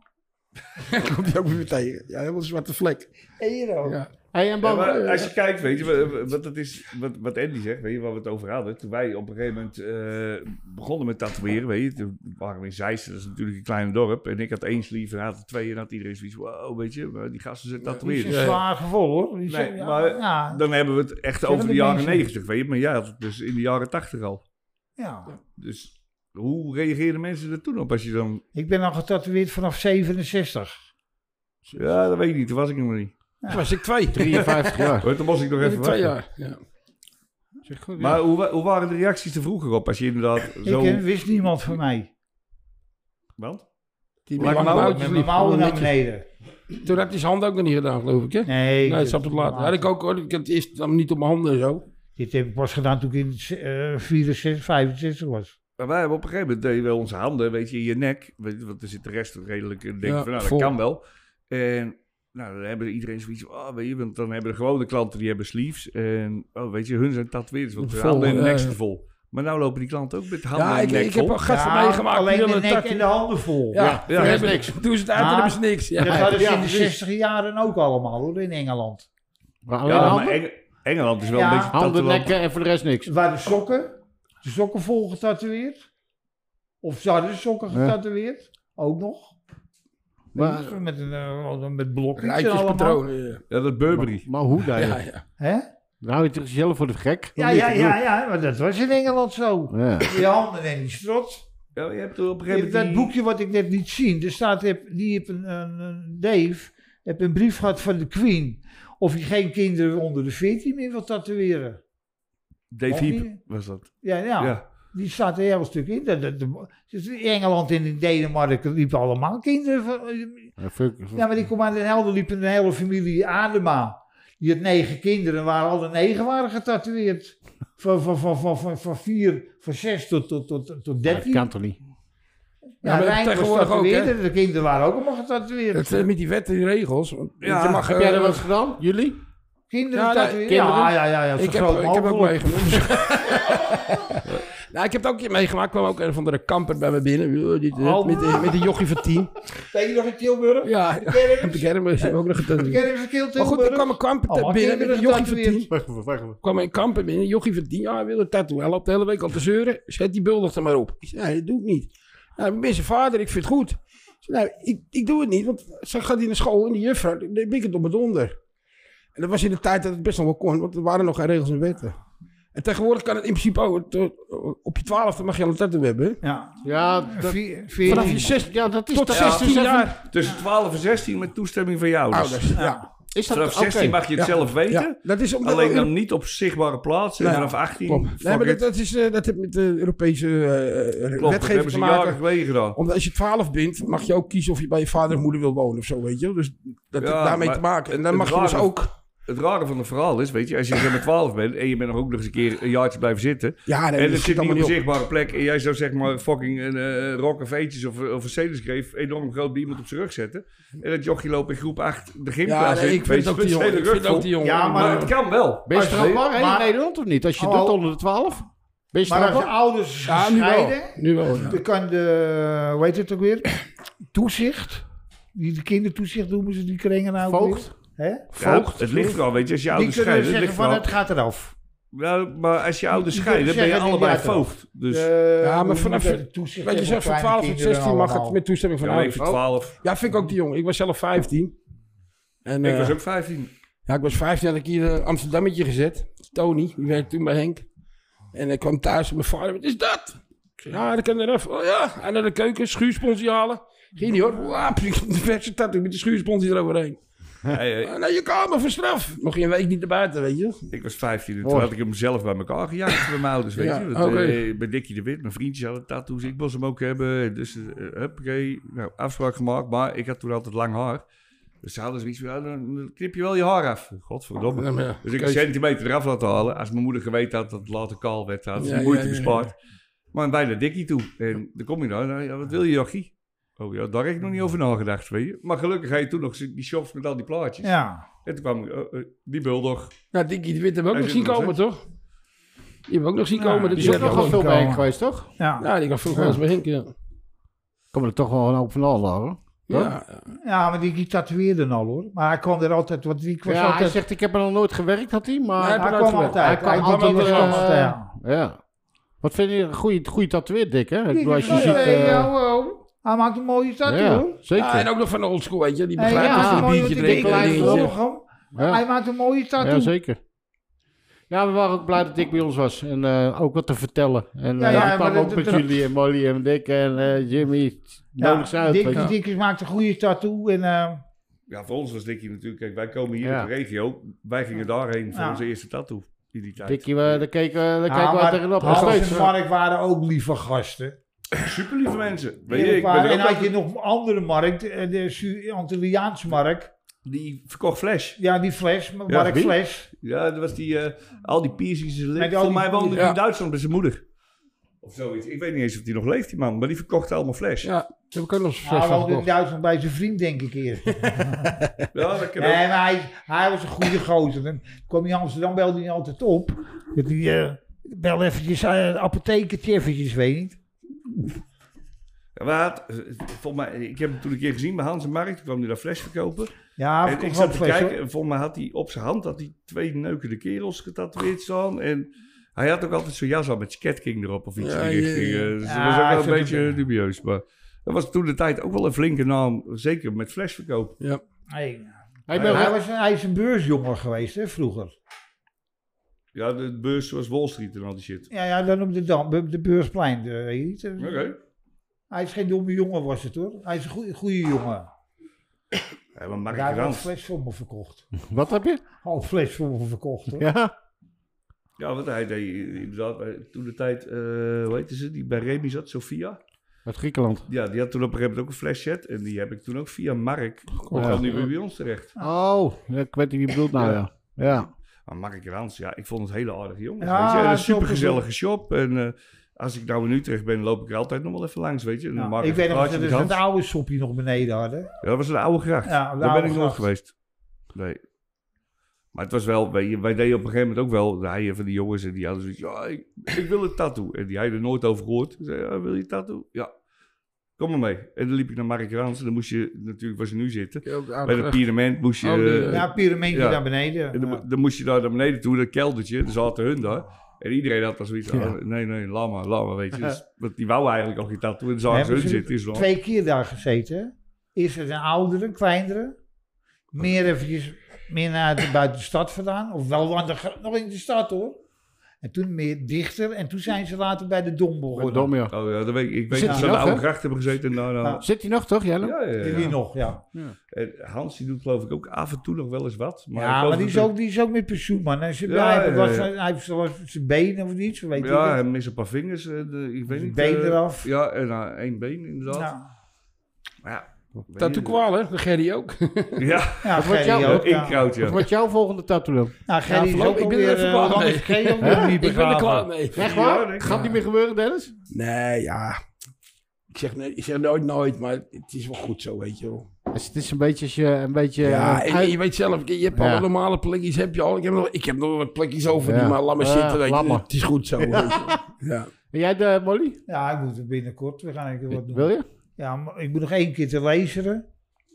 Komt <laughs> hij ook weer tegen. Ja, helemaal een zwarte vlek. Hier ook. Ja. Hey, en Ja, Bo- maar als je kijkt, weet je, wa- wat, dat is, wat, wat Andy zegt, weet je, waar we het over hadden. Toen wij op een gegeven moment eh, begonnen met tatoeëren, weet je, toen waren we in Zeist, dat is natuurlijk een klein dorp. En ik had één sleeve en hij had er twee en had iedereen zoiets, wow, weet je, maar die gasten zijn Niet zo tatoeëren. zwaar gevoel hoor. Niet zo- Nee, ja, maar- ja, Dan hebben we het echt over de de jaren mensen. negentig, weet je. Maar jij had het dus in de jaren tachtig al. ja. Dus hoe reageerden mensen er toen op als je dan... Ik ben al getatoeëerd vanaf 67. Ja, dat weet ik niet, toen was ik nog niet. Toen was ik twee. 53 jaar. Maar Toen was ik Toen nog was even ik twee wachten. jaar. Ja. Maar hoe, wa- hoe waren de reacties er vroeger op als je inderdaad zo... Ik eh, wist niemand van mij. Want? Die Lang lange mouwen, mouwtjes Met liep. mijn mouwen naar Netjes. beneden. Toen had hij zijn handen ook nog niet gedaan, geloof ik, hè? Nee, Nee, dit- dat zat het later. Had ik ook hoor. Ik had het eerst dan niet op mijn handen en zo. Dit heb ik pas gedaan toen ik in eh 64, 65 was. Maar wij hebben op een gegeven moment deden we onze handen, weet je, in je nek. Weet je, want er zit de rest redelijk in. denk Ja, van, nou, vol. dat kan wel. En nou, dan hebben iedereen zoiets van, oh, weet je, want dan hebben de gewone klanten, die hebben sleeves. En, oh, weet je, hun zijn tatoeëerders, want hun Vol, handen en de nek ja, staan ja. vol. Maar nou lopen die klanten ook met handen Ja, en ik, nek ik vol. heb al gasten Ja, meegemaakt. die Alleen de hadden nek een tattoo. en de handen vol. Ja, Ja, ja, ja. hebben Dat is niks. niks. Toen ze het uit hebben, Maar- hebben ze niks. Ja. Dat hadden ze ja, in de precies. 60 jaren ook allemaal hoor, in Engeland. Maar alleen Ja, maar handen, Eng- Engeland is wel Ja. een beetje handen, tatoeëerland. nekken en voor de rest niks. Ze waren sokken, de sokken vol getatoeëerd. Of ze hadden de sokken Ja. getatoeëerd, ook nog. Maar, met, een, eh, met blokjes en allemaal. Rijtjespatronen. Ja. Ja, dat Burberry. maar hoe dan? Ja, je? ja. Hè? Dan hou je het jezelf voor de gek. Ja, ja, ja, ja, maar dat was in Engeland zo. Ja. Je handen en die strot. Ja, maar je hebt er op een gegeven moment... Dat die- boekje wat ik net liet zien, er staat, heb- die heb een, een, een- Dave, heb een brief gehad van de Queen. Of hij geen kinderen onder de 14 meer wil tatoeëren. Dave Of Heap die- was dat. Ja, ja, Nou, Ja. die staat er een heel stuk in. Dat, dat, dus in Engeland en in Denemarken liepen allemaal kinderen. Van, Ja, fuck. Ja, maar die kom aan Den Helder liep een hele familie Adema. Die had negen kinderen, waar alle negen waren getatoeëerd. Van, van, van, van, van, van vier, van zes tot, tot, tot, tot Ja, dat dertien. kan toch niet? Ja, Ja, maar Rijn was tegenwoordig ook, tatoeëerd en de kinderen waren ook allemaal getatoeëerd. Dat, eh, met die wetten en regels. want Ja, je mag, Heb eh, jij dat wel eens gedaan? Jullie? Kinderen Ja, nee, tatoeëerd. kinderen. Ja, ja, ja. ja ik, heb, zo groot ik heb ook mogelijk. meegemaakt. <laughs> nou, ik heb het ook een keer meegemaakt. kwam ook een van de kamper bij me binnen. Oh, dit, dit, Oh. Met, die- met die jochie van tien. Ben je nog in Tilburg? Ja, Kermis? <laughs> op de kermis. heb ik ook nog Ik getatoeëerd. heb even Tilburg. Maar goed, er kwam een kamper Allemaal binnen met een kinderen jochie van getatoeëerd. tien. kwam een kamper binnen, jochie van 10 jaar, hij wil een tattoo. Hij loopt de hele week al te zeuren. Zet die buldig er maar op. Ik zei, nee, dat doe ik niet. Nou, ik ben zijn vader, ik vind het goed. Ik zei, nou, ik, ik doe het niet, want ze gaat hier naar school en die juffrouw, dan ben ik het op het onder. En dat was in de tijd dat het best nog wel kon, want er waren nog geen regels en wetten. En tegenwoordig kan het in principe ook, het, eh, op je twaalfde mag je al een tattoo hebben. Ja, Ja, dat, eh, vier, Vanaf veertien. je zes, ja, dat is tot toch- 16 ja, jaar Tussen 12 en 16 met toestemming van je ouders. ouders. Ja. Is dat Vanaf oké? 16 mag je het Ja. zelf weten. Ja, dat is omdat Alleen dan niet op zichtbare plaatsen. Nee, vanaf 18. Klopt. fuck Nee, maar dat, it. dat, is, eh, dat heeft met de Europese eh, eh, Klopt, dat wetgeving hebben te ze jaren maken. geleden gedaan. Omdat als je 12 bent, mag je ook kiezen of je bij je vader of moeder wil wonen of zo, weet je. Dus dat Ja, heeft daarmee maar te maken. En dan het mag je dus rare- ook Het rare van het verhaal is, weet je, als je zeg maar 12 bent en je bent nog ook nog eens een keer een jaartje blijven zitten. Ja, nee, en dat het schiet zit niet op een allemaal niet op. zichtbare plek. En jij zou zeg maar fucking een eh rock of Ages of, of een sedusgreef enorm groot bij iemand op zijn rug zetten. En dat jochie loopt in groep 8 de Ja, gymklas nee, in. ik vind Weet je, ook die met zijn jongen. Ik hele vind rug vol. ook die jongen. Ja, Maar het kan wel. Ben je Als je- strafbaar hè, in maar- Nederland of niet? Als je Hallo. doet onder de 12? Ben je Maar als de strafbaar? ouders Ja, nu scheiden, wel. Nu wel, ja. dan kan de, eh, hoe heet het ook weer, toezicht, die de kindertoezicht noemen ze, die kringen nou ook Voogd? weer. Hè? Ja, Voogd? het ligt er al, weet je, als je Die ouders kunnen scheiden. Het zeggen ligt van van het gaat eraf. ja, maar als je ouders die scheiden, ben zeggen je die allebei laten wel. voogd. Dus Eh, Eh, Ja, maar vanaf... Weet je, zelfs van 12 tot 16 mag het met toestemming van ja, maar ik ouders. vind 12. Ja, vind ik ook die jongen. Ik was zelf 15. En, Ik eh, was ook 15. Ja, ik was 15 had ik hier een Amsterdammetje gezet. Tony, die werkte toen bij Henk. En ik kwam thuis en mijn vader, wat is dat? Ik zei, ja, dat kan er even. Oh ja, en naar de keuken, schuursponsie halen. Ging niet hoor. <laughs> Wap, de verse tattoo met de schuursponsie eroverheen. Hey, hey, En naar je kamer voor straf. Mocht je een week niet naar buiten, weet je. ik was 15 en toen had ik hem zelf bij elkaar gejaagd met mijn ouders, weet Ja, je. Dat, oké. eh, bij Dikkie de Wit, mijn vriendjes hadden tattoos, ik moest hem ook hebben. Dus, eh, huppakee, nou, afspraak gemaakt, maar ik had toen altijd lang haar. Dus ze hadden zoiets van, ja, dan knip je wel je haar af. Godverdomme. Ja, maar ja. Dus ik een Kees. centimeter eraf laten halen. Als mijn moeder geweten had dat het later kaal werd, had ze Ja, de moeite ja, ja, ja. bespaard. Maar wij naar Dikkie toe. En dan kom je daar. Nou, ja, wat wil je, jochie? Oh ja, daar heb ik nog niet over nagedacht, weet je. Maar gelukkig had je toen nog die shops met al die plaatjes. Ja. En toen kwam ik, eh, eh, die bulldog. Nou, Dikkie de Wit hebben we ook Hij nog zien zit nog komen, toch? Die hebben we ook nog zien Ja, komen. dat Die is ook werd nog wel gewoon- veel bij Henk komen. geweest, toch? Ja. Ja, die kan vroeger wel eens bij Henk, ja. Komen er toch wel een hoop van al hoor. Ja, ja, maar die, die tatoeëerde al hoor. Maar hij kwam er altijd, want ik was Ja, hij altijd... zegt, ik heb er nog nooit gewerkt, had hij, maar... Nee, hij eruit kwam gewerkt. altijd. Hij kwam die altijd, was eh, altijd, ja. Ja. Wat vind je een goede, goede tatoeëer, Dick, hè? Ik bedoel, als je Nee, ziet... eh, ja, wow. oh, Hij maakt een mooie tattoo ja, hoor. zeker. Ja, en ook nog van de oldschool, weet je. Die Hey, begrijpt ja, als je een mooi, biertje want ik drinkt. denk, en hij kleine dingetjes. vloog hem. ja. Hij maakt een mooie Ja, tattoo. zeker. Ja, we waren ook blij dat Dick bij ons was. En eh, ook wat te vertellen. En Ja, eh, ja, ik kwam maar ook dat- met dat- jullie en Molly en Dick en eh, Jimmy. Nodig ze uit. Dick, weet je. Dick maakt een goede tattoo. En, eh, Ja, voor ons was Dikkie natuurlijk... Kijk, wij komen hier Ja. in de regio. Wij gingen daarheen voor Ja. onze eerste tattoo in die tijd. Dickie, we, daar keken we, daar ja, kijken we maar tegenop. Nog Hans steeds. eh, en Mark waren ook lieve gasten. Super lieve mensen. Weet je, Eerlijk ik ben waar. er en ook had je nog een andere markt, de, de Su- Antilliaans markt. Die verkocht flash. Ja, die fles, Mark Ja, wie? Fles. Ja, dat was die... eh, al die piercings in zijn Met lip. al Voor die- mij woonde hij Ja. in Duitsland bij zijn moeder. Of zoiets. Ik weet niet eens of die nog leeft, die man. Maar die verkocht allemaal flash. Ja, Ja, daar heb ik ook nog eens Hij fles van woonde in gekocht. Duitsland bij zijn vriend, denk ik eerst. dat kan ook. Nee, maar hij, hij was een goede gozer. Dan kwam hij in Amsterdam, belde hij altijd op. Dat hij, eh, bel eventjes eh, een apothekertje eventjes, weet niet. Ja, maar hij had, eh, volgens mij, ik heb hem toen een keer gezien bij Hans en Mark. Toen kwam hij daar fles verkopen. Ja, en ik ik zat had te fles, kijken. hoor. En volgens mij had hij op zijn hand had hij twee neukende kerels getatoeëerd staan. En hij had ook altijd zo'n jas aan met Scat King erop of iets Ja, in die ja, richting. ja. Eh, Dus dat Ja, was ook hij wel zat een beetje erbij. dubieus. Maar dat was toen de tijd ook wel een flinke naam. Zeker met flesverkoop. Nee. Hey, ben- Hij, was, hij is een beursjongen geweest, hè, vroeger. Ja, de beurs was Wall Street en al die shit. Ja, ja dan op de, dam, op de beursplein. eh, weet je niet. Oké. Hij is geen domme jongen, was het hoor. Hij is een goede, goede jongen. Ja, maar Mark Daar heeft een Rans. fles voor me verkocht. Wat heb je? Half fles voor me verkocht hoor. Ja. Ja, want hij deed eh, inderdaad eh, toen de tijd, eh, hoe heette ze, die bij Remy zat, Sofia. Uit Griekenland. Ja, die had toen op een gegeven moment ook een flashset. En die heb ik toen ook via Mark. Ja. kwam die weer bij ons terecht. Nou, Oh, ja, ik weet niet wie je bedoelt nou, ja. Ja. Maar Mark Rans, ja, ik vond het een hele aardige jongen. Ja, weet je. En hij een is ook supergezellige shop. En eh, als ik nou in Utrecht ben, loop ik er altijd nog wel even langs, weet je. En dan Ja, maak ik weet een nog praatje dat met we Hans. het oude sopje nog beneden hadden. Ja, dat was een oude gracht. Ja, de Daar oude ben ik nooit gracht. geweest. Nee. Maar het was wel, weet je, wij deden op een gegeven moment ook wel, de heien van die jongens en die hadden zoiets, ja, ik, ik wil een tattoo. En die hadden er nooit over gehoord. Ik zei, ja, wil je een tattoo? Ja. Kom maar mee. En dan liep ik naar Mark Rans en dan moest je, natuurlijk was je nu zitten, bij de pyramid moest je... Oh, die, eh, Ja, piramidje ja. naar en beneden. dan, Ja. dan moest je daar naar beneden toe, dat keldertje, daar zaten hun daar. En iedereen had daar zoiets van, Ja. oh, nee, nee, laat maar, laat maar, weet je. Dus, want die wou eigenlijk al geen tattoo en dan zagen Nee, ze hun maar ze- zitten. Is wel, Twee keer daar gezeten. hè. Eerst met een oudere, een kleinere. Meer eventjes meer naar de, buiten de stad vandaan. Of wel aan de, gr- nog in de stad hoor. En toen meer dichter. En toen zijn ze later bij de Dom begonnen. Dom, ja. oh ja, dat weet ik. Ik weet Zit dat ze hij aan de nog, oude hè? gracht hebben gezeten en daar... daar- Ja. Zit hij nog, toch, Jelle? Ja, ja, ja. Die nog, ja. En Hans die doet geloof ik ook af en toe nog wel eens wat. Maar ik ja, geloof maar die is, dat- ook, die is ook met pensioen, man. Hij, zit- Ja, hij, heeft ja, last ja. van- hij heeft last van zijn benen of iets, weet je Ja, het. hij mist een paar vingers. eh, de- ik weet Zijn niet. been eh, eraf. Ja, en eh, één been inderdaad. Nou, Maar ja, Tattoo kwaal, hè? Gerry ook. Ja, Ja, wordt Gerry jou- <laughs> ook. Ja. inkruid, ja. Wat wordt jouw volgende tattoo dan? Nou, Gerry is voorlopig, ook ik ben er alweer, even eh, klaar lang mee. is Gerry <laughs> ook nog niet Ik ben er klaar begraven. mee. Echt waar? denk ik. Gaat niet meer gebeuren, Dennis? Nee, ja. Ik zeg, nee, ik zeg nooit nooit, maar het is wel goed zo, weet je wel. Dus het is een beetje... als je Een beetje eh, ja, en uit- je weet zelf, je hebt Ja. alle normale plekjes, heb je al. Ik heb nog, ik heb nog wat plekjes over, Ja. die maar laat maar Ja, zitten, weet laat je. maar. Het is <laughs> goed zo, weet je. Ja. En jij, de Molly? Ja, ik moet er binnenkort weer gaan. Ik wat doen. Wil je? Ja, maar ik moet nog één keer te lezen.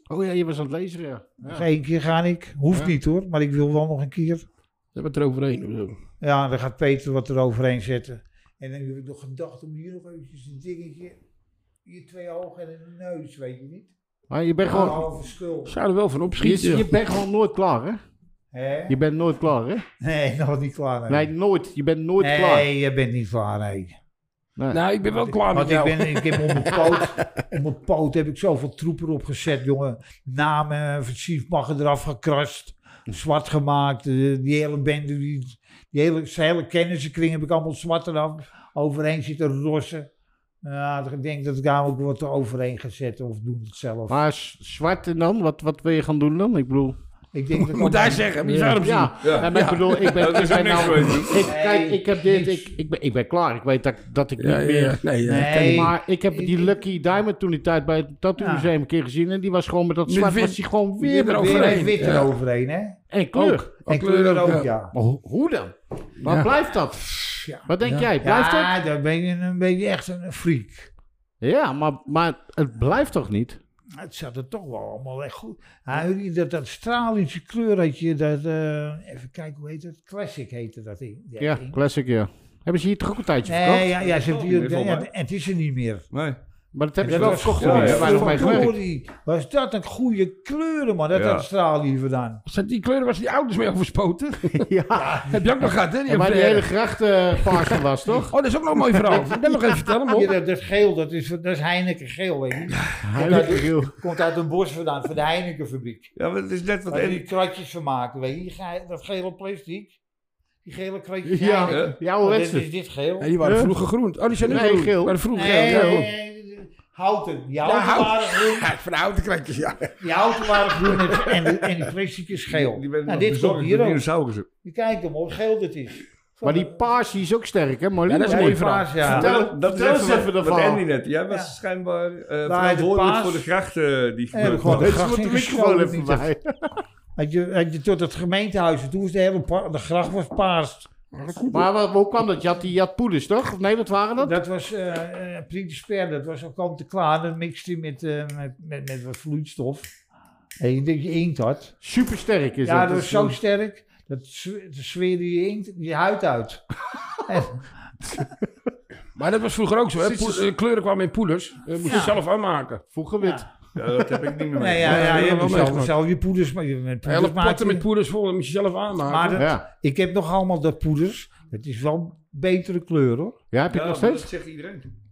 Oh ja, je was aan het lezen, ja. Nog ja. één keer ga ik. Hoeft Ja. niet hoor, maar ik wil wel nog een keer. We hebben het eroverheen. of zo. Ja, dan gaat Peter wat er overheen zetten. En dan heb ik nog gedacht om hier nog eventjes een dingetje. Hier twee ogen en een neus, weet je niet? Maar je bent Een gewoon... halve schuld. Zou er wel van Je, opschieten. je bent gewoon nooit klaar, hè? Hè? Je bent nooit klaar, hè? Nee, <laughs> nog niet klaar. Nee, nooit. Je bent nooit nee, klaar. je bent niet klaar, nee. Nou, ik ben wel klaar met Want jou. ik, ben, ik heb op mijn poot, op mijn poot heb ik zoveel troep erop gezet, jongen. Namen, versiefmaggen eraf gekrast, zwart gemaakt. eh, Die hele bende, die, die hele, zijn hele kennissenkring heb ik allemaal zwart eraf overheen zitten rossen. Ja, ik denk dat ik daar ook wat overheen ga zetten of doen het zelf. Maar z- zwart en dan? Wat, wat wil je gaan doen dan? Ik bedoel... ik denk dat Moet hij zeggen, wie zou hem zien? Ja, ja, maar ik bedoel, ik ben, Dat ik is ben ook niks nou... geweest. Ik, Nee, kijk, ik heb dit, niks. ik, ik, ben, ik ben klaar. Ik weet dat, dat ik Ja, niet ja, meer... ja, nee, ja. Nee. Maar ik heb die Ik- Lucky Diamond toen die tijd bij het Tattoo Ja. Museum een keer gezien. En die was gewoon met dat Met zwart, wit- was die gewoon wit weer erover. erover. weer overheen. en wit Ja. eroverheen, hè? En kleur. En kleur ook, ja. Maar ho- hoe dan? Waar Ja. blijft dat? Ja, Wat denk jij? Blijft ja, het? dan ben je een beetje echt een freak. Ja, maar, maar het blijft toch niet? Het zat er toch wel allemaal echt goed. Hij, dat, dat Stralische kleur had je, dat, eh, even kijken hoe heet het? Classic heette dat ding. dat Ja, ding. classic, ja. Hebben ze hier toch ook een tijdje Nee, verkocht? ja, ja, ze hebben niet die- meer, ja, volgens mij. en het is er niet meer. Nee. Maar dat hebben Dat ze wel was verkocht. ja, Ja, ja. ja, nog mee gewerkt. Verdorie, was dat een goede kleur, man. Dat Ja. had Stralië vandaan. Zat die kleuren was die ouders mee <laughs> overspoten? Ja, Heb je ook nog gehad, hè? Die waar die hele hele... gracht eh, paars was, toch? <laughs> Oh, dat is ook nog een mooi verhaal. Dat mag ik even vertellen, <laughs> Ja, man. dat, dat geel, dat is, dat is Heineken geel, weet je. Heilige ziel. Komt uit een bos vandaan, van de Heinekenfabriek. Ja, maar het is net wat Waar die Eddie... kratjes van maken, weet je. Die ge- Dat gele plastic. Die gele kratjes Ja, Oh, Heineken. ja hoe Dit heet ze? is dit geel. Nee, die waren Ja. vroeger groen. Oh, die zijn nu Nee, groen. geel. Maar vroeger Nee, geel. nee, Ja, nee, nee, houten. Die Ja, houten hout. waren groen. Ja, van de houten kratjes, ja. Die houten waren groen en, en, en die plastic is geel. Die werden nog nou, dit bezorgd komt door hier ook. dinosaurussen. Je kijkt hem hoe geel dit is. Maar die paars die is ook sterk, hè? Molly? Ja, dat is Ja, een die mooi verhaal. paars, ja. Vertel- Dat- dat is vertel eens wat- even Wat ervan. Andy net. Jij was Ja. schijnbaar eh, paas- verantwoordelijk voor de grachten eh, die Ja, gebeurd gewoon- waren. Weet je, gracht moet de in microfoon gestoken, even niet bij. Had je, had je tot het gemeentehuis, en toen was de hele pa- de gracht was paars. Maar wat, hoe kwam dat? Je had, die, je had poeders, toch? Of nee, wat waren dat? Dat was eh eh Prins Sper, dat was al kant en klaar. Dat mixte hij met, eh, met, met, met wat vloeistof. En je denkt je inkt had. Supersterk is Ja, dat. dat was zo sterk. Dat zwe- dat zweerde je inkt je huid uit. Maar dat was vroeger ook zo, hè? Poel- eh, kleuren kwamen in poeders. Eh, moest je Ja. zelf aanmaken. eh, Vroeger wit. Ja, dat heb ik niet meer Nee, mee. Ja, ja, ja, dat je hebben we hebt wel zelf, meegemaakt. zelf je poeders, maar je- met poeders Hele maak je- potten met poeders vol, dat moest je zelf aanmaken. Maar dat- Ja. Ik heb nog allemaal dat poeders. Het is wel betere kleur hoor. ja, heb je Ja, het nog maar steeds? Dat zegt iedereen.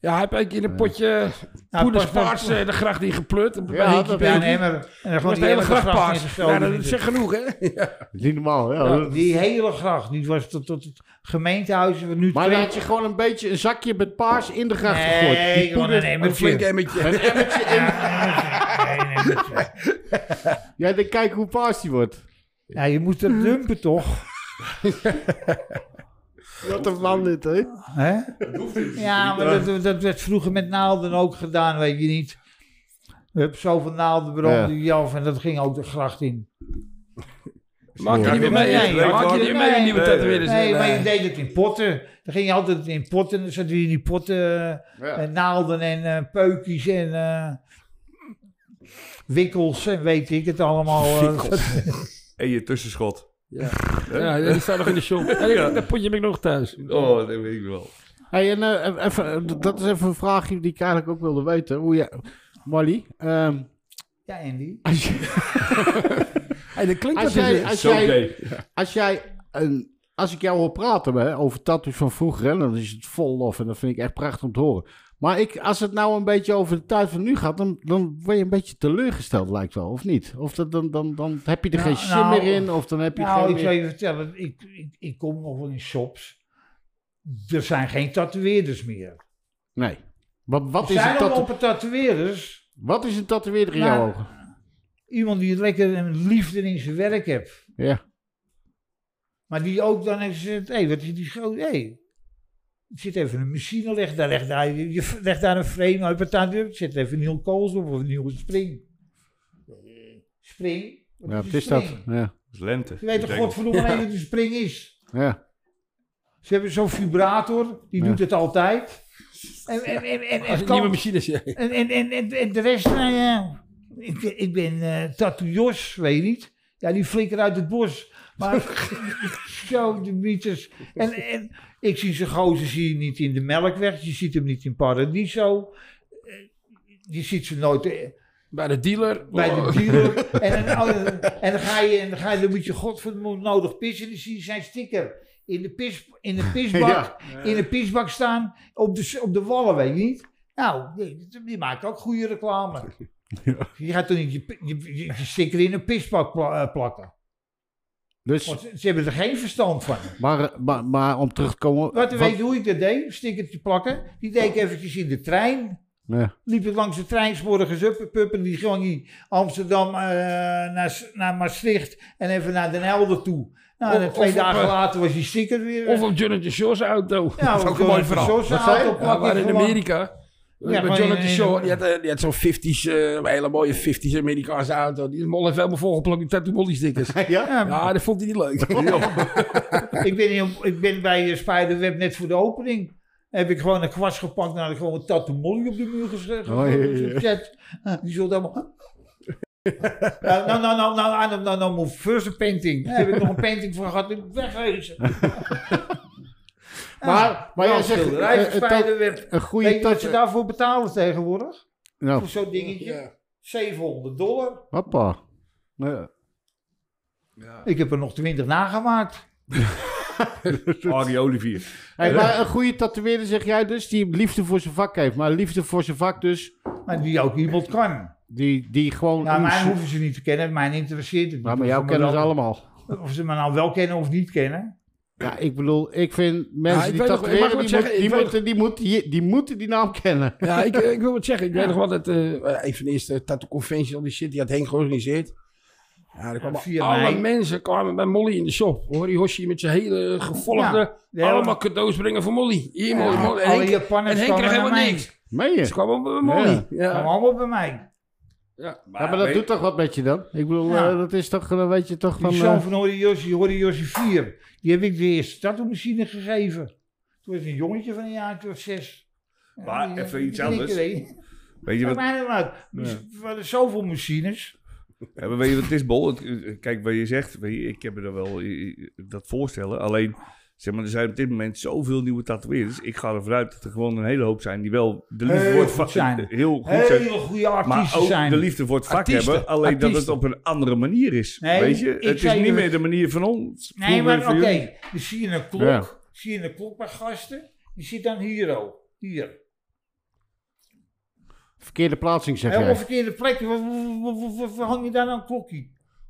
Ja, hij heeft in een potje poeders Nou, pas- paars eh, de gracht in geplut. Bij Ja, Hikkie dat- Pikkie. Ja, een emmer. En dan Dat gewoon was die de hele gracht in paars. dezelfde Ja, dat minuut. zeg genoeg, hè? Ja. Dat is niet normaal, ja. Ja, Die hele gracht. Die was tot, tot het gemeentehuis. waar Nu Maar twee- dan had je gewoon een beetje een zakje met paars in de gracht gegooid. Nee, Die gewoon poeder- een Een flink emmertje. <laughs> emmertje. Ja, een emmertje. Jij denkt, kijk hoe paars die wordt. Ja, je moet dat dumpen toch? Wat een man dit, hè? Hè? Ja, maar dat, dat werd vroeger met naalden ook gedaan, weet je niet. We hebben zoveel naalden Ja. branden die af en dat ging ook de gracht in. Maak je niet meer mee, Nee, hè? nee, Maak je niet meer mee, nee. nieuwe tatoeëerders. Nee, maar eh, je Nee. deed het in potten. Dan ging je altijd in potten. Dan zaten je in die potten eh, Ja. en naalden en eh, peukjes en eh, wikkels en weet ik het allemaal. eh. En je tussenschot. Ja, die staat nog in de shop. Ja, die- Dat potje heb ik nog thuis. Oh, dat weet ik wel. Hey, en eh, even, eh, dat is even een vraagje die ik eigenlijk ook wilde weten. Hoe jij... Molly, ehm, Ja, Andy. als, <laughs> je- Hey, dat klinkt als wat jij, is- als Zo jij, gay. als jij een, als ik jou hoor praten hè, over tattoos van vroeger, hè, dan is het vol lof en dat vind ik echt prachtig om te horen. Maar ik, als het nou een beetje over de tijd van nu gaat, dan, dan word je een beetje teleurgesteld, lijkt wel, of niet? Of dat, dan, dan, dan heb je er Nou, geen zin nou, meer in, of dan heb je Nou, geen... ik zal je vertellen, ik, ik, ik kom nog wel in shops. Er zijn geen tatoeëerders meer. Nee. Wat, wat Er is zijn het allemaal tattoo? op tatoeëerders. Wat is een tatoeëerder in jouw Nou, ogen? Iemand die lekker een liefde in zijn werk heeft. Ja. Maar die ook dan heeft gezegd, hé, wat is die groot, hé. er zit even een machine, leg daar, leg daar, je je legt daar een frame uit, betaalt, er zit even een nieuw kools op of een nieuwe spring. Spring? Ja, wat een is dat? spring? Ja. is lente. Je weet toch godverdomme alleen wat een spring is? ja. Ze hebben zo'n vibrator, die Ja. doet het altijd. En, en, en, en, Als en, het nieuwe kan- machines ja. en, en, en, en- en de rest, nou ja, ik, ben- ik ben eh Tattoo Jos, weet je niet. Ja, die flikker uit het bos. Maar zo, de bieters. En, en ik zie zijn gozer zie je niet in de Melkweg, je ziet hem niet in Paradiso. Eh, Je ziet ze nooit eh, Bij de dealer. bij de Oh, dealer. en, dan, oh, en dan ga je, en dan ga je, dan moet je godverdomme nodig pissen. En dan zie je zijn sticker in de, pis, in de pisbak, Ja. in de pisbak staan, op de, s- op de wallen, weet je niet? Nou, die, die maakt ook goede reclame. Je gaat toch niet je, pi- je, je- je sticker in een pisbak pla- eh, plakken. Dus, Want ze, ze hebben er geen verstand van. maar, maar, maar om terug te komen... Wat weet je hoe ik dat deed? Stickertje plakken. Die deed ik eventjes in de trein. Ja. liep ik langs de trein, 's morgens up, pup, en die ging hij Amsterdam eh, naar, S- naar Maastricht en even naar Den Helder toe. Nou, en Of- twee of op, dagen eh, later was die sticker weer. Of op Jonathan Shaw's auto. ja, eh, dat is ook een mooi verhaal. Zo'n Wat zei je? auto Ja, plak maar ik in gewoon. Amerika. Ja, met gewoon Jonathan in- in- Shaw, die had, eh, die had zo'n 50s, eh, een hele mooie 50s Amerikaanse auto. Die is mol heeft helemaal volgeplakt met tattoo molly stickers. <laughs> Ja? <laughs> Ja, Ja, dat vond hij niet leuk. ik, ben hier op- ik ben bij eh, Spiderweb net voor de opening. Heb ik gewoon een kwast gepakt en had ik gewoon een tattoo molly op de muur gezet. Oh, ja, ja, ja. gezet. Ah, Die zult allemaal... Nou, nou, nou, nou, nou, nou, nou, nou, move. first a painting. Daar heb ik nog een painting voor gehad, ik <laughs> wegwezen. Maar, maar Ja, jij zegt... schilderij, eh, eh, ta- Spiderweb. Een Weet goede je wat ze tattoo... daarvoor betalen tegenwoordig? Nou, Voor zo'n dingetje? 700 dollar. hoppa. Ja. Ik heb er nog 20 nagemaakt. Arie Olivier. Hey, maar een goede tatoeëerder zeg jij dus, die liefde voor zijn vak heeft. Maar liefde voor zijn vak dus, Maar die ook iemand kan. die, die gewoon... Nou, mij uw- hoeven ze niet te kennen. Mij interesseert het niet. maar, maar Of jou me kennen ze wel- allemaal. Of ze me nou wel kennen of niet kennen. Ja, ik bedoel, ik vind mensen Ja, ik die weet nog- ik mag tatoeëren, wat die, zeggen, moet- die, ik weet- moeten- die, moeten- die, die moeten die naam kennen. <laughs> Ja, ik, eh, ik wil wat zeggen. Ik weet nog wel dat eh, een van de eerste tattoo conventies al die shit, die had Henk georganiseerd. Ja, er kwamen via alle mij. mensen kwamen bij Molly in de shop. Hoor die Hoshi met zijn hele gevolgde Ja, ja. allemaal cadeaus brengen voor Molly. Hier, Molly, Ja, Molly. alle Henk- Japanners en Henk kwamen kreeg helemaal naar mij. niks. Meen je? Ze kwamen bij Molly. Ja. Kom allemaal bij mij. Ja. Ja, maar dat doet toch wat met je dan? Ik bedoel, Ja. eh, dat is toch, dan weet je toch Die van... zoon eh, van Hori Yoshi, Hori Yoshi 4. Die heb ik de eerste tattoo-machine gegeven. Toen was een jongetje van een jaartje of zes. Maar Ja, die- even die iets anders. knikkerde. Weet je Maakt wat, mij niet uit. Dus Er waren zoveel machines. Ja, maar weet je wat het is, Bol? Het- Kijk, wat je zegt, weet je, ik heb me er wel eh, dat voorstellen. Alleen, zeg maar, er zijn op dit moment zoveel nieuwe tatoeëerders. Ik ga ervan uit dat er gewoon een hele hoop zijn die wel de liefde Heel voor het goed vak zijn. Heel goed zijn. Hele goede Maar artiesten ook zijn. de liefde voor het vak Artiesten. hebben. Alleen dat het Artiesten. op een andere manier is. Nee, weet je? ik Het is zei niet dus- meer de manier van ons. Nee, maar vroeger oké. van jullie. Dan zie je een klok. Ja. Zie je een klok bij gasten. Die zit dan hier al. Hier. Verkeerde plaatsing, zeg Helemaal jij. verkeerde plek. Waar hang je daar nou een klokje?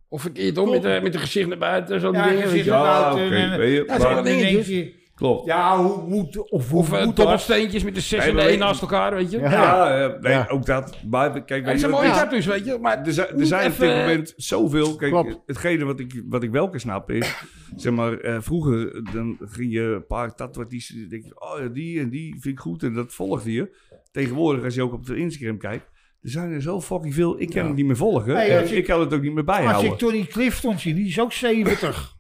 Of verkeerd om met, de- met een gezicht naar buiten. Zo ja, Ja, dingen, weet gezicht je. naar wel. Ja, buiten. Ah, oké, en- weet je, Ja, maar- dan denk je... Klopt. Ja, Ja, hoe moet... Of, Of hoe eh, moet dat? dobbelsteentjes met de zes Nee, en maar de één weet- naast elkaar, weet je. Ja. Ja. eh, nee, Ja. ook dat. Maar kijk, Het weet je zijn wat mooie het is? tattoos, weet je. Maar Er zijn, er moet zijn op dit even- moment zoveel. Kijk, Klopt. hetgene wat ik, wat ik wel kan snappen is. zeg maar, eh, vroeger eh, dan ging je een paar tatoeages. denk je, oh ja, die en die vind ik goed en dat volgde je. Tegenwoordig, als je ook op de Instagram kijkt. er zijn er zo fucking veel. Ik kan het niet meer volgen. Nee, en als ik, ik- kan het ook niet meer Als bijhouden. ik Tony Clifton zie, die is ook 70.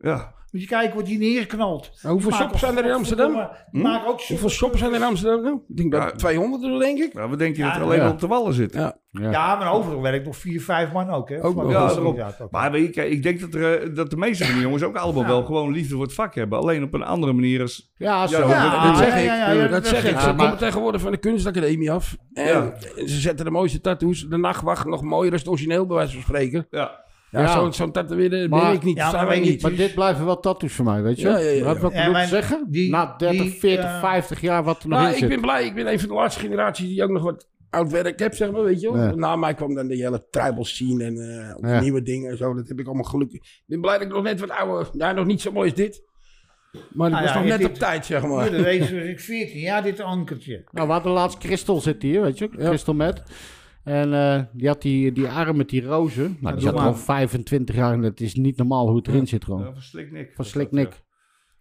ja. Moet je kijken wat die neerknalt. Nou, hoeveel Die shops maken- zijn er in Amsterdam? Die maken ook Hoeveel shops zijn er in Amsterdam nou? Ik denk Ja. dat 200 er, denk ik. Nou, wat denk je dat Ja, er alleen ja. op de wallen zit? Ja. Ja, maar overal werkt nog 4, 5 man ook. Hè? Ook Van- nog. Ja, dat is daarom. inderdaad ook. Maar weet je, kijk, ik denk dat, er, eh, dat de meeste van die jongens ook allemaal Ja. wel gewoon liefde voor het vak hebben. Alleen op een andere manier als. Ja, zo. Ja, Ja, dat zeg ja, ik. ja, ja, ja, dat, dat zeg zeg ik. ik. Ze Ja, maar- komen tegenwoordig van de kunstacademie af. En Ja. ze zetten de mooiste tattoos. De nachtwacht nog mooier als het origineel, bij wijze van spreken. Ja. Ja, Ja. zo'n zo tatoeëerder ben Maar- ik niet. Ja, dat zijn maar wij weet niet. Maar dit blijven wel tattoos voor mij, weet je? Ja, ja, ja, Wat ja. wat Ja, bedoel maar ik zeggen? die- Na 30, die, 40, eh, 50 jaar wat er nog Maar in Nou, ik zit. ben blij. Ik ben een van de laatste generaties die ook nog wat oud werk heb, zeg maar, weet je wel. Ja. Na mij kwam dan de hele tribal scene en eh, ook Ja. nieuwe dingen en zo. Dat heb ik allemaal gelukkig. Ik ben blij dat ik nog net wat ouder... Ja, nog niet zo mooi als dit. Maar ik Nou was ja, nog je net ziet- op tijd, zeg maar. Voor de race was ik 14 jaar dit ankertje. Nou, we hadden laatst Christel zit hier, weet je? Christel met. En eh, die had die, die arm met die rozen. Nou, die doe zat maar. gewoon 25 jaar en het is niet normaal hoe het erin zit gewoon. Ja, van Slik Nick. Van slik Dat, Nick. ja.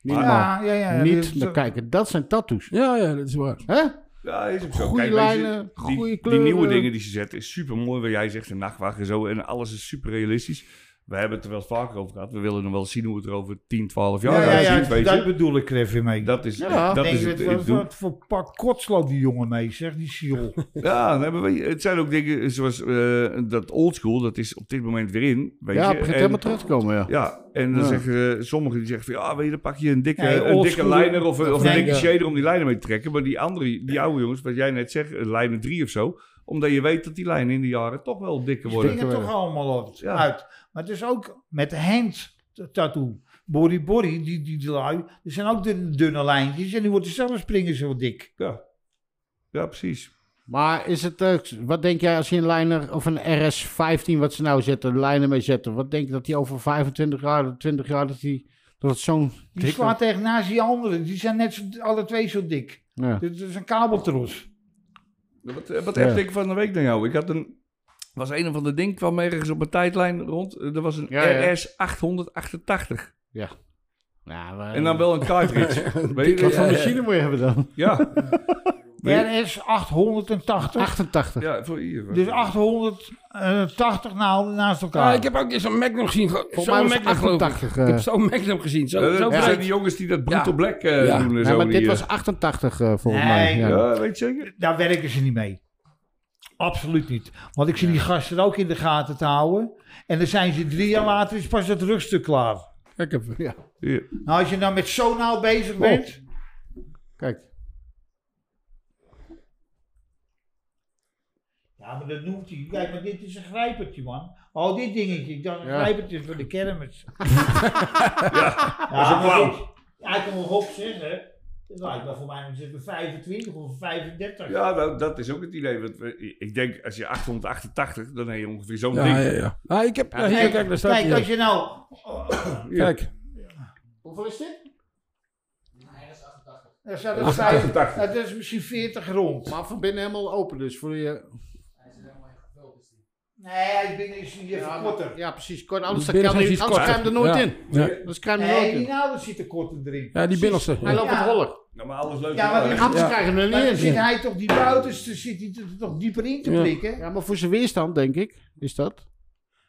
Niet Maar- normaal. ja, ja, Ah. ja. niet, dat- nou, kijken, dat zijn tattoos. Ja, ja, dat is waar. Hè? Ja, is ook zo. Goeie Kijk, weet je, lijnen, die, goeie Die nieuwe kleuren. dingen die ze zetten is super mooi. Wat jij zegt, de nachtwacht en zo. En alles is super realistisch. We hebben het er wel eens vaker over gehad. We willen nog wel zien hoe het er over 10, 12 jaar Ja, ja, ja, uitziet. weet dat je. bedoel ik er even mee. Dat is, Ja, dat Denk is je, het. wat- ik wat, doe- wat voor pak kotsloopt die jongen mee, zeg, die Sjoel. Ja, nee, maar weet je, het zijn ook dingen zoals eh, dat oldschool. Dat is op dit moment weer in. Weet Ja, je. het begint En- helemaal terug te komen, ja. Ja, en dan Ja. zeggen eh, sommigen die zeggen van ja, weet je, dan pak je een dikke, Nee, een old dikke school. liner of, of een Nee, dikke ja. shader om die lijnen mee te trekken. Maar die andere, die oude jongens, wat jij net zegt, een liner 3 of zo, omdat je weet dat die lijnen in de jaren toch wel dikker Die worden. springen toch allemaal uit. Ja. uit. Maar het is ook met de hand tattoo. Body body, die, die, die lui. Er zijn ook dunne, dunne lijntjes en die worden zelf springen zo dik. Ja. ja, precies. Maar is het, eh, wat denk jij als je een liner of een RS15, wat ze nou zetten, een liner mee zetten, wat denk je dat die over 25 jaar, 20 jaar, dat die, dat het zo'n Die dikke- slaat tegen naast die anderen. Die zijn net zo, alle twee zo dik. Ja. Dit is een kabeltros. Wat, eh, wat Ja. heb ik van de week naar jou? Ik had een, was een of ander ding, kwam ergens op mijn tijdlijn rond. Eh, Er was een Ja, ja. RS 888. Ja, maar- En dan wel een cartridge. Weet je, Wat voor ja, machine moet je hebben <laughs> dan? Ja. Weet je, RS 880. 88. ja, voor hier. Dus 880 naalden naast elkaar. Ja, Ah, Nou, ik heb ook eens een Magnum gezien. ge- Volgens mij Zo'n was het Magnum geloof ik. 88. Ik eh. heb zo'n Magnum gezien. Zo, Ja, zo dat Eh, zijn breed. die jongens die dat brutal Ja. black eh, Ja. doen en Nee, zo. maar dit die, was eh, 88 eh, volgens Nee, mij. Ja. ja, weet je zeker? Daar werken ze niet mee. Absoluut niet. Want ik zie die gasten ook in de gaten te houden. En dan zijn ze drie jaar later is pas het rugstuk klaar. Kijk even. Ja. Nou, als je nou met zo'n naald bezig bent. Oh. Kijk. Ja, maar dat noemt hij. Kijk, maar dit is een grijpertje, man. Al dit dingetje. Ik dacht, een Ja. grijpertje is voor de <laughs> kermis. ja, dat is een klauw. Ja, ik kan wel hop zeggen. Dat lijkt me voor mij om zitten 25 of 35. Ja, nou, dat is ook het idee. Want we- ik denk, als je 888, dan heb je ongeveer zo'n Ja, ding. ja, ja. Ah, ik heb, hier, Kijk, kijk, daar staat kijk, als hij. je nou... Kijk. Hoeveel is dit? Er staat een vijf- Nou, dat is misschien 40 rond. Maar van binnen helemaal open dus. Voor je... Nee, ik ben is niet even korter. Ja, precies. Kort, anders dan Binnen kan zijn die, ze anders kort. kan je hem er nooit Ja. in. Ja. Anders kan je hem er Nee, nooit die in. naalden zitten korter erin. Ja, die binnenste. Hij loopt Ja. het roller. Nou, maar alles leuk. Ja, maar die- Anders Ja. krijg je hem Maar er dan niet in. zit hij toch die buitenste zit hij er toch dieper in te Ja. prikken. Ja, Ja, maar voor zijn weerstand, denk ik, is dat. maar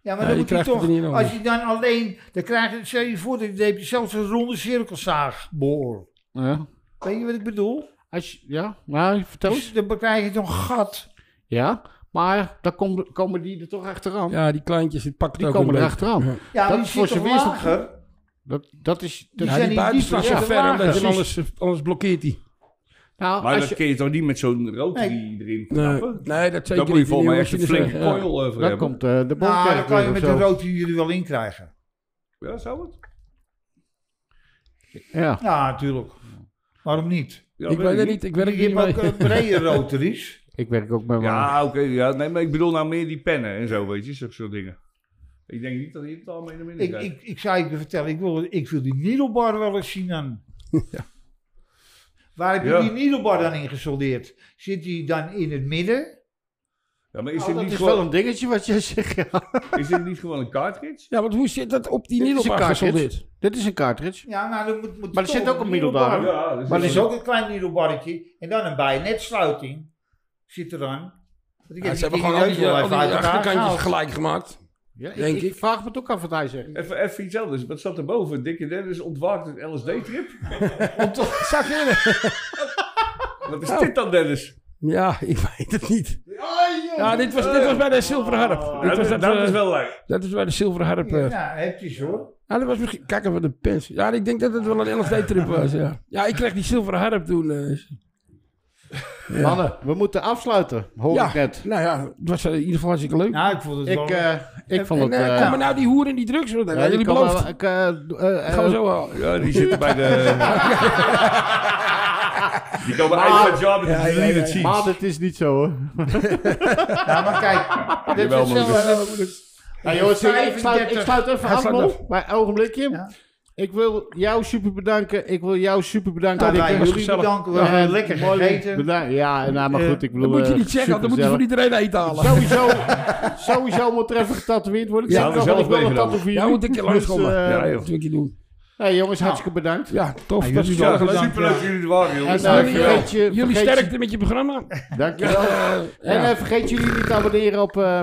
je dan moet hij krijgt het toch... er niet aan. Als je dan alleen... Dan krijg je... Stel je voor, dan heb je zelfs een ronde cirkelzaagboor. Ja. Weet je wat ik bedoel? Als je, ja, nou, vertel eens. Dus dan krijg je toch een gat. Ja, maar dan kom- komen die er toch achteraan. Ja, die kleintjes, die pakken Die het ook komen een er beetje. achteraan. Ja. Dat Ja, maar die is voor zit toch zijn weerstand. lager? Dat, dat is... dat- Die Ja, zijn die die buitenste is dieper, zo ja. ver, omdat je Precies. anders, anders blokkeert hij. nou, maar als dat je, kun je toch niet met zo'n rotary erin Nee, knappen? nee, dat zeker Dan moet je niet. volgens mij echt Die een nieuwe flinke machines, ja. coil eh, voor dan hebben. komt eh, de boom Nou, dan kan je met de zo. rood hier er wel in krijgen. Ja, zou het? Ja, Ja, natuurlijk. Waarom niet? Ja, Ik weet het niet, ik werk Je niet hebt ook mee. eh, brede rotaries. <laughs> ik werk ook bij ja. Ja, oké. ja, nee, maar ik bedoel nou meer die pennen en zo, weet je. Zulke soort dingen. Ik denk niet dat je het allemaal in de midden Ik, krijgt. ik, ik zou je vertellen, ik wil, ik wil die needlebar wel eens zien dan. Waar heb je Ja. die needlebar dan in gesoldeerd? Zit die dan in het midden? ja, maar is, Oh, dat dit niet is wel gewoon, een dingetje wat jij zegt. Ja. is dit niet gewoon een cartridge? Ja, want hoe zit dat op die Dit is een middelbaar cartridge. gesoldeerd? Dit is een cartridge. Ja, maar, dan moet, moet Maar er toch zit ook een middelbar, needlebar. hè? Ja, dus Maar er is ook een klein needlebarretje en dan een bijnetsluiting zit er dan. Want ik Ja, heb ze hebben die dingen gewoon al neus die, wel al even die uit elkaar gehaald. achterkantjes gelijk gemaakt. Ja, ik, Denk ik ik. vraag me het ook af wat hij zegt. Even, even iets anders. Wat zat er boven? Dikke Dennis ontwaakt een LSD-trip. Zak in. Wat is dit dan, Dennis? Ja, <laughs> ik weet het niet. Ja, dit was, dit was bij de zilveren harp. Dit dat, was dat, dat, eh, is Nou, wel leuk. dat is bij de zilveren harp. eh. Ja, heb je hoor. Ja, dat was misschien... Kijk even de pens. Ja, ik denk dat het wel een LSD-trip was, ja. Ja, ik kreeg die zilveren harp toen. eh. Mannen, we moeten afsluiten, hoor ja, ik net. nou ja, het was eh, in ieder geval hartstikke leuk. Nou, ik vond het wel... Ik, eh, ik vond het... en, eh, eh, komen nou die hoeren en die drugs? Dat ja, hebben die jullie kan beloofd. wel- ik, eh, eh, eh, Gaan we zo al. Ja, die zitten bij de... <laughs> die komen uit van job en die zien het zien. eh, Maar dat is niet zo hoor. ja, Nou, maar <laughs> kijk, dit Jawel, is man. hetzelfde. Nou, jongens, ik, 35. sluit, ik sluit even af, sluit Mol. Maar een ogenblikje. Ja. Ik wil jou super bedanken. Ik wil jou super bedanken. Nou, Dikke. wij jullie Gezellig. bedanken. We hebben Eh, lekker mooi gegeten. bedankt. Ja, nou, maar Eh, goed, ik bedoel... Dat moet je eh, niet zeggen, want dan moet je voor supergezellig. iedereen eten halen. Sowieso, <laughs> sowieso moet er even getatoeëerd worden. Ik Ja, zeg dat wel, is ik wil zelf een tattoo voor Ja, jullie. <laughs> moet ik je langs Dus, komen. eh, Ja, joh. Dat wil ik je doen. hey, jongens, hartstikke bedankt. Ja, tof. Nou, dat jullie is Ah, wel zelf gelukt. bedankt. Super leuk dat ja. jullie er waren, En jongens. eh, Dankjewel. vergeet je... Jullie vergeet je- sterkte met je programma. Dankjewel. En ja. eh, vergeet jullie niet te abonneren op eh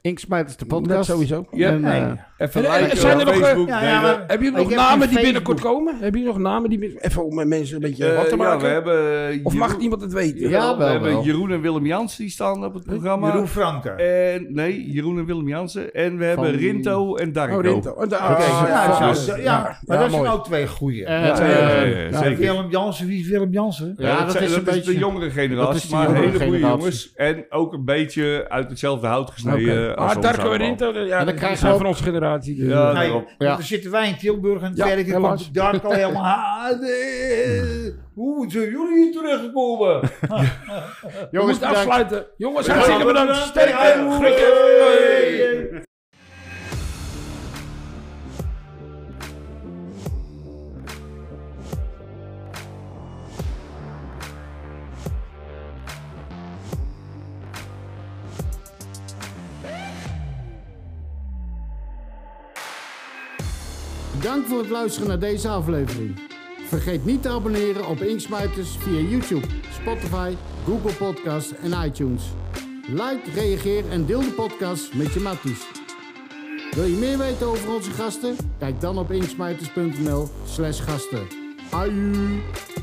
Inksmijters, de Dat podcast. sowieso. Ja. En, eh, Even En- en- liken zijn op er nog, eh, Facebook. Ja, delen. ja, maar- Hebben jullie nog Ik heb geen namen die binnenkort Facebook. komen? Hebben jullie nog namen die... bin- Even om eh, mensen een beetje Eh, wat te ja, we maken? hebben eh, Of Jeroen- mag niemand het weten? Ja, we wel, hebben wel. Jeroen en Willem Jans die staan op het programma. Jeroen Franke. Eh, En, nee, Jeroen en Willem Jansen. En we hebben Van- Rinto en Darko. Oh, Rinto. Oh, da- Oké, oh, ja, nou, ja, ja, ja, ja, ja, maar ja, dat zijn mooi. ook twee goeie. eh, Ja, ja, ja, ja, Ja, zeker. Willem Jansen, wie is Willem Jansen? Ja, dat is een beetje- de jongere dat generatie, is de maar jongere hele goede generatie. jongens. En ook een beetje uit hetzelfde hout gesneden. Oké. eh, als Maar ons Darko en allemaal. Rinto, ja, dan dat krijgen zijn we ook- van onze generatie. dus, Ja, eh, Nee, daarop. Ja. Dan zitten wij in Tilburg en Ja, verder ja, helaas. komt Darko helemaal... <laughs> Ah, nee, Hoe zijn jullie hier terechtgekomen? We Jongens, moeten bedankt. afsluiten. Jongens, hartstikke bedankt. Sterkte. eh, Hey, Groetjes. hey. Dank voor het luisteren naar deze aflevering. Vergeet niet te abonneren op Inksmijters via YouTube, Spotify, Google Podcasts en iTunes. Like, reageer en deel de podcast met je matties. Wil je meer weten over onze gasten? Kijk dan op inksmijters.nl slash gasten. Aju!